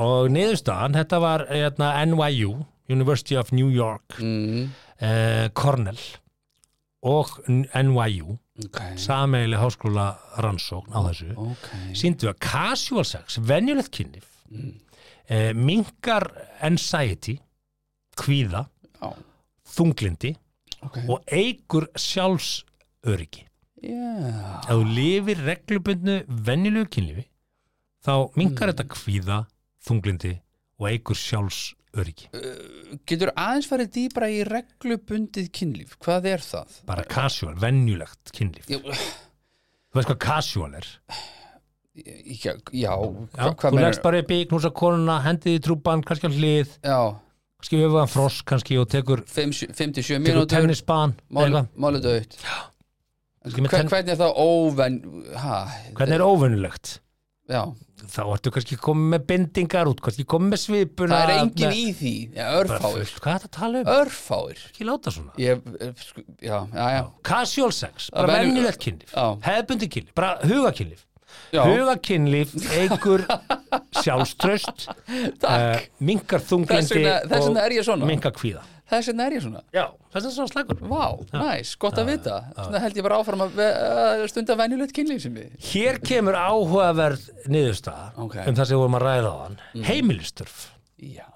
Speaker 1: og niðurstaðan þetta var hérna, NYU University of New York
Speaker 2: mm.
Speaker 1: eh, Cornell og NYU
Speaker 2: ok,
Speaker 1: sameigli háskóla rannsókn á þessu
Speaker 2: ok
Speaker 1: síndu að casual sex, venjulegt kynlíf
Speaker 2: Mm.
Speaker 1: eh, minkar anxiety kvíða,
Speaker 2: Já,
Speaker 1: þunglindi
Speaker 2: ok
Speaker 1: og eigur sjálfsöryggi
Speaker 2: yeah.
Speaker 1: ef þú lifir reglubundnu venjulegu kynlífi þá minkar þetta kvíða þunglindi og eigur sjálfs öryggi
Speaker 2: Getur aðeins farið dýbra í reglubundið kynlíf Hvað er það?
Speaker 1: bara casual, venjulegt kynlíf
Speaker 2: Já,
Speaker 1: þú veist hvað casual er já,
Speaker 2: já, já hva- hvað
Speaker 1: þú
Speaker 2: meinar-
Speaker 1: leggst bara upp í knúsa konuna hendið í trúban, kannski á hlið
Speaker 2: Já, kannski
Speaker 1: skifur hann frosk kannski og tekur,
Speaker 2: 5-7
Speaker 1: tekur
Speaker 2: mínútur
Speaker 1: tennisban eitthvað.
Speaker 2: Málið auðt
Speaker 1: Ekki með tenn-
Speaker 2: Hvernig er það óvenn ha,
Speaker 1: hvernig er óvenjulegt
Speaker 2: Já,
Speaker 1: þá ertu kannski komið með bindingar út kannski komið með svipuna
Speaker 2: það er engin
Speaker 1: með-
Speaker 2: í því já,
Speaker 1: Bara
Speaker 2: Örfáir
Speaker 1: fullt. hvað er þetta að tala um?
Speaker 2: Örfáir
Speaker 1: ekki láta svona
Speaker 2: Ég, eh, sko, já, já, já,
Speaker 1: casual sex,
Speaker 2: Að
Speaker 1: bara
Speaker 2: venju-
Speaker 1: venjulegt kynlíf
Speaker 2: Já.
Speaker 1: hefðbundi kynlíf, bara hugakynlíf
Speaker 2: Já. [LAUGHS]
Speaker 1: hugakynlíf eigur sjálfströst uh, minkar
Speaker 2: Þess
Speaker 1: þunglindi
Speaker 2: vegna- þess vegna er ég
Speaker 1: og
Speaker 2: svona.
Speaker 1: minkar kvíða
Speaker 2: Þess vegna er ég svona
Speaker 1: Já, þess vegna er svona slagur
Speaker 2: Vá, næs, gott að vita Svona held ég bara áfram að ve- að stunda venjulegt kynlíf sem við
Speaker 1: Hér kemur áhugaverð niðurstaða
Speaker 2: Ok. Mhm.
Speaker 1: um það sem við vorum að ræða á hann mm. heimilistörf
Speaker 2: Já,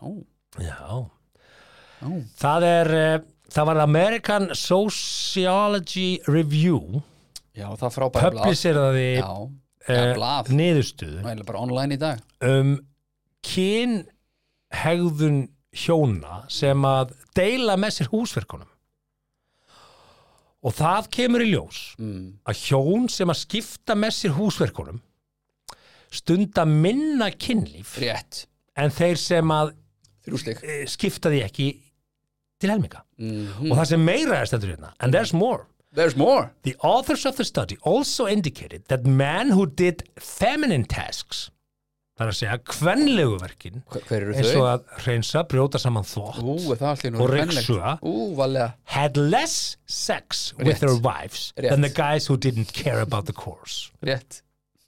Speaker 1: Já.
Speaker 2: já,
Speaker 1: Það er, uh, það var American Sociology Review
Speaker 2: já það frábæra blað
Speaker 1: publiseraði
Speaker 2: Já, já,
Speaker 1: eh,
Speaker 2: blað Nú
Speaker 1: niðurstöðu
Speaker 2: er bara online í dag
Speaker 1: um kynhegðun hjóna sem að deila með sér húsverkunum og það kemur í ljós
Speaker 2: mm.
Speaker 1: að hjón sem að skipta með sér húsverkunum stunda minna kynlíf
Speaker 2: Rétt,
Speaker 1: en þeir sem að
Speaker 2: þrjúsleik
Speaker 1: eh, skipta því ekki til helminga
Speaker 2: mm.
Speaker 1: og það sem meira er stendur hérna and there's more
Speaker 2: There's more
Speaker 1: The authors of the study also indicated that men who did feminine tasks, þar að segja kvenlegu verkin,
Speaker 2: Hver, hver eru
Speaker 1: eins og
Speaker 2: þau?
Speaker 1: að hreinsa, brjóta saman þvott,
Speaker 2: Ú, er það allir nú
Speaker 1: Og
Speaker 2: kvenlegt?
Speaker 1: ryksuga.
Speaker 2: Ú, valega
Speaker 1: had less sex
Speaker 2: Rétt.
Speaker 1: with their wives than
Speaker 2: Rétt.
Speaker 1: the guys who didn't care about the course.
Speaker 2: Rétt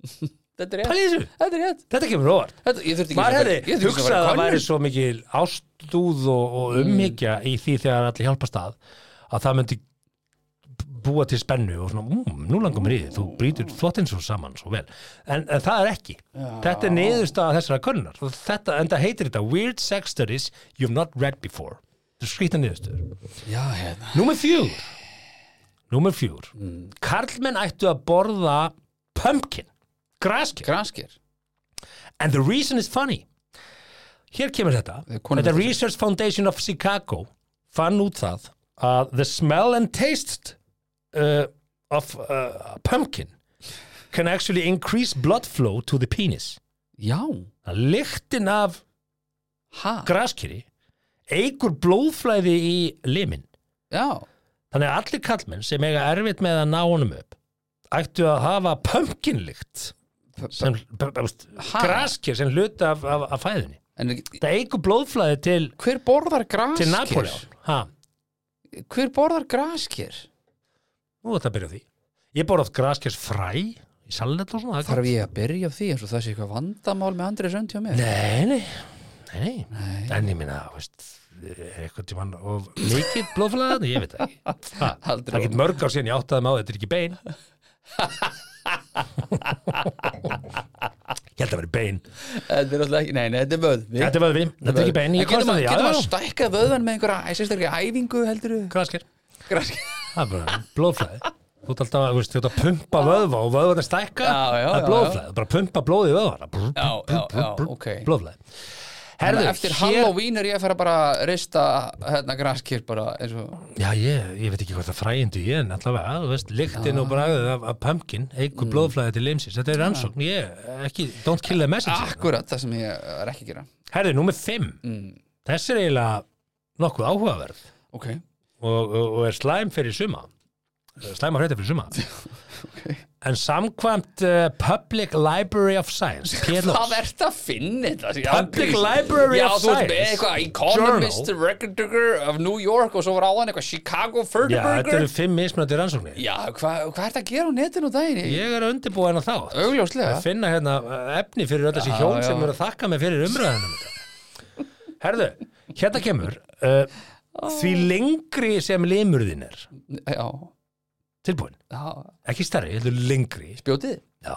Speaker 2: [LAUGHS] Þetta er rétt
Speaker 1: Pæli þessu,
Speaker 2: Þetta er rétt
Speaker 1: þetta kemur óvart.
Speaker 2: Þetta, Ég þurfti ekki
Speaker 1: Maður
Speaker 2: að-
Speaker 1: hefði
Speaker 2: ég þurfti Mm. ekki
Speaker 1: hugsað að það
Speaker 2: vera
Speaker 1: væri
Speaker 2: könnun.
Speaker 1: svo mikil ástúð og, og umhyggja í því þegar allir hjálpast að, að það myndi búa til spennu og svona, mm, nú langum mér í því, þú brýtur flottinn svo saman svo vel, en, en það er ekki þetta er niðurstaða þessara könnunar Og þetta, en það heitir þetta Weird Sex Studies You've Not Read Before þetta er skrýta niðurstöður
Speaker 2: Já, hérna
Speaker 1: Númer fjúr Númer fjúr Karlmenn ættu að borða pumpkin graskir,
Speaker 2: Granskir
Speaker 1: and the reason is funny hér kemur þetta
Speaker 2: Eh, konur-
Speaker 1: þetta Research Foundation of Chicago fann út það að the smell and taste uh, of uh, pumpkin can actually increase blood flow to the penis
Speaker 2: Já,
Speaker 1: að lyktin af
Speaker 2: ha
Speaker 1: graskiri eigur blóðflæði í limin
Speaker 2: Já,
Speaker 1: þannig að allir kallmenn sem eiga erfitt með að ná honum upp ættu að hafa pumpkinlykt sem,
Speaker 2: Ha?
Speaker 1: graskir sem hluta af, af, af fæðinni
Speaker 2: en
Speaker 1: það eigur blóðflæði til,
Speaker 2: hver borðar
Speaker 1: til
Speaker 2: granskir?
Speaker 1: Napoleon ha,
Speaker 2: Hver borðar granskir?
Speaker 1: nú þetta byrja á því ég bor oft graskirs fræ í salat og svona það er
Speaker 2: Þarf ég að byrja á því eins og það sé eitthvað vandamál með Andrið Sönd hjá mér?
Speaker 1: Nei, nei, nei, nei. En ég minna, veist, er eitthvað tímann of mikið blóðflæðan? Ég veit það ekki. Ha, Það
Speaker 2: Aldrei.
Speaker 1: er ekki mörg ár síðan ég áttaði mig á, þetta er ekki
Speaker 2: [LAUGHS]
Speaker 1: bein. ég held að vera bein.
Speaker 2: Þetta er alltaf ekki, nei, nei, þetta er vöðvi
Speaker 1: Þetta er vöðvi, þetta er ekki bein. Ég komst að því, já,
Speaker 2: Getur maður
Speaker 1: já,
Speaker 2: stækkað vöðvan með einhverja, ég sést ekki, æfingu heldur
Speaker 1: graskir.
Speaker 2: Granskir
Speaker 1: Það er bara blóðflæði. Þú ert alltaf að, veist, þú ert að pumpa vöðva og vöðvan er stækka.
Speaker 2: Já, já,
Speaker 1: Það
Speaker 2: já,
Speaker 1: er blóðflæði, bara pumpa blóði í vöðvan.
Speaker 2: Já, já, já, ok
Speaker 1: Blóðflæði. Herðu,
Speaker 2: Eftir
Speaker 1: hér-
Speaker 2: Halloween er ég að fara bara að rista hérna granskir bara eins og
Speaker 1: Já, ég, ég veit ekki hvort það fræjandi ég en allavega, þú veist, lyktin
Speaker 2: Ah.
Speaker 1: og bragðið af, af pumpkin,
Speaker 2: Mm.
Speaker 1: eigur blóðflæði til leimsins þetta er rannsókn, ég, ekki, don't kill the messenger
Speaker 2: akkurat það sem ég eh, er ekki að gera
Speaker 1: Herði, númer 5,
Speaker 2: Mm.
Speaker 1: þessi er eiginlega nokkuð áhugaverð og,
Speaker 2: Ok,
Speaker 1: og, og er slæm fyrir suma Eh, slæma hreita fyrir
Speaker 2: [LAUGHS]
Speaker 1: suma en samkvæmt uh, Public Library of
Speaker 2: [LAUGHS]
Speaker 1: Science
Speaker 2: hvað
Speaker 1: PLOS,
Speaker 2: ert að finna þetta? Já,
Speaker 1: Public
Speaker 2: please.
Speaker 1: Library
Speaker 2: Já,
Speaker 1: of
Speaker 2: þú ert með
Speaker 1: Science.
Speaker 2: eitthvað Economist,
Speaker 1: Journal.
Speaker 2: Recorder of New York og svo var áðan eitthvað Chicago
Speaker 1: já, þetta
Speaker 2: Furtburger
Speaker 1: eru fimm mismunandi rannsóknir
Speaker 2: Já, hvað hva ert að gera á netinu á daginn?
Speaker 1: ég er að undirbúa hennar þá
Speaker 2: Augljóslega
Speaker 1: að finna hérna eh, efni fyrir öll þessi
Speaker 2: Já,
Speaker 1: hjón
Speaker 2: já.
Speaker 1: sem eru að þakka mig fyrir umræðanum Herðu, hérna kemur uh, því lengri sem limurðin er
Speaker 2: Já,
Speaker 1: tilbúin,
Speaker 2: já,
Speaker 1: ekki starri, heldur lengri
Speaker 2: bjótið
Speaker 1: Já.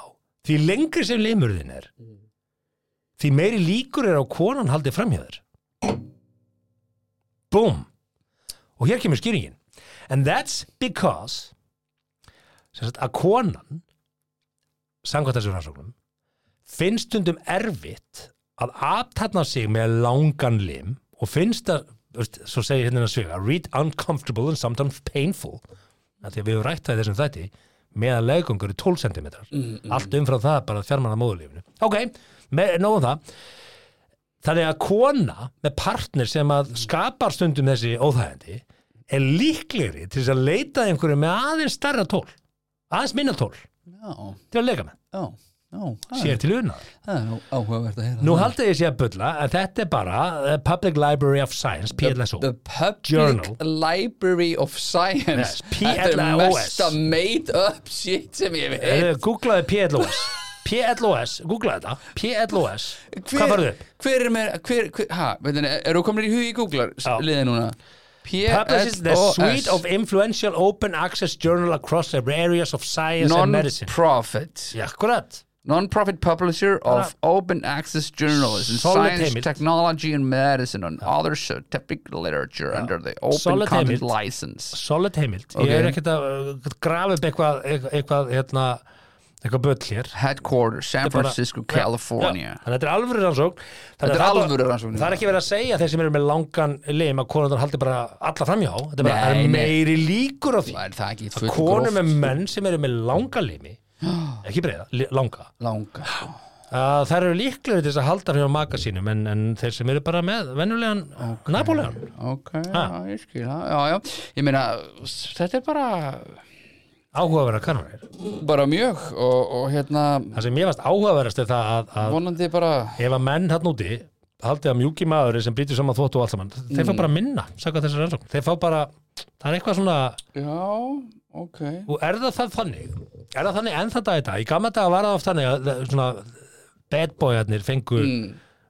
Speaker 1: því lengri sem limurðin er því meiri líkur er á konan haldið framhjöður Búm og hér kemur skýringin and that's because sem sagt, að konan samkvæmt þessu rannsóknum finnst stundum erfitt að aftatna sig með langan lim og finnst að veist, svo segir hérna svega, read uncomfortable and sometimes painful að því að við höfum rætt það í þessum þætti meðan legungur er 12 cm
Speaker 2: Mm,
Speaker 1: allt umfram það bara fjármann að móðurlífinu ok, með, nógum það þannig að kona með partner sem að skapar stundum þessi óþægindi er líklegri til þess að leita að einhverju með aðeins starra tól aðeins minna tól
Speaker 2: Já,
Speaker 1: til að leika með,
Speaker 2: já, já það
Speaker 1: sér til unnað
Speaker 2: Það er nú áhugavert að heyra
Speaker 1: nú
Speaker 2: það.
Speaker 1: haldið ég sé að bulla að þetta er bara uh, Public Library of Science, PLSO
Speaker 2: The Public
Speaker 1: Journal.
Speaker 2: Library of Science
Speaker 1: Yes,
Speaker 2: Þetta er
Speaker 1: PLOS.
Speaker 2: mesta made up [LAUGHS] shit sem ég veit
Speaker 1: Eh, Googlaði PLOS PLOS, googlaði þetta PLOS, hvað farðu upp?
Speaker 2: Hver er með, hver, hver, ha, veitin, eru komin í hugi í Googlar
Speaker 1: Já.
Speaker 2: liðið núna?
Speaker 1: publishes the suite
Speaker 2: PLOS
Speaker 1: of influential open access journal across the areas of science and medicine.
Speaker 2: Non-profit
Speaker 1: Já, akkurat.
Speaker 2: Non-profit publisher of open access journalism
Speaker 1: Solid
Speaker 2: Science,
Speaker 1: heimild.
Speaker 2: technology and medicine and other scientific literature under the open
Speaker 1: Solid
Speaker 2: content
Speaker 1: heimild.
Speaker 2: license
Speaker 1: Solid heimild.
Speaker 2: Ok.
Speaker 1: Ég er ekkert að uh, grafa upp eitthvað, eitthvað, eitthvað, hérna, eitthvað bull hér.
Speaker 2: Headquarters, San
Speaker 1: Bara-
Speaker 2: Francisco,
Speaker 1: Já,
Speaker 2: California
Speaker 1: já, Þannig að þetta er alvöru rannsókn. Þannig að
Speaker 2: Þetta er
Speaker 1: það bara-
Speaker 2: alvöru rannsókn, já.
Speaker 1: Það er ekki verið að segja að þeir sem eru með langan lim að konundar haldi bara alla framjá. Þetta er bara það
Speaker 2: Nei,
Speaker 1: er
Speaker 2: nei.
Speaker 1: meiri líkur á því.
Speaker 2: Það er það ekki
Speaker 1: að
Speaker 2: fullkomlega
Speaker 1: konur með menn sem eru með langa
Speaker 2: [GASPS]
Speaker 1: limi, ekki breiða, li- langa,
Speaker 2: langa
Speaker 1: að þær eru líklegri til þess að halda fyrir maka sínum en, en þeir sem eru bara með venjulegan okay. Napoleon
Speaker 2: ok, já, ég skil það já, já. ég meina, s- þetta er bara
Speaker 1: áhugaverða kannanir
Speaker 2: bara mjög og, og hérna
Speaker 1: það sem ég varst áhugaverðast er það að, að
Speaker 2: vonandi bara
Speaker 1: ef að menn hann úti haldið að mjúki maður sem brýtur saman þvótt og allt saman þeir fá bara minna, sagði þessar rannsókn þeir fá bara, það er eitthvað svona
Speaker 2: já, ok
Speaker 1: og er það það þannig er það þannig enn þetta þetta, í gamla daga var það oft þannig að það- svona bad boyarnir fengu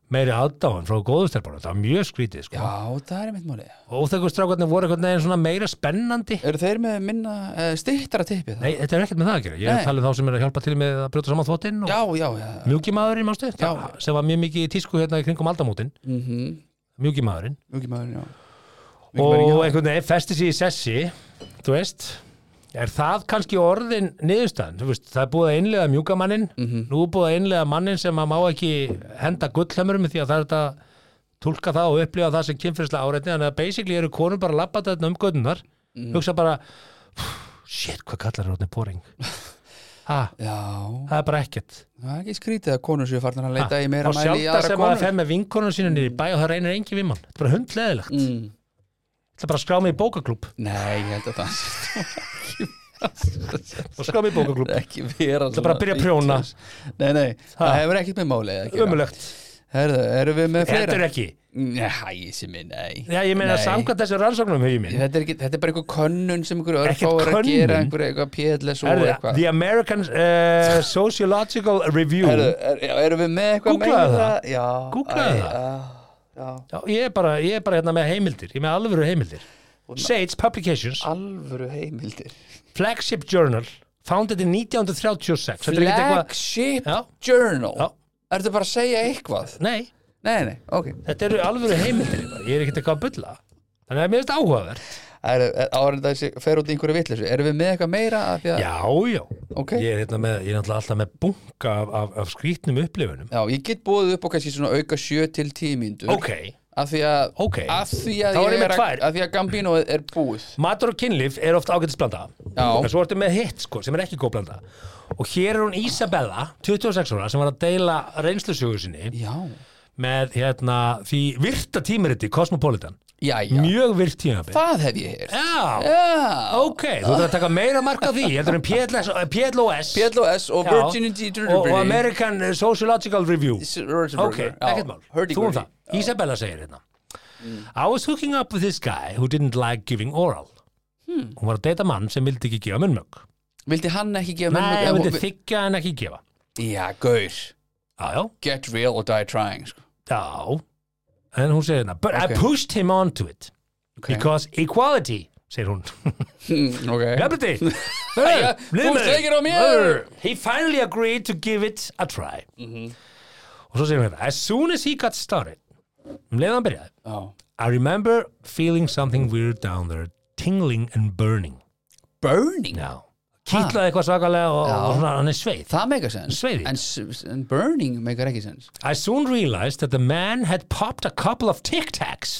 Speaker 1: meiri aðdáðan frá góðustelpunum, það var mjög skrítið sko.
Speaker 2: Já, það er mitt máli
Speaker 1: og þegar strákarnir voru einhvern veginn svona meira spennandi
Speaker 2: Eru þeir með minna uh, stýttara tippið?
Speaker 1: Nei, þetta er ekkert með það að gera, ég
Speaker 2: Nei.
Speaker 1: er talið þá sem er að hjálpa til með að brjóta saman þvotinn og
Speaker 2: Já, já, já
Speaker 1: mjúkimaðurinn, mástu,
Speaker 2: Já.
Speaker 1: sem var mjög mikið í tísku hérna í kringum aldamótin,
Speaker 2: mm -hmm.
Speaker 1: mjúkimaðurinn
Speaker 2: Mjúkimaður, já
Speaker 1: og einhvern veginn festi sér í sessi þú veist er það kannski orðin niðurstaðan Þú veist, það er búið að innlega mjúkamannin
Speaker 2: Mhm.
Speaker 1: nú er búið að innlega mannin sem að má ekki henda gullhamurum því að það er þetta tólka það og upplifa það sem kynfyrsla áreitni þannig að basically eru konur bara að labba þetta um göttunar
Speaker 2: Mhm.
Speaker 1: hugsa bara shit, hvað kallar það orðin
Speaker 2: [LAUGHS]
Speaker 1: boring ha,
Speaker 2: Já,
Speaker 1: það er bara ekkert
Speaker 2: það er ekki skrítið að konur séu farnar að leita í meira
Speaker 1: og
Speaker 2: mæli í
Speaker 1: sjálf það
Speaker 2: aðra
Speaker 1: sem að
Speaker 2: konur
Speaker 1: fer með vinkonum sínu niður í bæ og það reynir engin við mann þetta er bara hundleðilegt, mm.
Speaker 2: mm.
Speaker 1: þetta er bara að skrá mig í bókaklúb
Speaker 2: Nei, ég held að það sé
Speaker 1: og skrá mig í bókaklúb [LAUGHS]
Speaker 2: ekki vera
Speaker 1: er bara að byrja að prjóna.
Speaker 2: Nei, nei, það
Speaker 1: Ha.
Speaker 2: hefur ekkert með málið að gera.
Speaker 1: Ömulegt,
Speaker 2: Herðu, erum við með
Speaker 1: þetta er
Speaker 2: fleira?
Speaker 1: ekki
Speaker 2: Nei, hæsi minn, nei
Speaker 1: Já, ég meina
Speaker 2: Nei.
Speaker 1: samkvæmt þessu rannsóknum hugi minn
Speaker 2: Þetta er, ekki, þetta er bara eitthvað könnun sem einhverju
Speaker 1: Ekkert
Speaker 2: örfáur að
Speaker 1: könnun?
Speaker 2: gera einhverju eitthvað PLS og
Speaker 1: Herðu,
Speaker 2: eitthvað
Speaker 1: The American
Speaker 2: [LAUGHS]
Speaker 1: uh, Sociological Review
Speaker 2: Herðu, er, já, Erum við með eitthvað
Speaker 1: Googlaðu
Speaker 2: meira?
Speaker 1: það.
Speaker 2: Já,
Speaker 1: Googlaðu
Speaker 2: æ,
Speaker 1: það.
Speaker 2: Já, já,
Speaker 1: Já, ég, er bara, ég er bara hérna með heimildir Ég er með alvöru heimildir Sage Publications,
Speaker 2: alvöru heimildir
Speaker 1: Flagship Journal Founded in 1936 Þetta er ekkert eitthvað-
Speaker 2: Flagship
Speaker 1: Já.
Speaker 2: Journal
Speaker 1: Já.
Speaker 2: Ertu bara að segja eitthvað?
Speaker 1: Nei,
Speaker 2: Nei, nei, ok
Speaker 1: þetta eru alvöru heimildir bara. Ég er ekkert eitthvað að bulla Þannig að mér finnst áhugavert
Speaker 2: Árið þessi fer út í einhverju vitleysu Erum við með eitthvað meira? Af því að-
Speaker 1: Já, já
Speaker 2: Ok.
Speaker 1: Ég er hérna með, ég er náttúrulega alltaf með bunga af, af, af skrýtnum upplifunum
Speaker 2: Já, ég get búið upp á kannski svona auka sjö til tíu mínútur
Speaker 1: Ok,
Speaker 2: Af því að,
Speaker 1: Ok.
Speaker 2: af því að,
Speaker 1: Þá
Speaker 2: ég
Speaker 1: erum við
Speaker 2: er að,
Speaker 1: tvær.
Speaker 2: að, því að Gambino er búið
Speaker 1: matur og kynlíf er ofta ágætisblanda
Speaker 2: Já.
Speaker 1: en svo ertu með hitt sko, sem er ekki góð blanda og hér er hún Isabella, 26 ára sem var að deila reynslusögu sinni
Speaker 2: Já,
Speaker 1: með hérna, því virta tímariti Cosmopolitan,
Speaker 2: já,
Speaker 1: mjög virt tímabil
Speaker 2: Það hef ég heyrt
Speaker 1: Já,
Speaker 2: Já,
Speaker 1: ok, þú þarf að taka meira marka því heldur en PLS, PLOS
Speaker 2: PLOS og
Speaker 1: Já.
Speaker 2: Virginity
Speaker 1: og, og American Sociological Review Ok, ekkert mál, þú um það Isabella segir hérna
Speaker 2: Mm.
Speaker 1: I was hooking up with this guy who didn't like giving oral
Speaker 2: Hmm.
Speaker 1: Hún var að deyta mann sem vildi ekki gefa munnmögg
Speaker 2: Vildi hann ekki gefa
Speaker 1: Nei,
Speaker 2: mönnum-
Speaker 1: hann vildi þykja en ekki gefa
Speaker 2: Já, gaur
Speaker 1: Já, já,
Speaker 2: Get real or die trying sko.
Speaker 1: já En hún segir hérna But
Speaker 2: Ok.
Speaker 1: I pushed him onto it
Speaker 2: Ok.
Speaker 1: Because equality segir
Speaker 2: [LAUGHS]
Speaker 1: hún
Speaker 2: Mm, Ok
Speaker 1: Gabiti
Speaker 2: Jæja, þú segir á mér. Mhm.
Speaker 1: He finally agreed to give it a try Og svo segir hún hérna As soon as he got started Um leiðan byrjaði
Speaker 2: Já.
Speaker 1: I remember feeling something weird down there Tingling and burning
Speaker 2: Burning
Speaker 1: Já Kýtlaði eitthvað svakalega og,
Speaker 2: Já.
Speaker 1: og svona hann er sveið
Speaker 2: Það meikar sens
Speaker 1: Sveiði.
Speaker 2: en, s- en burning meikar ekki sens
Speaker 1: I soon realized that the man had popped a couple of Tic Tacs.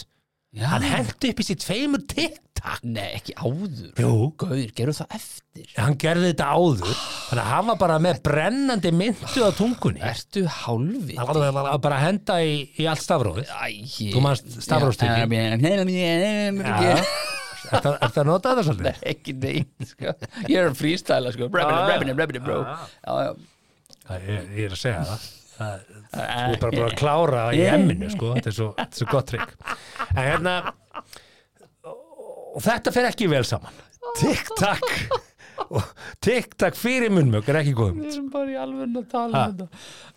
Speaker 2: Já.
Speaker 1: Hann hendi upp í sér tveimur Tic Tac.
Speaker 2: Nei, ekki áður
Speaker 1: Jú.
Speaker 2: Gaur, gerðu það eftir
Speaker 1: Hann gerði þetta áður. Þannig að hann var bara með brennandi myndu á tungunni.
Speaker 2: Ah. Ertu hálfi?
Speaker 1: Hann var bara- bara að henda í, í allt stafróðið.
Speaker 2: Æ
Speaker 1: Þú manst stafróðstykki.
Speaker 2: stafróstykki
Speaker 1: Er það að nota þetta svolítið?
Speaker 2: Ekki neitt sko. Ég er að freestyla sko. Rappinum,
Speaker 1: já.
Speaker 2: rappinum, rappinum, bro
Speaker 1: Ah.
Speaker 2: Já, já
Speaker 1: Það- Ég, ég er að segja það. það þú er bara bara að klára í emminu, sko. Þetta er svo, þetta er svo gott trikk. En hérna, og þetta fer ekki vel saman. Tic Tac. og Tic Tac fyrir munnmök er ekki góðum.
Speaker 2: Við erum bara í alveg að tala um þetta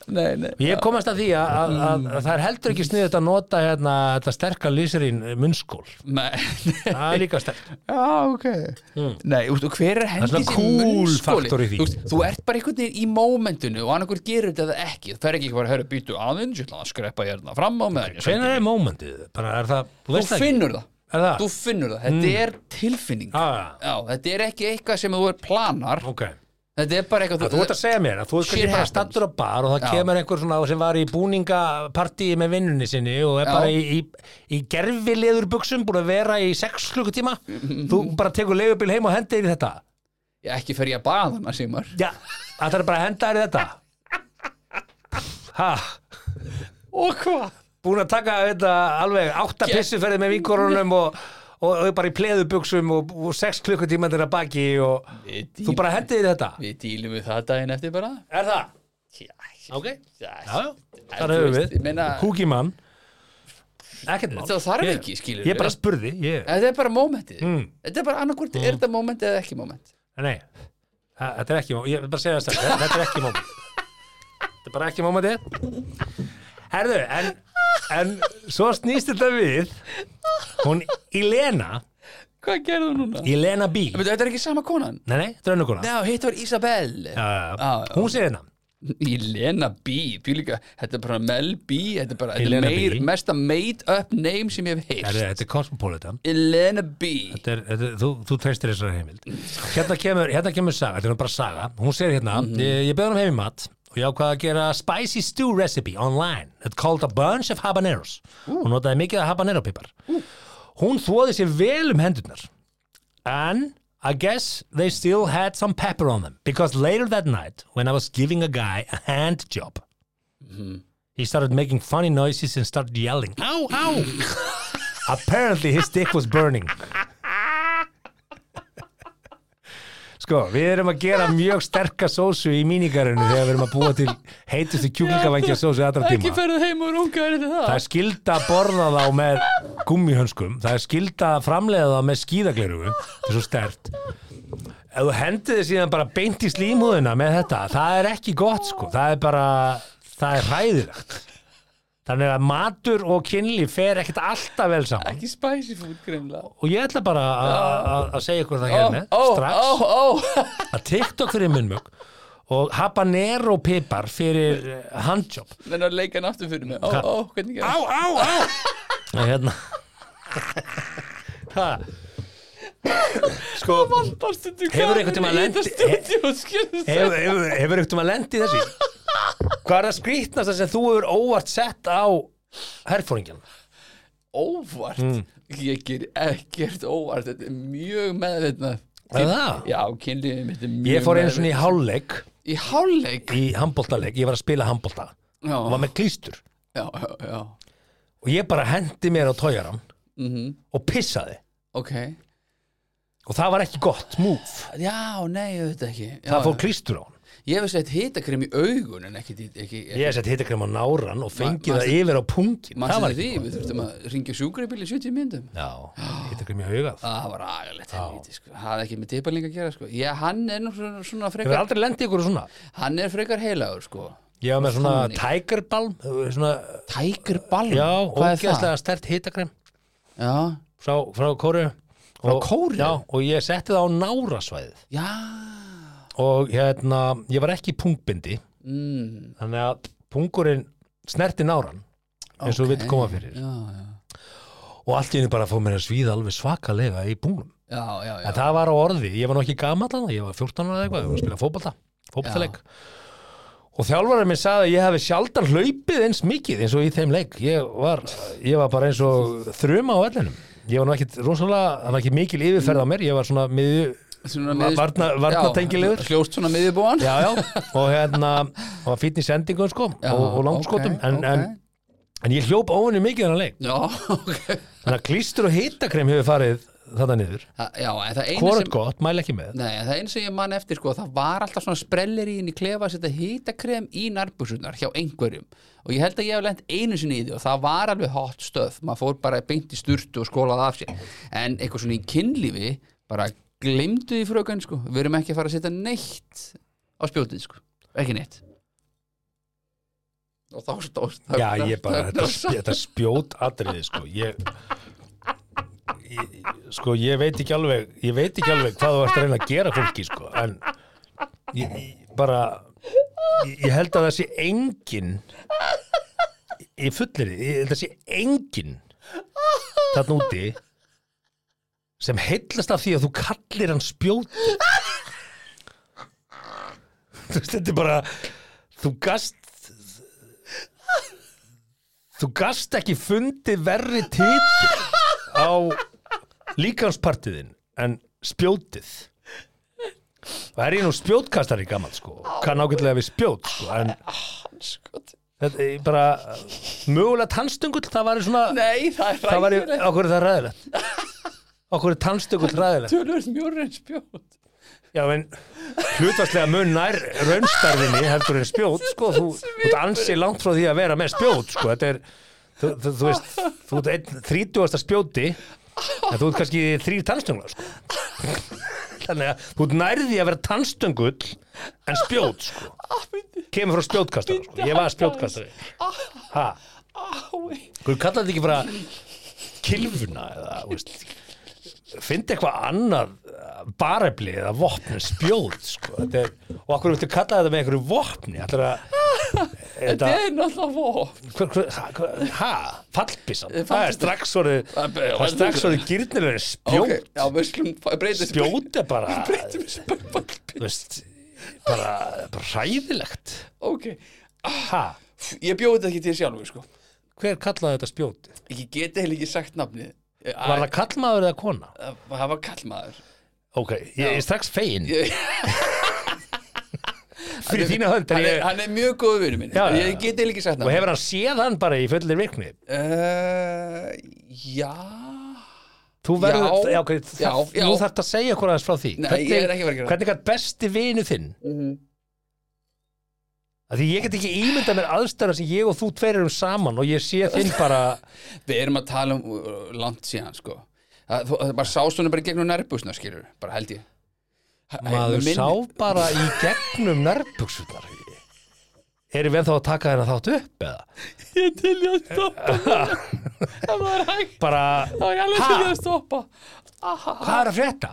Speaker 2: Nei, nei
Speaker 1: Ég komast að því að, að, að, að það er heldur ekki sniðið að nota hérna, þetta sterka lýsirinn munnskól.
Speaker 2: Nei, [LAUGHS] nei.
Speaker 1: Það er líka sterk.
Speaker 2: Já, Ah, ok Nei, úst, og hver er
Speaker 1: Hmm. Það er
Speaker 2: hendis
Speaker 1: svona cool faktor í því.
Speaker 2: Þú, veist, þú ert bara einhvern veginn í mómentinu og annarkur gerir þetta eða ekki Það er ekki bara að höra býtu aðeins Ég ætla að skrepa hérna fram á meðan ég
Speaker 1: Hvenær
Speaker 2: sæki.
Speaker 1: er mómentið? Bara er það, þú
Speaker 2: Þú
Speaker 1: veist það ekki?
Speaker 2: finnur það
Speaker 1: Er það? Hmm. Ah.
Speaker 2: Þú finnur það, þetta er tilfinning
Speaker 1: Já, já,
Speaker 2: Já, þetta er ekki eitthvað sem þú er planar
Speaker 1: ok.
Speaker 2: Þetta er bara eitthvað
Speaker 1: Þú ert að segja mér að þú ert kannski
Speaker 2: Shit
Speaker 1: bara
Speaker 2: happens.
Speaker 1: stattur á bar og það
Speaker 2: Já.
Speaker 1: kemur einhver svona sem var í búningapartíi með vinnunni sinni og er
Speaker 2: Já.
Speaker 1: bara í, í, í gerfileður buksum búin að vera í sex klukkutíma. Þú bara tekur leigubíl heim og hendir í þetta.
Speaker 2: Já, Ekki fer ég að baða hana, Simar
Speaker 1: Já, það er bara að henda þér í þetta. Hæ?
Speaker 2: Og hvað?
Speaker 1: búin að taka þetta alveg átta
Speaker 2: Gekk.
Speaker 1: pissuferði með vinkorunum og, og, og bara í pleðubuxum og, og sex klukkutímandir að baki og
Speaker 2: Við
Speaker 1: þú bara hendið þetta
Speaker 2: Við dílum við það daginn eftir bara
Speaker 1: er það?
Speaker 2: Já,
Speaker 1: ok, já,
Speaker 2: já
Speaker 1: þar höfum við
Speaker 2: meina,
Speaker 1: húkimann ekkert mál
Speaker 2: Það þarf
Speaker 1: Ég-
Speaker 2: ekki, skilur
Speaker 1: ég bara spurði ég,
Speaker 2: Þetta er bara mómentið
Speaker 1: Mm.
Speaker 2: Þetta er bara annarkvort, er þetta móment eða ekki móment
Speaker 1: nei, það- þetta er ekki mál ég vil bara segja þess að þetta er ekki mál þetta er bara ekki mál með þið Herðu, en, en svo snýst þetta við Hún Elena
Speaker 2: Hvað gerðu núna?
Speaker 1: Elena B Nei,
Speaker 2: Veitu, Þetta er ekki sama konan
Speaker 1: nei, drönnukona
Speaker 2: Já, hitt var Isabel já.
Speaker 1: Hún segir hérna
Speaker 2: Elena B Bílíka, Þetta er bara Mel B Þetta er bara þetta er
Speaker 1: Elena
Speaker 2: meir,
Speaker 1: B.
Speaker 2: mesta made up name sem ég hef
Speaker 1: Herðu,
Speaker 2: heyrt
Speaker 1: Þetta er Cosmopolitan
Speaker 2: Elena B
Speaker 1: þetta er, þetta, er- þú, þú treystir þessari heimild hérna kemur, hérna kemur saga, þetta er nú bara saga hún segir hérna, ég, ég beður um heim í mat og ég ákvaði að gera spicy stew recipe online, it's called a bunch of habaneros hún notaði mikið af habanero pipar hún þvoði sér vel um hendurnar and I guess they still had some pepper on them because later that night when I was giving a guy a hand job he started making funny noises and started yelling ow, ow [LAUGHS] apparently his dick was burning Sko, við erum að gera mjög sterka sósu í mínigarinu þegar við erum að búa til heitustu kjúklingavangja sósu allra tíma
Speaker 2: Ekki ferð heim og runga er þetta
Speaker 1: Það er skilda að borða þá með gummihönskum Það er skilda að framleiða þá með skíðaglerugu Það er svo stert Ef þú hendið þið síðan bara beint í slímhúðina með þetta Það er ekki gott sko Það er bara, það er hræðilegt Þannig að matur og kynli fer ekkert alltaf vel saman
Speaker 2: Ekki spicy food greinlega
Speaker 1: Og ég ætla bara að- að að segja ykkur það
Speaker 2: Ó,
Speaker 1: hérna
Speaker 2: ó,
Speaker 1: strax
Speaker 2: ó, ó [LAUGHS]
Speaker 1: að TikTok fyrir munnmjög og habanero pipar fyrir eh, handjob
Speaker 2: Þannig að leika hann aftur fyrir mig Ó, ó, hvernig gerði
Speaker 1: á, á Nei, hérna Ha. Sko,
Speaker 2: Bastundu
Speaker 1: Hefur einhvern tímann lent-
Speaker 2: Í þetta stúdíu
Speaker 1: hefur hefur- hefur ekkert um að lendi þessi Hvað er það skrýtnasta sem þú hefur óvart sett á herfóringjan?
Speaker 2: Óvart
Speaker 1: Mm.
Speaker 2: Ég ger ekkert óvart Þetta er mjög meðveitna
Speaker 1: Er það?
Speaker 2: Já, kynlífið mitt er mjög
Speaker 1: Ég fór einu svona í
Speaker 2: meðvitað.
Speaker 1: hálfleik
Speaker 2: Í hálfleik
Speaker 1: í handbóltaleik, ég var að spila handbólta og
Speaker 2: Já,
Speaker 1: var með klístur
Speaker 2: já, já, já
Speaker 1: og ég bara hendi mér á tójaran og pissaði
Speaker 2: Mhm, Ok
Speaker 1: og það var ekki gott múf
Speaker 2: Já, nei, ég veit ekki já,
Speaker 1: það fór klístur á hann
Speaker 2: Ég hef sett hitakrem í augun en ekki, ekki, ekki
Speaker 1: ég hef sett hittakrem á náran og
Speaker 2: Ma-
Speaker 1: fengið það
Speaker 2: manstu-
Speaker 1: yfir á pungin það
Speaker 2: Manstu
Speaker 1: var
Speaker 2: því,
Speaker 1: ekki gott
Speaker 2: við þurftum að ringja sjúkrabíl í 70 myndum
Speaker 1: já, hittakrem í hugað
Speaker 2: Það var agalegt helviti, sko Það er ekki með tippaling að gera, sko Já, hann er nú svona, svona
Speaker 1: hefur
Speaker 2: frekar
Speaker 1: aldrei lendið ykkur í svona
Speaker 2: Hann er frekar heilagur, sko
Speaker 1: Ég var með svona
Speaker 2: Þannig.
Speaker 1: tækerbalm svona,
Speaker 2: Tiger Balm,
Speaker 1: já,
Speaker 2: hvað er það?
Speaker 1: ógeðslega stert hitakrem
Speaker 2: Já,
Speaker 1: frá, frá Kóru Frá
Speaker 2: Kóreu?
Speaker 1: Já, og ég setti það á nárasvæðið
Speaker 2: já
Speaker 1: og hérna, ég var ekki í pungbindi
Speaker 2: mm,
Speaker 1: þannig að pungurinn snerti náran eins og
Speaker 2: ok.
Speaker 1: okay. við koma fyrir
Speaker 2: Já, já,
Speaker 1: og allt í henni bara fór mér að svíða alveg svakalega í pungum
Speaker 2: já, já, já.
Speaker 1: en það var á orði, ég var nú ekki gamall þannig, ég var 14 ára eða eitthvað, ég var að spila fótbolta fótboltaleik og þjálfarið minn sagði að ég hefði sjaldan hlaupið eins mikið eins og í þeim leik ég var, ég var bara eins og þruma á ellinum ég var nú ekkit rosalega, það var ekki mikil yfirferð á mér ég var svona miðju
Speaker 2: Svona
Speaker 1: Va- varna- varnatengilegur.
Speaker 2: Já, Hljóst svona miðjubúan
Speaker 1: já, já, og hérna og fínn í sendingum sko
Speaker 2: Já,
Speaker 1: og, og langskotum
Speaker 2: ok,
Speaker 1: en,
Speaker 2: ok.
Speaker 1: en, en ég hljóp óvinni mikið þennan leik
Speaker 2: Já, [LAUGHS] ok
Speaker 1: þannig að klístur og hitakrem hefur farið þetta niður,
Speaker 2: Það- Já, en það eina
Speaker 1: hvort
Speaker 2: sem
Speaker 1: gott, mæla ekki með
Speaker 2: Nei, en það einu sem ég man eftir sko, það var alltaf svona sprellir í henni klefa að setja hýtakrem í nærbúsunar hjá einhverjum og ég held að ég hef lent einu sinni í því og það var alveg hot stöð, maður fór bara beint í sturtu og skólaði af sér, en eitthvað svona í kynlífi, bara glemdu því frökan sko, við erum ekki að fara að setja neitt á spjótið sko ekki neitt og þá stóðst
Speaker 1: Já, ég bara, þetta, þetta spjót atriði, sko ég, ég sko, ég veit ekki alveg ég veit ekki alveg hvað þú ert að reyna að gera fólki, sko, en ég, ég bara ég, ég held að það sé engin ég fullir ég held að það sé engin þarna úti sem heillast af því að þú kallir hann spjót Þú veist, þetta er bara þú gast þú gast ekki fundið verri títil á líkanspartiðin en spjótið það er ég nú spjótkastari gammal sko kann ágætlega við spjót sko en
Speaker 2: sko.
Speaker 1: þetta er bara mögulega tannstungull það var svona
Speaker 2: Nei, það er
Speaker 1: það var
Speaker 2: ræðilegt
Speaker 1: okkur er það ræðilegt okkur er tannstungull ræðilegt
Speaker 2: Tölur mjórri en spjót
Speaker 1: já en hlutvarslega mun nær raunstarfinni heldur en spjót sko þú, þú ert ansi langt frá því að vera með spjót sko þetta er þú, þú, þú veist, þú ert einn þrítugasta spjóti en þú ert kannski þrýr tannstönglar sko. þannig að þú ert nærði að vera tannstöngul en spjót sko. kemur frá spjótkastara sko. ég var spjótkastari Ha?
Speaker 2: Ái.
Speaker 1: Hvað kallar þetta ekki bara kilfuna eða, þú veist Fyndi eitthvað annað eh, barefli eða vopn, spjóð sko. Þetta er, og akkur viltu kalla þetta með einhverju vopni Þetta er
Speaker 2: Þetta er náttúrulega vopn
Speaker 1: Hver- hver- ha- hver- ha, fallbissan það er
Speaker 2: Eh, Fallbyssan.
Speaker 1: strax orðið
Speaker 2: Það
Speaker 1: það
Speaker 2: er-
Speaker 1: er strax orðið gyrnilega spjót
Speaker 2: Ok, Já, við skulum fa- breyta þessu-
Speaker 1: spjót er bara
Speaker 2: Breytum þessu bara
Speaker 1: þú
Speaker 2: ballbyssu.
Speaker 1: veist, bara, bara ræðilegt
Speaker 2: [LAUGHS] Ok,
Speaker 1: ha,
Speaker 2: ég bjóði þetta ekki til sjálfur sko
Speaker 1: hver kallaði þetta spjót
Speaker 2: Ég geti heil ekki sagt nafnið Æ,
Speaker 1: var það kallmaður eða kona
Speaker 2: Það var kallmaður
Speaker 1: ok, ég er strax fegin
Speaker 2: Ég-
Speaker 1: [LAUGHS] fyrir þína hönd er
Speaker 2: hann, er,
Speaker 1: ég,
Speaker 2: hann er mjög góð vinnu minn
Speaker 1: Já, já, já.
Speaker 2: Ég geti heil ekki sagt
Speaker 1: og
Speaker 2: nafnið
Speaker 1: hefur hann séð hann bara í fullir vikni
Speaker 2: uh, Já
Speaker 1: þú verður,
Speaker 2: Já,
Speaker 1: já, ok,
Speaker 2: já,
Speaker 1: það,
Speaker 2: já.
Speaker 1: nú þarf það að segja okkur aðeins frá því
Speaker 2: Nei,
Speaker 1: hvernig,
Speaker 2: ég er ekki að fara að gera það. Mhm.
Speaker 1: hvernig gætt besti vinu þinn Af því ég get ekki ímyndað mér aðstæðar sem ég og þú tveir erum saman og ég sé þinn bara
Speaker 2: Við erum að tala um uh, langt síðan sko Það, þú- það bara sást hún bara í gegnum nærbúsna skilur Bara held ég Ha-
Speaker 1: maður
Speaker 2: minn-
Speaker 1: sá bara í gegnum nærbuksunar erum við ennþá að taka þennan þátt upp eða
Speaker 2: [LAUGHS] Ég til ég að
Speaker 1: [LAUGHS]
Speaker 2: stoppa Það var hægt
Speaker 1: bara,
Speaker 2: Það var ég alveg
Speaker 1: Ha?
Speaker 2: til ég að stoppa Aha.
Speaker 1: hvað er að frétta?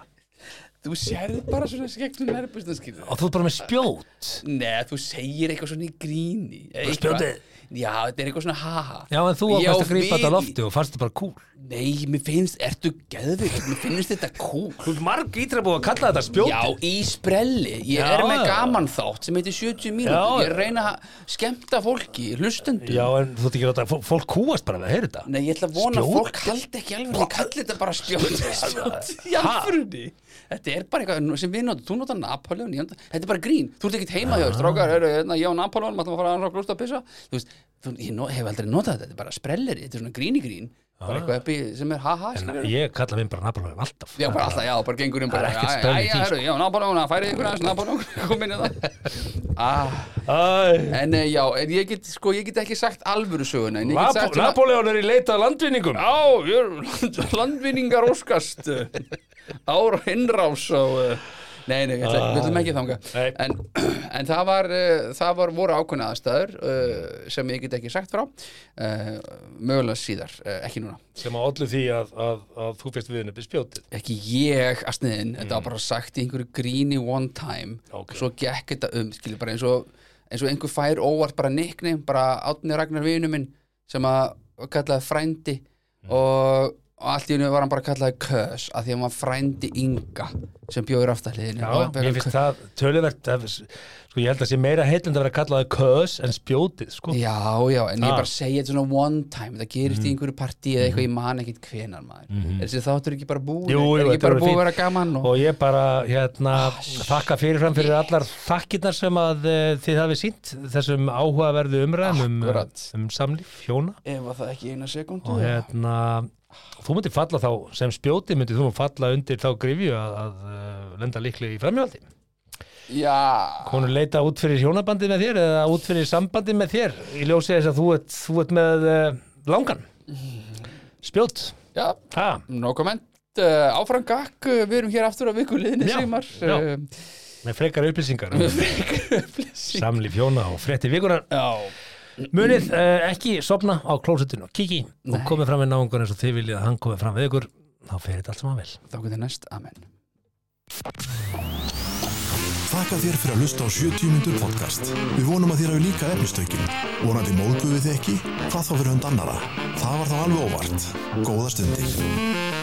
Speaker 2: Þú sérð bara svona gegnum nærbúsna skilur
Speaker 1: og þú ert bara með spjót
Speaker 2: Nei, þú segir eitthvað svona í gríni Eitthvað.
Speaker 1: spjótið?
Speaker 2: Já, þetta er eitthvað svona haha
Speaker 1: já en þú
Speaker 2: Ég á
Speaker 1: ákvæmst að grípa þetta
Speaker 2: við-
Speaker 1: á lofti og fannst þetta bara cool
Speaker 2: Nei, mér finnst, ertu geðvikt Mér finnst þetta cool
Speaker 1: þú ert marg ítra búið að kalla þetta
Speaker 2: Já, í sprelli, ég
Speaker 1: Já,
Speaker 2: er með
Speaker 1: já.
Speaker 2: gaman þátt sem heitir 70
Speaker 1: Já,
Speaker 2: mínútur,
Speaker 1: já.
Speaker 2: ég reyna að skemmta fólki, hlustendur
Speaker 1: já en þú ert ekki rátt að fó- fólk kúast bara við að heyra þetta
Speaker 2: Nei, ég ætla að vona að
Speaker 1: Spjót?
Speaker 2: fólk haldi ekki alveg, ég kalli þetta bara spjót Spjót, í alfrunni Þetta er bara eitthvað sem við notum, þú notar Napoleon, ég nota, þetta er bara grín Þú ert ekkert heima
Speaker 1: Ah.
Speaker 2: hjá, þér, strákar, heru, hérna, ég og Napoleon, maður að fara að rökla út að pissa Þú veist, þú, ég no, hef aldrei notað þetta, þetta er bara sprelleri, þetta er svona grín í grín Bara eitthvað uppi sem er ha-ha,
Speaker 1: Ah. en
Speaker 2: skilurðu.
Speaker 1: ég kalla minn bara nafnum alltaf
Speaker 2: Já, bara alltaf, já, bara gengur um
Speaker 1: Það
Speaker 2: bara
Speaker 1: er sko." ekkert
Speaker 2: já,
Speaker 1: spell í
Speaker 2: já,
Speaker 1: því,
Speaker 2: já, heru, já, Napoleon, færið ykkur aðeins, Napoleon, [LAUGHS] kom inn
Speaker 1: [LAUGHS]
Speaker 2: í það ah,
Speaker 1: Æ,
Speaker 2: En eh, já, en ég get, sko, ég get ekki sagt alvöru söguna en ég get
Speaker 1: Napo-
Speaker 2: sagt svona-
Speaker 1: Napoleon er í leitað landvinningum
Speaker 2: Já, ég er land, landvinningar óskast eh, ára innrás á eh, Nei, nei, við ætlum við ætlum ekki þanga
Speaker 1: Nei.
Speaker 2: en, en það var, eh, það var voru ákveðna aðstæður eh, sem ég get ekki sagt frá eh, mögulega síðar, eh, ekki núna
Speaker 1: sem að ollu því að, að, að þú fyrst við henni upp í spjótið
Speaker 2: ekki ég að sniðin, þetta var bara sagt í einhverju gríni one time
Speaker 1: Mm. Ok.
Speaker 2: svo gekk þetta um, skilur bara eins og eins og einhver fær óvart bara nikni bara átni Ragnar vinu minn sem að kallaði frændi
Speaker 1: Mm.
Speaker 2: og, og allt í hennu var hann bara kallaði kös að því hann var frændi Inga sem bjóður aftaliðinu
Speaker 1: Já, ég finnst það töluvert að- sko ég held að sé meira heitlind að vera kallaði kös en spjótið sko
Speaker 2: Já, já, en ég
Speaker 1: Ah. Mm.
Speaker 2: bara segja þetta svona one time, það gerist í einhverju partí eða eitthvað, ég man ekkit hvenar maður er þessi þáttur ekki bara búið,
Speaker 1: Jú,
Speaker 2: er
Speaker 1: jú,
Speaker 2: ekki
Speaker 1: þetta
Speaker 2: bara
Speaker 1: verður
Speaker 2: búið að
Speaker 1: fínt.
Speaker 2: vera gaman og...
Speaker 1: Mhm. og ég bara hérna,
Speaker 2: Ah,
Speaker 1: þakka fyrirfram fyrir allar þakkirnar sem að eh, þið hafið sínt þessum áhugaverðu umræðum um, eh,
Speaker 2: Akkurat.
Speaker 1: um samlíf hjóna
Speaker 2: ef að það ekki eina sekundu
Speaker 1: og hérna þú myndir falla þá sem spjótið myndir þú nú falla undir þá grifju að, að eh, lenda líklega í framhjóðaldi
Speaker 2: Já
Speaker 1: konur leita út fyrir hjónabandið með þér eða út fyrir sambandið með þér í ljósi þess að þú ert, þú ert með uh, langan spjót
Speaker 2: Já,
Speaker 1: ha,
Speaker 2: no comment uh, Áfram gakk, uh, við erum hér aftur á vikuliðinni
Speaker 1: Já,
Speaker 2: Sigmar
Speaker 1: já. með frekar upplýsingar um
Speaker 2: Já
Speaker 1: samlíf hjóna og frétti vikunar
Speaker 2: Já,
Speaker 1: munið uh, ekki sopna á klósettinu og kiki og
Speaker 2: Nei.
Speaker 1: komið fram við náungan eins og þið viljið að hann komið fram við ykkur þá fer þetta allt saman vel
Speaker 2: þá getur næst, amen
Speaker 3: Þakka þér fyrir að hlusta á 70 myndur podcast. Við vonum að þér hafi líka efnistökin. Vonandi móðguðu þið ekki? Hvað þá fyrir hund annara? Það var þá alveg óvart. Góða stundir.